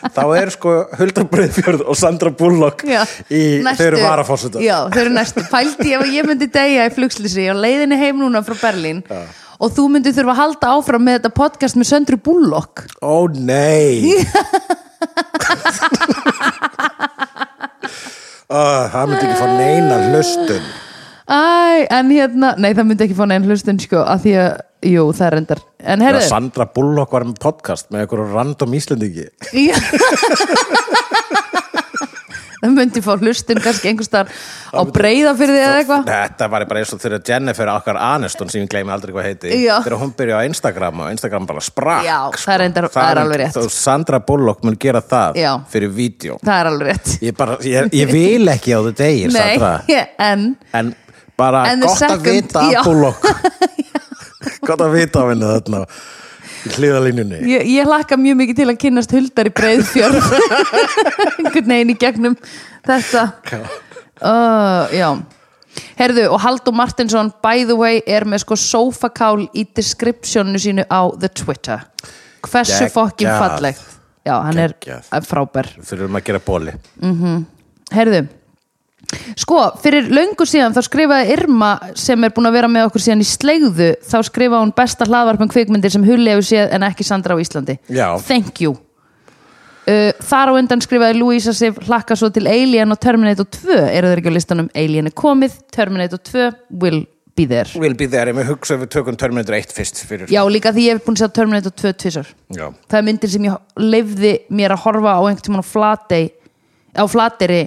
þá er sko huldar breiðfjörð og Sandra Bullock
já
í þau eru varafósita
já, þau eru næstu, pældi ef að ég myndi degja í flugslýsi á leiðinni heim núna frá Berlín og þú myndi þurfa að halda áfram með þetta podcast með söndru Bullock
Ó nei Ó, Uh, Það myndi ekki fá neina hlustun
Æ, en hérna, nei það myndi ekki fá neinn hlustun sko, að því að, jú, það er endar En
Þegar
herðu,
Sandra Bullock var með podcast með einhverjum random íslendingi
Já. það myndi fá hlustun kannski einhvers staðar á breyða fyrir því eða eitthvað
Þetta var bara eins og þegar Jennifer okkar Aniston sem ég gleymi aldrei hvað heiti
Já.
þegar hún byrja á Instagram og Instagram bara sprakk sko.
Já, það er reyndar- það er alveg rétt.
þó Sandra Bullock mun gera það
Já.
fyrir vídeo
Það er alveg rétt
ég, bara, ég, ég vil ekki á þau degir Sandra
ég- en
en bara
En the
gott
second-
að vita
já.
að Bullock gott að vita af henni þarna í hliðalínunni
ég, ég hlakka mjög mikið til að kynnast huldar í breyðfjörð einhvern veginn í gegnum þetta uh, já herðu og Haldur Martinsson by the way er með sko sofakál í descriptionu sínu á the twitter hversu
Geggjað.
fokkin fallegt já hann
Geggjað.
er frábær
þurfum að gera bóli
Herðu Sko, fyrir löngu síðan þá skrifaði Irma sem er búin að vera með okkur síðan í sleigðu þá skrifaði hún besta hlaðvarpum kvikmyndir sem Hulli hefur séð en ekki Sandra á Íslandi
Já.
Thank you uh, Þar á undan skrifaði Louisa Sif hlakka svo til Alien og Terminator 2 eru þeir ekki á listanum Alien er komið Terminator 2 will be there
Will be there, ég með hugsa ef við tökum Terminator 1 fyrst fyrir
Já, líka því ég hef búin að sjá Terminator 2 tvisar
Já.
það er myndir sem ég leifði mér að horfa á einhvern tímann á flatei á flateri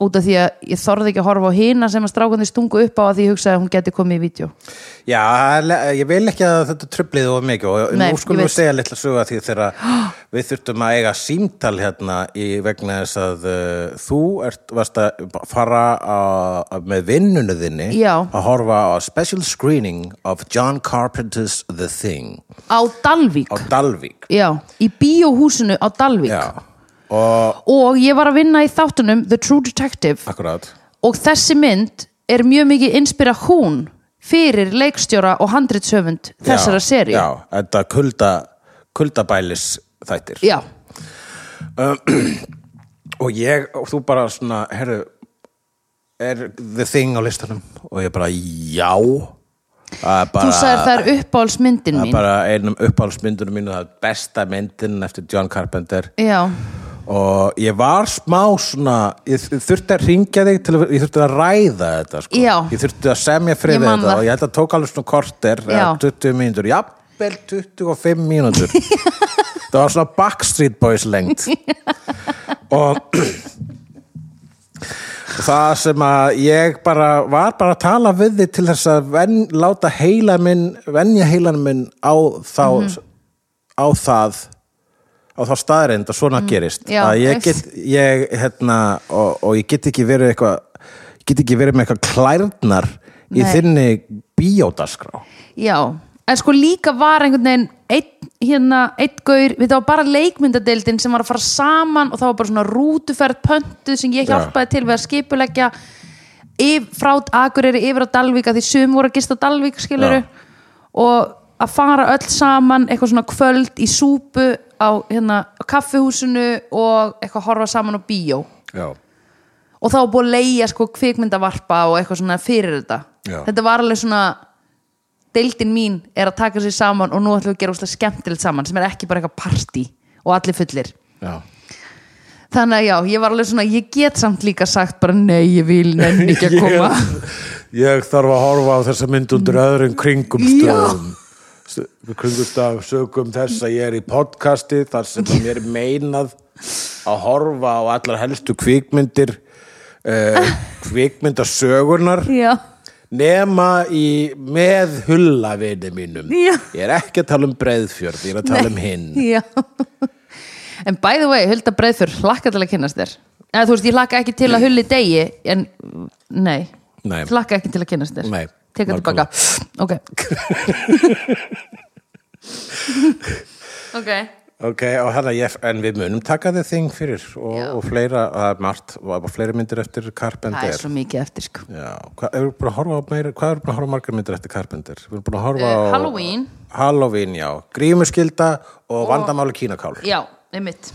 út af því að ég þorði ekki að horfa á hina sem að strákan þið stungu upp á að því ég hugsaði að hún geti komið í vídeo
Já, le- ég vil ekki að þetta trublið of mikið og
Nei,
nú skulum
ég
við
veit.
segja litla sögu að því þegar við þurftum að eiga símtal hérna í vegna þess að uh, þú ert, varst að fara a, a, með vinnunu þinni
Já.
að horfa á special screening of John Carpenter's The Thing
á Dalvík,
á Dalvík
já, í bíóhúsinu á Dalvík
Já, og
og ég var að vinna í þáttunum The True Detective
akkurát
og þessi mynd er mjög mikið inspira hún fyrir leikstjóra og handritshöfund þessara
Já,
seri
Já, þetta kulda, kuldabælis þættir
já,
Og ég, og þú bara svona, herru er the thing á listanum og ég bara, já Það er
þú sagðir það
bara,
er uppáhalsmyndin
það er
mín
bara einum uppáhalsmyndunum mínu það er besta myndin eftir John Carpenter
já,
og ég var smá svona ég þ- þurfti að ringja þig til að, ég þurfti að ræða þetta sko.
Já.
ég þurfti að semja
Ég
friðið
man
þetta
það.
og ég held að tók alveg svona korter eða
Já.
20 mínútur, já jafnvel 25 mínútur það var svona Backstreet Boys lengt og það sem að ég bara var bara að tala við þið til þess að ven, láta heila minn venja heilan minn á þá
Mhm.
á það á þá staðreind að svona gerist
Mhm. Já,
að ég
yes.
get, ég hérna og, og ég get ekki verið eitthvað ég get ekki verið með eitthvað klærnar í
Nei.
þinni bíódaskrá
Já, en sko líka var einhvern veginn einn, hérna, einn gaur við það var bara leikmyndadeildin sem var að fara saman og það var bara svona rútuferð pöntu sem ég
Já.
hjálpaði til við að skipuleggja yf, frá Akureyri yfir á Dalvík að því sum voru að gista á Dalvík skiluru
Já.
og að fara öll saman eitthvað svona kvöld í súpu á, hérna, á kaffihúsinu og eitthvað horfa saman á bíó
Já,
og þá var búið að leigja sko kvikmyndavarpa og eitthvað svona fyrir þetta
Já.
þetta var alveg svona deildin mín er að taka sér saman og nú ætlum við að gera úslega skemmtilegt saman sem er ekki bara eitthvað partí og allir fullir
já,
þannig að já, ég var alveg svona, ég get samt líka sagt bara nei, ég vil nenni ekki að koma
Ég þarf að horfa á þessa mynd undir öðrum kringum stöðum kringumstaf sögum þess að ég er í podcasti þar sem að mér er meinað að horfa á allar helstu kvikmyndir uh, kvikmyndasögurnar
já,
nema í með hullavinni mínum
Já.
ég er ekki að tala um breiðfjörð ég er að tala um hinn
já en by the way, Hulda Breiðfjör hlakka til að kynnast þér eða þú veist, ég hlakka ekki til að hulli degi en nei,
Nei.
hlakka ekki til að kynnast þér
Nei,
teka tilbaka, ok ok
Ok, og hérna, ég, en við munum taka þið þing fyrir og,
Já.
og fleira, það er margt, og það er fleiri myndir eftir Carpenter.
Það er svo mikið eftir sko
Já, hvað erum við búin að horfa á meira, hvað erum við búin að horfa á margar myndir eftir Carpenter? Við erum búin að horfa á...
Eh, Halloween.
Halloween, já. Grímuskylda og, og... vandamáli kínakál.
Já, einmitt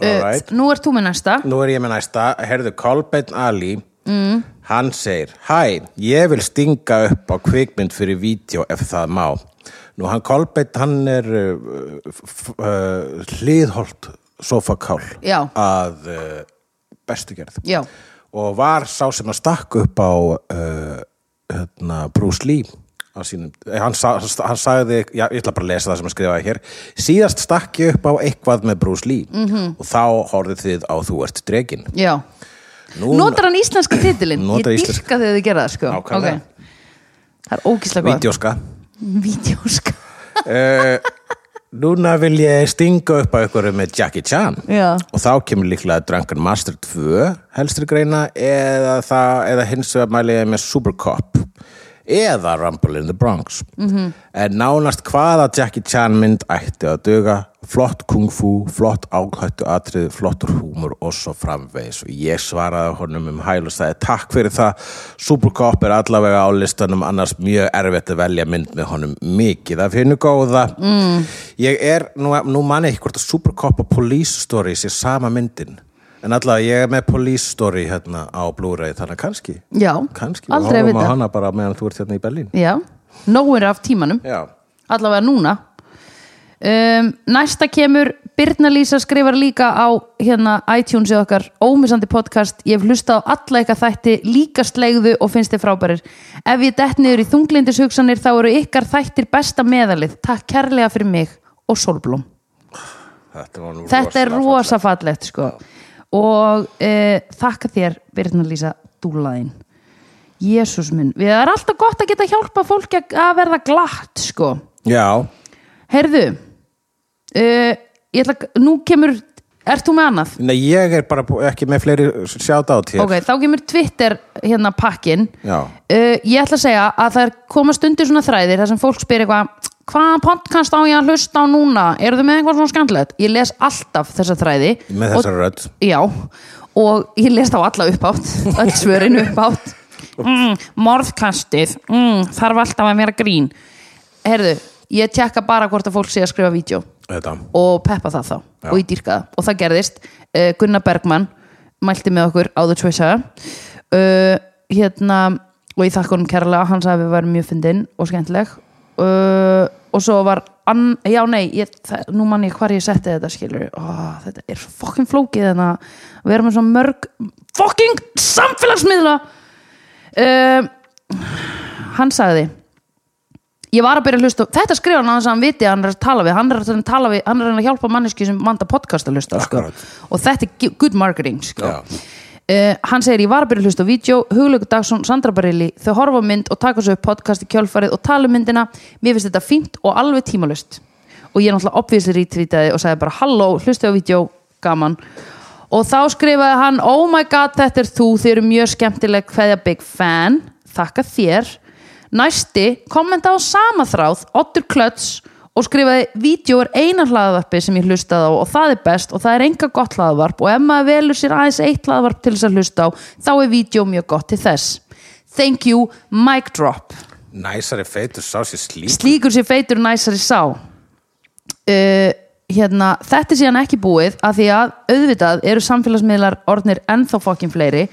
All right.
Eh, Nú er þú með næsta
Nú er ég með næsta, herðu Kolbeinn Ali, mm. hann segir Hæ, ég vil stinga upp á kvikmynd fyrir vídeo ef það má. Nú hann Kolbeinn, hann er uh, f- uh, hliðholt sofakál
Já.
að uh, bestu gerð.
Já,
Og var sá sem að stakk upp á uh, hérna, Bruce Lee á sínum, eh, hann, sa, hann sagði já, ég ætla bara að lesa það sem að skrifaði hér síðast stakk ég upp á eitthvað með Bruce Lee -hmm. og þá horfið þið á Þú ert dregin
já
Nú,
Notar hann íslenska titilinn? Ég
Notar íslenska.
dyrka þegar þið gera það sko
Nákvæmlega.
Ok. Það er ógíslega gott sko.
Vídeóska
Vídeóska
uh, Núna vil ég stinga upp á ykkur með Jackie Chan
Já.
og þá kemur líklega Drunken Master 2 helstri greina eða, það, eða hins vegar mæli ég með Supercop eða Rumble in the Bronx -hmm. en nánast hvaða Jackie Chan mynd ætti að duga flott kung fu, flott ákvættu atrið, flottur húmur og svo framvegis og ég svaraði honum um hæl og sagði takk fyrir það Supercop er allavega á listanum annars mjög erfitt að velja mynd með honum mikið af hennu góða mm. ég er, nú, nú manni ekki hvort að Supercop og Police Story sé sama myndin en allavega ég er með Police Story hérna á Blu-ray þannig að kannski
Já,
kannski,
aldrei að
við horfum á
vita
hana bara meðan þú ert hérna í Berlín
Já, nóir af tímanum
já,
allavega núna um, næsta kemur Birna Lísa skrifar líka á hérna iTunes í okkar ómissandi podcast ég hef hlustað á alla eitthvað þætti líka slegðu og finnst þið frábærir ef ég dett niður í þunglindishugsanir þá eru ykkar þættir besta meðalið takk kærlega fyrir mig og Solblóm
þetta, var nú
þetta er
rosalega
rosa fallegt sko og uh, þakka þér Birna Lísa dúlaðin Jésús minn, við það er alltaf gott að geta hjálpa fólki að- að verða glatt sko
fallegt. já,
Herðu uh, ég ætla, að- Nú kemur Ert þú með annað?
Nei, ég er bara bú- ekki með fleiri sjátt á til
Ok, þá kemur Twitter hérna pakkin
Já.
uh, Ég ætla að segja að það er koma stundir svona þræðir þar sem fólk spyr eitthvað hvaða podcast á ég að hlusta á núna? Eru þau með eitthvað svona skandlegt? Ég les alltaf þessa þræði
með
og,
þessari rödd
Já, og ég les þá alla uppátt öll svörin uppátt mm, Morðkastið mm, þarf alltaf að vera grín Herðu, ég tekka bara hvort að fólk sé að skrifa vídeo
þetta,
og peppa það þá og ég dýrka það og það gerðist uh, Gunnar Bergmann mælti með okkur á The Choice Saga. uh, hérna og ég þakka honum kærlega, hann sagði að við varum mjög fyndin og skemmtileg uh, og svo var ann, já nei ég, það, nú mann ég hvar ég setti þetta skilur oh, þetta er svo fucking flókið en að vera með svo mörg Eh, fucking samfélagsmiðla um, hann sagði ég var að byrja að hlusta þetta skrifa hann aðeins að hann viti að hann er að tala við hann er að, reyna að tala við, hann er að, reyna að hjálpa manneski sem manda podcast að hlusta sko.
Akkurat.
og þetta er gi- good marketing sko.
Já.
Uh, hann segir ég var að byrja að hlusta á vídeo Huglaugur Dagsson, Sandra Barilli þau horfa á mynd og taka svo upp podcast í kjölfarið og tala um myndina, mér finnst þetta fínt og alveg tímalust og ég náttúrulega obviously retweetaði og sagði bara halló, hlusta á vídeo, gaman og þá skrifaði hann oh my god þetta er þú, þið eru mjög skemmtileg hverja big fan, þakka þér næsti kommenta á sama þráð, Otter Klöts og skrifaði, vídeo er eina hlaðvarpi sem ég hlustaði á og það er best og það er enga gott hlaðvarp og ef maður velur sér aðeins eitt hlaðvarp til þess að hlusta á þá er vídeo mjög gott til þess thank you, mic drop
Næsari feitur sá sér slík
slíkur sér feitur næsari sá uh, hérna, þetta er síðan ekki búið af því að auðvitað eru samfélagsmiðlar orðnir ennþá fokkin fleiri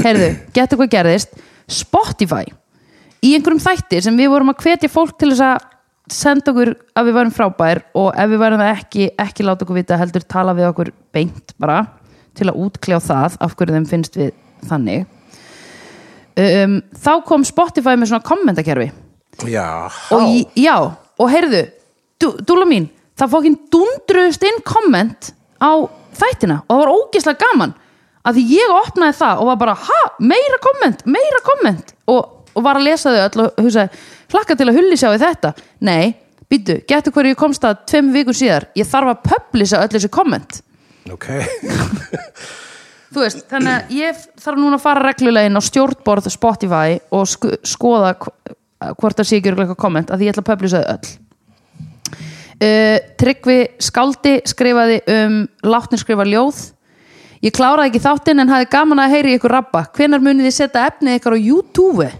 heyrðu, getur hvað gerðist Spotify í einhverjum þætti sem við vorum að hvetja fólk til þess að senda okkur að við varum frábær og ef við varum það ekki, ekki láta okkur vita heldur tala við okkur beint bara til að útkljá það af hverju þeim finnst við þannig um, þá kom Spotify með svona kommentakerfi
Já,
og ég, já, og heyrðu dú, dúla mín, það fókin dundruðust inn komment á þættina og það var ógeðslega gaman að því ég opnaði það og var bara ha, meira komment, meira komment og, og var að lesa þau öll og hugsaði hlakka til að hulli sjá við þetta nei, býtu, getur hverju ég komst að tveim viku síðar, ég þarf að publisa öll þessu komment
ok
þú veist, þannig að ég þarf núna að fara reglulegin á stjórnborð Spotify og sku, skoða hv- eh, hvort það sé ekki örugglega eitthvað komment að því ég ætla að publisa þau öll uh, Tryggvi Skaldi skrifaði um látnir skrifa ljóð ég kláraði ekki þáttinn en hafi gaman að heyri ykkur rabba hvenær munið þið setja efnið ykkar á YouTube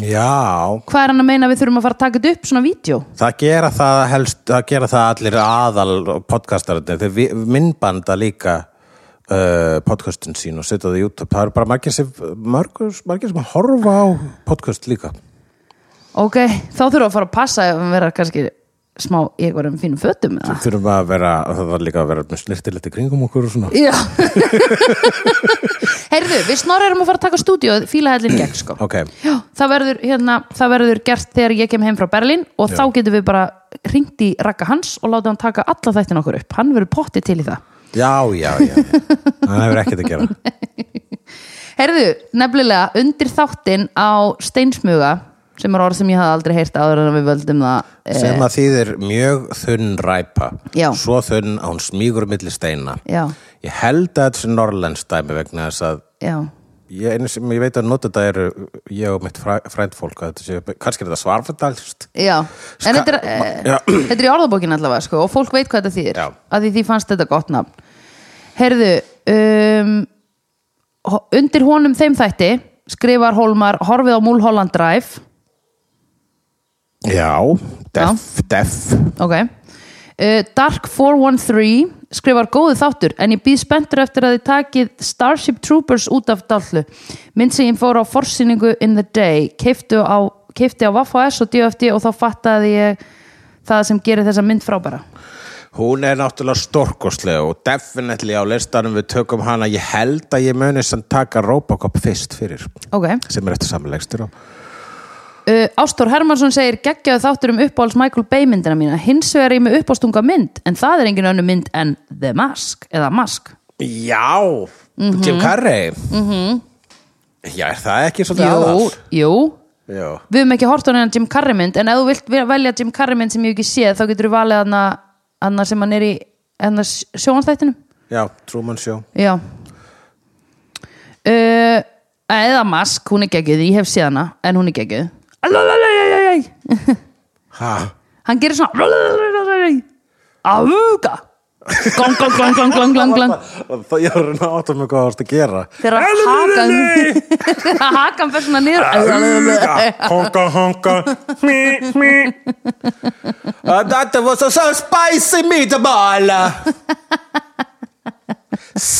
Já,
hvað er hann að meina að við þurfum að fara að taka þetta upp svona vídeo
það gera það helst það gera það allir aðal podcastarnir, þeir vi- myndbanda líka uh, podcastin sín og setja það í YouTube, það eru bara margir sem margir, margir sem horfa á podcast líka
ok, þá þurfum við að fara að passa ef við vera kannski smá í einhverjum fínum fötum eða?
þurfum að vera, það var líka að vera með snirtilegt í kringum okkur og svona
Já Heyrðu, við snorra erum að fara að taka stúdíóð fílahellin gegn sko
ok,
Já, það verður, hérna, það verður gert þegar ég kem heim frá Berlín og þá getum við bara hringt í Raka Hans og láta hann taka alla þættin okkur upp hann verður potti til í það
já, já, já, já. það hefur ekkert að gera
Heyrðu, nefnilega undir þáttinn á steinsmuga sem er orð sem ég hafði aldrei heyrt áður en við völdum það eh,
sem að þýðir mjög þunn ræpa
Já.
svo þunn að hún smýgur milli steina
Já,
ég held að þetta sé norrlens dæmi vegna þess að
já,
ég, einu sem ég veit að nota þetta eru ég og mitt fræ, frænd fólk að þetta sé, kannski er þetta svarfadalst
já En
Ska-
þetta er, eh,
Já.
þetta er í orðabókin allavega sko og fólk veit hvað þetta þýðir
Já.
að því því fannst þetta gott nafn Herðu um, ho- undir honum þeim þætti skrifar Hólmar horfið á Múlholland Drive
já, def, def
ok uh, Dark 413 skrifar góðu þáttur en ég býð spenntur eftir að þið takið Starship Troopers út af dallu mynd sem ég fór á forsýningu in the day keifti á, keipti á Waffa S og DFD og þá fattaði ég það sem gerir þessa mynd frábæra
hún er náttúrulega storkoslega og definitely á listanum við tökum hana ég held að ég muni sem taka Robocop fyrst fyrir,
ok
sem er eftir samanlegstur á
Uh, Ástór Hermansson segir geggjaðu þáttur um uppáhalds Michael Bay myndina mína hins vegar er ég með uppáhaldstunga mynd en það er engin önnu mynd en The Mask eða Mask
já,
Mhm.
Jim Carrey já, er það ekki svolítið
Jú,
aðal?
jú,
já,
við höfum ekki hort á neina Jim Carrey mynd en ef þú vilt ve- velja Jim Carrey mynd sem ég hef ekki séð þá getur þú valið hana, hana sem hann er í hana sjónstættinu
já, Truman Show
Já uh, Eða Mask, hún er geggjuð, ég hef séð hana en hún er geggjuð Alalalalalalalai.
ha,
Hann gerir svona Alalalalalalalai. Avuga Glang, glang, glang, glang, glang, glang, glang
og það ég er að átta mig hvað það varst að gera
þegar hakan þegar hakan fer svona niður
Honka, honka Mí, mí Þetta var svo so spicy meatball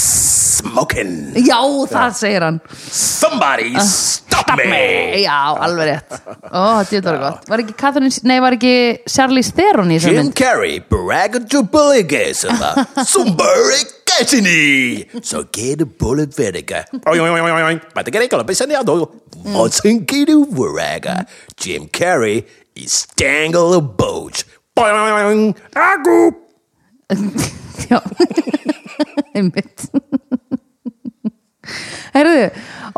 Smoking
já, það segir hann
Somebody Uh, stop me
já, alveg rétt ó, þetta var gott var ekki Catherine, nei, var ekki Charlize Theron í þessum
Jim
mynd
Carrey bragged to bullies Somebody getting me So get a bullet vinegar But the getting color is in the other What's in Jim Carrey í Stangle a Boat Boing, agú
Já Einmitt Herðu,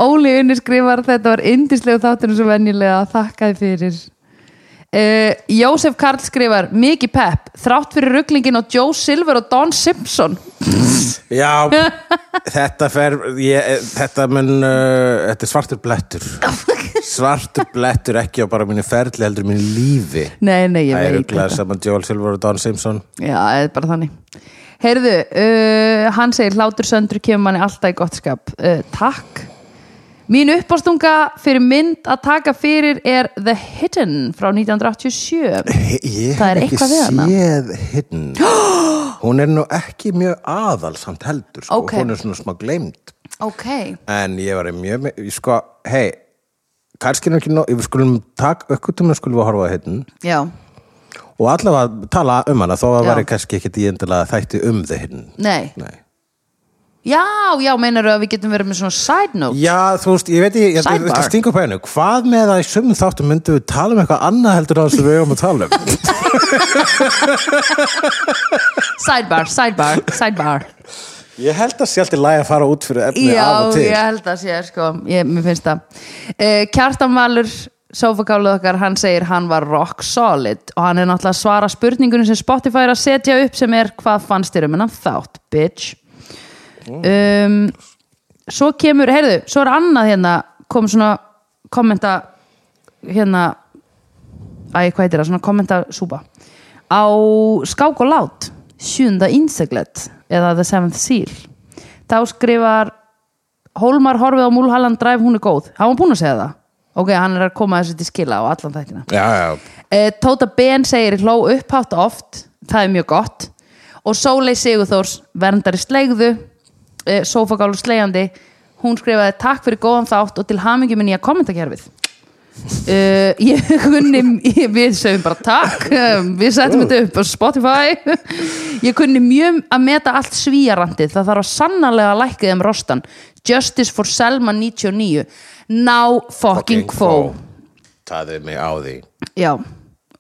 Óli Unni skrifar þetta var indislegu þátturinn svo venjulega þakkaði fyrir uh, Jósef Karl skrifar mikið pepp, þrátt fyrir rugglingin og Joe Silver og Don Simpson
Já, þetta fer ég, þetta mun uh, þetta er svartur blettur svartur blettur ekki á bara mínu ferli heldur mínu lífi
Nei, nei, ég
Það er
veit
auðvitað saman Joel Silver og Don Simpson
Já, það er bara þannig Heyrðu, uh, hann segir hlátur söndur kemur manni alltaf í gott skap uh, Takk Mín uppástunga fyrir mynd að taka fyrir er The Hidden frá 1987
Ég
Það er
hef ekki
eitthvað við hana.
séð hinn Hún er nú ekki mjög aðal samt heldur sko.
Ok.
hún er svona smá gleymd
Ok
en ég var í mjög me- ég sko, hei, kannski er nú ekki nóg við skulum taka aukkutum skulum við horfa á hinn
Já,
og allavega tala um hana þó að
Já.
væri kannski ekkit í endilega þætti um þið hinn
nei
Nei.
Já, já, meinaru að við getum verið með svona side note
Já, þú veist, ég veit ég, ég
Sidebar.
þetta stingur upp hennu Hvað með að í sumum þáttum myndum við tala um eitthvað annað heldur það sem við eigum að tala um
Sidebar, sidebar, sidebar
Ég held að sé alltaf lægi að fara út fyrir efni
Já,
af og til
ég held að sé, sko, ég, mér finnst það eh, Kjartan Valur sofakálið okkar, hann segir hann var rock solid og hann er náttúrulega að svara spurningunum sem Spotify er að setja upp sem er hvað fannst þér um hennan þátt, bitch
Mm.
um, Svo kemur, heyrðu, svo er annað hérna kom svona kommenta hérna æ, hvað heitir það, svona kommenta súpa á skák og lát sjunda inseglet eða The Seventh Seal þá skrifar Hólmar horfið á Múlhalland Drive, hún er góð hann var búin að segja það ok, hann er að koma þessu til skila á allan þættina
Já, já,
e, Tóta Ben segir hló upphátt oft það er mjög gott og Sólei Sigurþórs verndari sleigðu e, sófagálu slegjandi hún skrifaði takk fyrir góðan þátt og til hamingi minn í að kommentakerfið Uh, ég kunni ég, við sögum bara takk um, við setjum þetta upp á Spotify ég kunni mjög að meta allt svíjarandi það þarf að sannarlega að lækka þeim rostan Justice for Selma 99 now fucking quo
Taði mig á því
Já,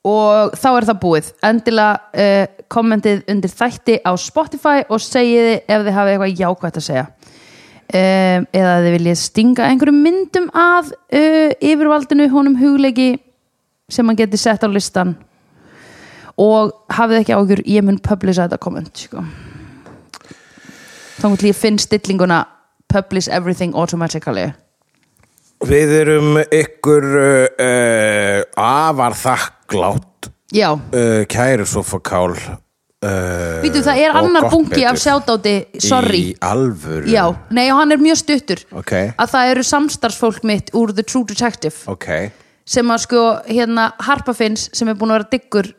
og þá er það búið endilega uh, kommentið undir þætti á Spotify og segiði ef þið hafið eitthvað jákvætt að segja um, eða þið viljið stinga einhverjum myndum að uh, yfirvaldinu honum hugleiki sem hann geti sett á listan og hafið ekki ágjur ég mun publisa þetta komment sko. þá vil ég finn stillinguna publish everything automatically
Við erum ykkur uh, uh, afar þakklátt
Já,
uh, kæru sofakál uh,
Vítu, það er
og
annar
gott
bunki af
betur.
sjáttáti, sorry
Í alvöru
Já, nei og hann er mjög stuttur
Ok.
að það eru samstarfsfólk mitt úr The True Detective
Ok,
sem að sko hérna Harpa Finns sem er búin að vera diggur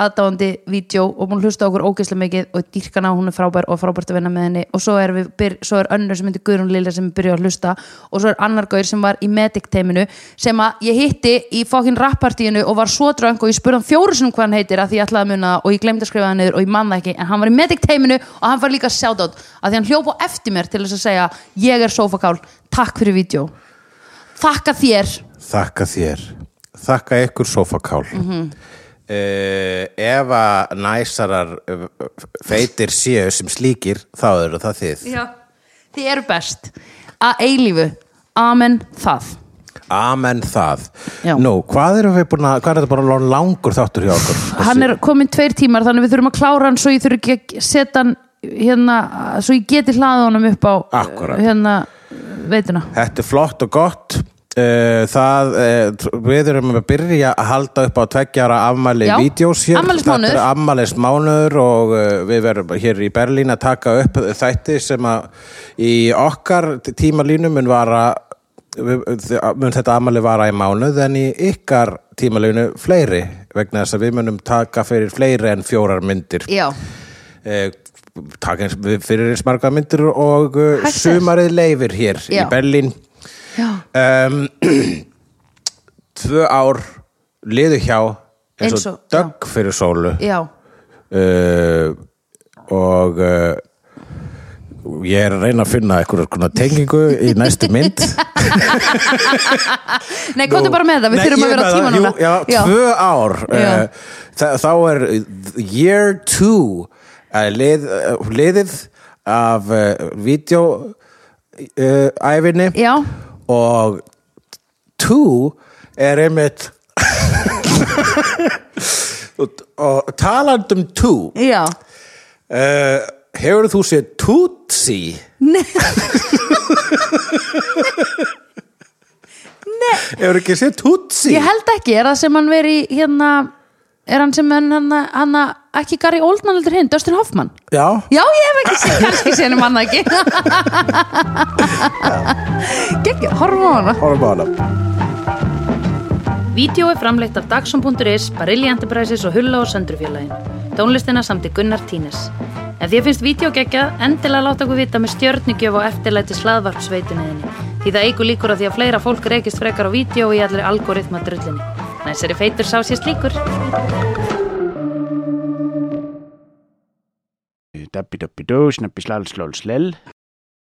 aðdáandi vídeo og búin að hlusta á okkur ógeðslega mikið og dýrkana hún er frábær og frábært að vinna með henni og svo er, við, byr, svo er önnur sem heitir Guðrún Lilja sem byrja að hlusta og svo er annar gaur sem var í medic teiminu sem að ég hitti í fokkin rappartíinu og var svo dröng og ég spurði hann fjóru sinum hvað hann heitir að því ég ætlaði að muna það og ég glemdi að skrifa það niður og ég man það ekki en hann var í medic teiminu og hann var líka shoutout að því hann hljóp á eftir mér til þess að segja ég er sofakál, takk fyrir vídeo þakka þér
þakka þér Þakka ykkur sofakál mm
Mhm.
-hmm. Ef að næsarar uh, feitir séu sem slíkir þá eru það þið
Já. Þið eru best að eilífu, amen það
Amen það
Já.
Nú, hvað erum við búin að hvað er þetta bara langur þáttur hjá okkur
Hann er komin tveir tímar þannig við þurfum að klára hann svo ég þurfum ekki að setja hann hérna, svo ég geti hlaða honum upp á
Akkúrat.
hérna veituna
Þetta er flott og gott uh, það, uh, við erum að byrja að halda upp á tveggjára afmæli
Já,
vídeos hér,
afmælismánuður.
þetta er afmælismánuður og uh, við verum hér í Berlín að taka upp þætti sem að í okkar tímalínu mun vara við- mun þetta afmæli vara í mánuð en í ykkar tímalínu fleiri vegna þess að við munum taka fyrir fleiri en fjórar myndir
Já,
eh, taka eins, við- fyrir eins marga myndir og eh,
Hægt er.
sumarið leifir hér
Já.
í Berlín
já,
um, Tvö ár liðu hjá eins og,
Eins og-
dögg Eh, fyrir sólu
já
uh, og uh, eh, Ég er að reyna að finna eitthvað tengingu í næstu mynd
Nei, komdu bara með það, við
Nei,
þurfum að
ég er
vera á
með
tíma
það.
núna
Jú, Já, tvö ár
Já.
Eh, þa- Þá er year two eh, lið, eh, liðið af eh, videoæfinni
Já.
og two er einmitt og, og talandum two
Já,
uh, hefur þú séð Tootsie? Nei Hefur ekki séð Tootsie?
ég held ekki, er það sem hann veri í, hérna, er hann sem hann, hann, hann ekki Gary Oldman heldur hinn, Dustin Hoffman
Já,
Já, ég hef ekki séð, kannski séð um hann ekki Gekki, horfum á hana
horfum á hana
Vídeó er framleitt af Dagsum.is, Barilli Enterprises og Hulla og Söndrufjörlægin. Tónlistina samt í Gunnar Tínes. Ef þér finnst vídeo geggjað, endilega láta okkur vita með stjörnugjöf og eftirlæti slaðvarpsveitunniðinni. Því það eigur líkur að því að fleira fólk reykist frekar á vídeo og í allir algoritma drullinni. Næsari feitur sá sér slíkur.
Dabbi dabbi dó, snabbi slal slól slell